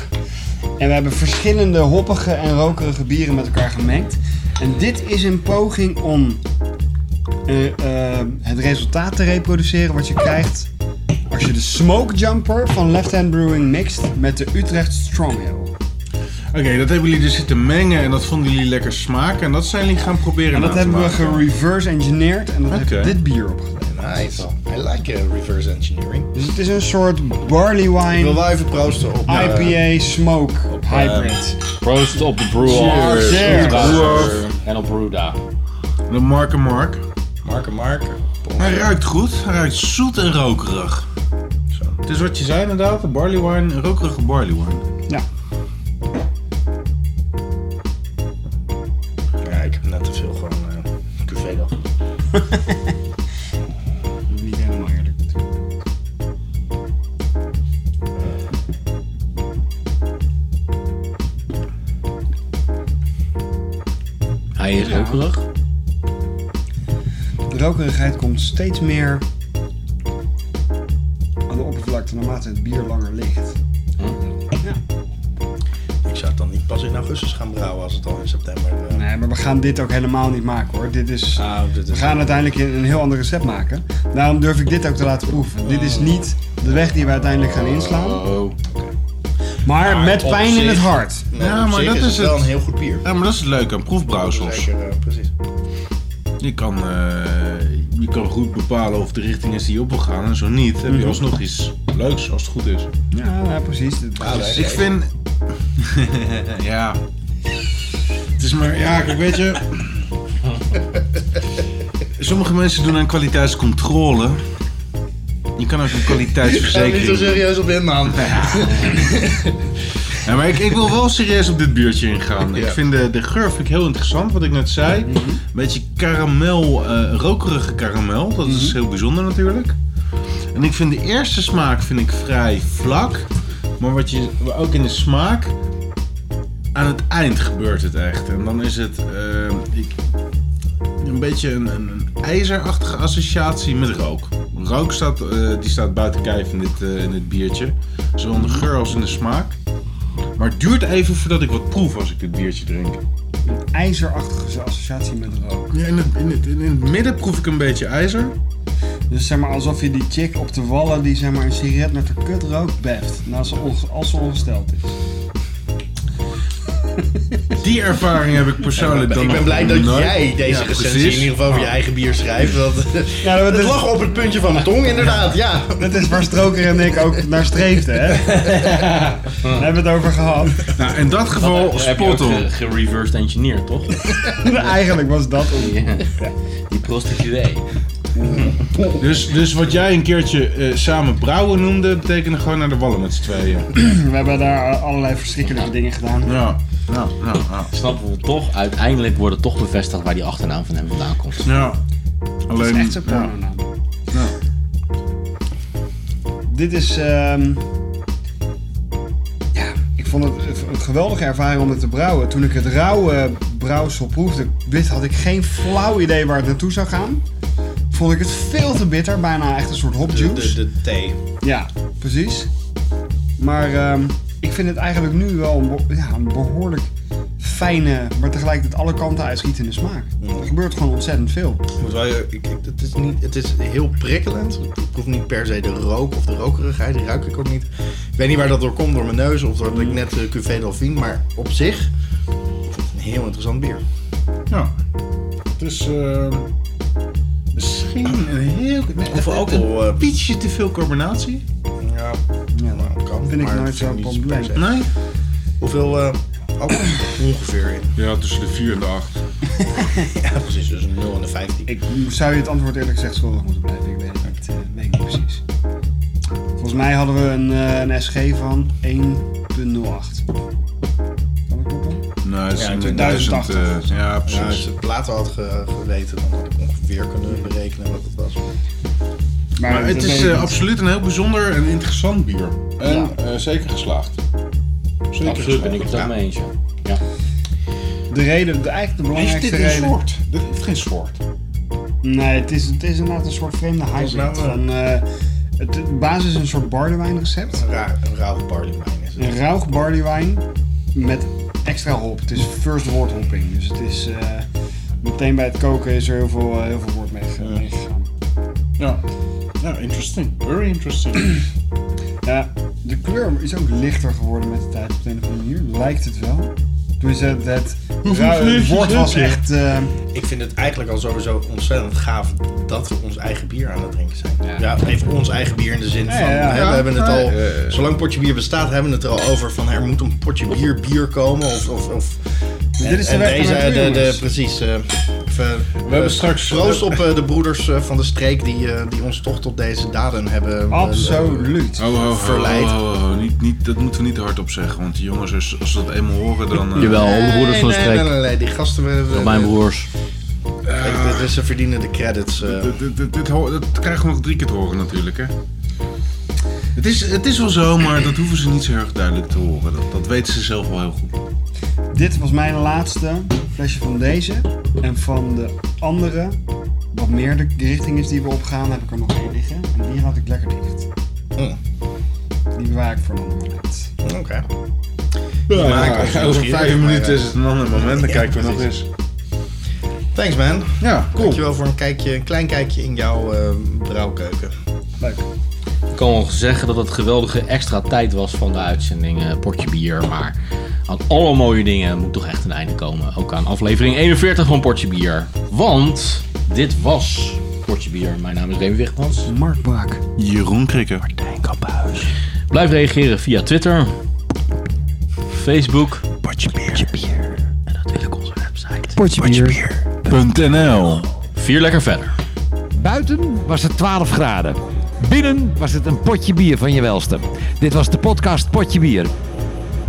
[SPEAKER 2] En we hebben verschillende hoppige en rokerige bieren met elkaar gemengd. En dit is een poging om eh, eh, het resultaat te reproduceren wat je krijgt als als je de Smoke Jumper van Left Hand Brewing mixt met de Utrecht Strong Ale.
[SPEAKER 3] <clears throat> Oké, dat hebben jullie dus zitten mengen en dat vonden jullie lekker smaken. En dat zijn jullie gaan proberen
[SPEAKER 2] En dat
[SPEAKER 5] Nou,
[SPEAKER 3] na te
[SPEAKER 2] hebben we
[SPEAKER 3] maken.
[SPEAKER 2] gereverse engineered en dat
[SPEAKER 3] Oké.
[SPEAKER 2] heeft dit bier opgeleverd.
[SPEAKER 5] Nice. I like eh, reverse engineering.
[SPEAKER 2] Dus het is een soort barley
[SPEAKER 5] Ik wil
[SPEAKER 2] wine,
[SPEAKER 5] wel eh, even proosten op...
[SPEAKER 3] Ah,
[SPEAKER 5] eh,
[SPEAKER 2] IPA, smoke, hybrid.
[SPEAKER 1] Proost op de Brewer.
[SPEAKER 2] Cheers. Cheers.
[SPEAKER 1] Op Brewer.
[SPEAKER 3] Cheers.
[SPEAKER 1] En op Bruda.
[SPEAKER 3] De Mark en Mark.
[SPEAKER 5] Mark en Mark.
[SPEAKER 3] Hij ruikt goed. Hij ruikt zoet en rokerig. Zo. Het is wat je zei inderdaad, een barley wine, een rokerige barley wine.
[SPEAKER 2] Ja.
[SPEAKER 5] Ja, ik heb net te veel gewoon eh cuvée nog.
[SPEAKER 2] Niet helemaal eerlijk natuurlijk.
[SPEAKER 1] Hij is rokerig.
[SPEAKER 2] De rokerigheid komt steeds meer aan de oppervlakte naarmate het bier langer ligt.
[SPEAKER 5] Ik zou het dan niet pas in augustus gaan brouwen als het al in september... eh,
[SPEAKER 2] Nee, maar we gaan dit ook helemaal niet maken hoor. Dit is,
[SPEAKER 5] Nou, dit
[SPEAKER 2] we
[SPEAKER 5] is-
[SPEAKER 2] gaan uiteindelijk een een heel ander recept maken. Daarom durf ik dit ook te laten proeven. Dit is niet de weg die we uiteindelijk gaan inslaan.
[SPEAKER 3] Oh.
[SPEAKER 2] Maar met
[SPEAKER 5] op
[SPEAKER 2] pijn in het
[SPEAKER 5] zich-
[SPEAKER 2] hart.
[SPEAKER 5] Nee,
[SPEAKER 3] Ja,
[SPEAKER 5] op
[SPEAKER 3] maar
[SPEAKER 5] zich
[SPEAKER 3] dat is
[SPEAKER 5] het wel
[SPEAKER 3] het. Eh,
[SPEAKER 5] een heel goed bier.
[SPEAKER 3] Ja, maar dat is het leuke aan proefbrouwsels.
[SPEAKER 5] Zeker, eh, precies.
[SPEAKER 3] Je kan, eh, je kan goed bepalen of de richting is die je op wil gaan en zo niet.
[SPEAKER 5] Mhm.
[SPEAKER 3] Heb je alsnog iets leuks als het goed is.
[SPEAKER 2] Ja, ja, precies.
[SPEAKER 5] Ah, nee.
[SPEAKER 3] Ik vind... ja. Het is maar... Ja, kijk, weet je... Sommige mensen doen aan kwaliteitscontrole. Je kan ook een kwaliteitsverzekering doen.
[SPEAKER 5] serieus op in, man.
[SPEAKER 3] Ja, maar ik, ik wil wel serieus op dit biertje ingaan. Ik
[SPEAKER 5] Ja.
[SPEAKER 3] vind de, de geur vind ik heel interessant, wat ik net zei. Een beetje karamel, eh, rokerige karamel. Dat is heel bijzonder natuurlijk. En ik vind de eerste smaak vind ik vrij vlak. Maar wat je ook in de smaak... Aan het eind gebeurt het echt. En dan is het eh, ik, een beetje een, een, een ijzerachtige associatie met rook. Rook staat, eh, die staat buiten kijf in dit, eh, in dit biertje. Zowel in de geur als in de smaak. Maar het duurt even voordat ik wat proef als ik dit biertje drink.
[SPEAKER 2] <laughs> IJzerachtige associatie met rook.
[SPEAKER 3] Ja, in, het, in, het, in het midden proef ik een beetje ijzer.
[SPEAKER 2] Dus zeg maar alsof je die chick op de wallen die zeg maar een sigaret naar de kut rookt beft. Naast ze onge- als ze ongesteld is.
[SPEAKER 3] Die ervaring heb ik persoonlijk dan
[SPEAKER 5] Ik ben
[SPEAKER 3] nog
[SPEAKER 5] blij dat
[SPEAKER 3] nooit.
[SPEAKER 5] jij deze
[SPEAKER 3] Ja,
[SPEAKER 5] recensie
[SPEAKER 3] precies. Ah.
[SPEAKER 5] in ieder geval voor je eigen bier schrijft. Want
[SPEAKER 2] Ja, dat
[SPEAKER 5] <laughs> het
[SPEAKER 2] is-
[SPEAKER 5] lag op het puntje van mijn tong, inderdaad. Ja.
[SPEAKER 2] Dat is waar Stroker en ik ook naar streefden, <laughs> hè? Daar hebben we het over gehad.
[SPEAKER 3] Nou, in dat geval
[SPEAKER 1] Heb je ook
[SPEAKER 3] spot on.
[SPEAKER 1] ge- gereversed engineer, toch?
[SPEAKER 2] Eigenlijk was dat het.
[SPEAKER 1] Ja. Die prostituee.
[SPEAKER 3] Dus, dus wat jij een keertje eh, samen brouwen noemde, betekende gewoon naar de wallen met z'n tweeën.
[SPEAKER 2] We hebben daar allerlei verschrikkelijke dingen gedaan.
[SPEAKER 3] Ja, ja, ja, ja.
[SPEAKER 1] Snappen we toch? Uiteindelijk wordt het toch bevestigd waar die achternaam van hem vandaan komt.
[SPEAKER 3] ja. Alleen,
[SPEAKER 2] Het is echt zo'n
[SPEAKER 3] ja.
[SPEAKER 2] pornonaam. Dit is... ehm, ja, ik vond het een geweldige ervaring om het te brouwen. Toen ik het rauwe brouwsel proefde, wit, had ik geen flauw idee waar het naartoe zou gaan. Vond ik het veel te bitter, bijna echt een soort hopjuice.
[SPEAKER 5] de thee.
[SPEAKER 2] Ja, precies. Maar ehm, ik vind het eigenlijk nu wel een, be- ja, een behoorlijk fijne, maar tegelijkertijd alle kanten uitschietende smaak.
[SPEAKER 5] Mm.
[SPEAKER 2] Er gebeurt gewoon ontzettend veel.
[SPEAKER 5] Moet wel, eh, ik, ik- het, is niet, het is heel prikkelend. Ik proef niet per se de rook of de rokerigheid. Die ruik ik ook niet. Ik weet niet waar dat door komt, door mijn neus of doordat ik net uh, Cuvée Delphine. Maar op zich, ik vind het een heel interessant bier.
[SPEAKER 3] Ja. Het is eh, misschien een heel...
[SPEAKER 5] Of ook al, eh,
[SPEAKER 3] pietje te veel carbonatie.
[SPEAKER 5] Ja,
[SPEAKER 2] Ja,
[SPEAKER 5] nou, kan.
[SPEAKER 2] vind ik
[SPEAKER 5] maar
[SPEAKER 2] nooit zo'n
[SPEAKER 5] niet per
[SPEAKER 2] probleem.
[SPEAKER 5] se.
[SPEAKER 3] Nee?
[SPEAKER 5] Hoeveel eh alcohol ongeveer in?
[SPEAKER 3] Ja, tussen de 4 en de 8.
[SPEAKER 5] Ja, precies. Dus een 0 en een 15.
[SPEAKER 2] Ik zou je het antwoord eerlijk gezegd schuldig moeten blijven. Ik weet het niet, eh, weet ik niet precies. Volgens mij hadden we een, eh, een SG van 1.08. Kan ik kloppen?
[SPEAKER 3] Nee, het is
[SPEAKER 5] Ja,
[SPEAKER 3] een
[SPEAKER 2] 2080.
[SPEAKER 3] 1000. eh, ja,
[SPEAKER 5] Ja, als
[SPEAKER 3] precies.
[SPEAKER 5] je het later had ge- geweten, dan had ik ongeveer kunnen berekenen wat het was.
[SPEAKER 3] Maar het
[SPEAKER 2] dat
[SPEAKER 3] is
[SPEAKER 2] weet ik
[SPEAKER 3] eh,
[SPEAKER 2] niet.
[SPEAKER 3] absoluut een heel bijzonder en interessant bier. En eh, zeker geslaagd. Zeker
[SPEAKER 1] Absoluut ben ik het ook
[SPEAKER 3] Ja.
[SPEAKER 1] mee eens. ja. Ja.
[SPEAKER 2] de reden, de, eigenlijk de
[SPEAKER 3] Heeft
[SPEAKER 2] belangrijkste
[SPEAKER 3] dit een
[SPEAKER 2] reden.
[SPEAKER 3] soort? Dit heeft geen soort.
[SPEAKER 2] Nee, het is, het is inderdaad een soort vreemde hybrid.
[SPEAKER 5] nou, eh?
[SPEAKER 2] van, eh, het, de basis is een soort barlewijnrecept.
[SPEAKER 5] Een raar, een rauwe barley wine is het.
[SPEAKER 2] Een rauw barleywijn met extra hop. Het is first wort hopping. Dus het is eh, meteen bij het koken is er heel veel, eh, heel veel wort mee- meegegaan.
[SPEAKER 3] Ja. Ja, interesting. Very <clears throat> interesting.
[SPEAKER 2] Ja, de kleur is ook lichter geworden met de tijd op de een of andere manier. Lijkt het wel. Dus het, het,
[SPEAKER 3] Hoeveel
[SPEAKER 2] ja, het
[SPEAKER 3] kleurtjes
[SPEAKER 2] woord
[SPEAKER 3] heb
[SPEAKER 2] was
[SPEAKER 3] je?
[SPEAKER 2] echt... eh,
[SPEAKER 5] Ik vind het eigenlijk al sowieso ontzettend gaaf dat we ons eigen bier aan het drinken zijn. Ja, even ons eigen bier in de zin van,
[SPEAKER 2] ja, ja.
[SPEAKER 5] hè, we hebben het al,
[SPEAKER 3] Ja, ja, ja.
[SPEAKER 5] zolang potje bier bestaat, hebben we het er al over van er moet een potje bier bier komen of... of, of
[SPEAKER 2] Dit is de weg naar
[SPEAKER 5] deze,
[SPEAKER 2] het bier,
[SPEAKER 5] de, de,
[SPEAKER 2] jongens.
[SPEAKER 5] precies. eh, we
[SPEAKER 3] hebben straks-
[SPEAKER 5] Proost op eh, de broeders eh, van de streek die, eh, die ons toch tot deze daden hebben eh,
[SPEAKER 2] absoluut.
[SPEAKER 3] Ho, ho, ho,
[SPEAKER 5] Verleid.
[SPEAKER 3] ho, ho, ho. Niet, niet, dat moeten we niet hardop zeggen, want die jongens, als, als ze dat eenmaal horen, dan... eh,
[SPEAKER 6] Jawel, alle
[SPEAKER 5] Nee,
[SPEAKER 6] broeders van de
[SPEAKER 5] nee, Nee,
[SPEAKER 6] streek.
[SPEAKER 5] nee, nee, die gasten... We, we-
[SPEAKER 6] Mijn broers.
[SPEAKER 5] Kijk, dit is- ze verdienen de credits. eh.
[SPEAKER 3] Dit, dit, dit, dit ho- dat krijgen we nog drie keer te horen natuurlijk, hè? Het is, het is wel zo, maar dat hoeven ze niet zo erg duidelijk te horen. Dat, dat weten ze zelf wel heel goed.
[SPEAKER 2] Dit was mijn laatste flesje van deze. En van de andere, wat meer de richting is die we opgaan, heb ik er nog één liggen. En die houd ik lekker dicht. Oh.
[SPEAKER 5] Mm.
[SPEAKER 2] Die bewaar ik voor een ander moment.
[SPEAKER 5] Oké.
[SPEAKER 3] Ja,
[SPEAKER 5] maakt ons
[SPEAKER 3] over
[SPEAKER 5] nieuwsgierig,
[SPEAKER 3] vijf
[SPEAKER 5] maar,
[SPEAKER 3] minuten
[SPEAKER 5] eh,
[SPEAKER 3] is het een ander moment, dan
[SPEAKER 5] ja,
[SPEAKER 3] kijken we nog
[SPEAKER 5] precies.
[SPEAKER 3] eens.
[SPEAKER 5] Thanks man.
[SPEAKER 3] Ja, cool.
[SPEAKER 5] Dankjewel voor een, kijkje, een klein kijkje in jouw eh, brouwkeuken.
[SPEAKER 2] Leuk.
[SPEAKER 1] Ik kan wel zeggen dat het geweldige extra tijd was van de uitzending eh, Portje Bier. Maar aan alle mooie dingen moet toch echt een einde komen. Ook aan aflevering 41 van Portje Bier. Want dit was Portje Bier. Mijn naam is Remy Wichtmans.
[SPEAKER 2] Mark Baak.
[SPEAKER 3] Jeroen Krikker.
[SPEAKER 1] Blijf reageren via Twitter, Facebook en natuurlijk onze website.
[SPEAKER 3] .nl
[SPEAKER 1] Vier lekker verder.
[SPEAKER 7] Buiten was het 12 graden. Binnen was het een potje bier van je welste. Dit was de podcast Potje Bier.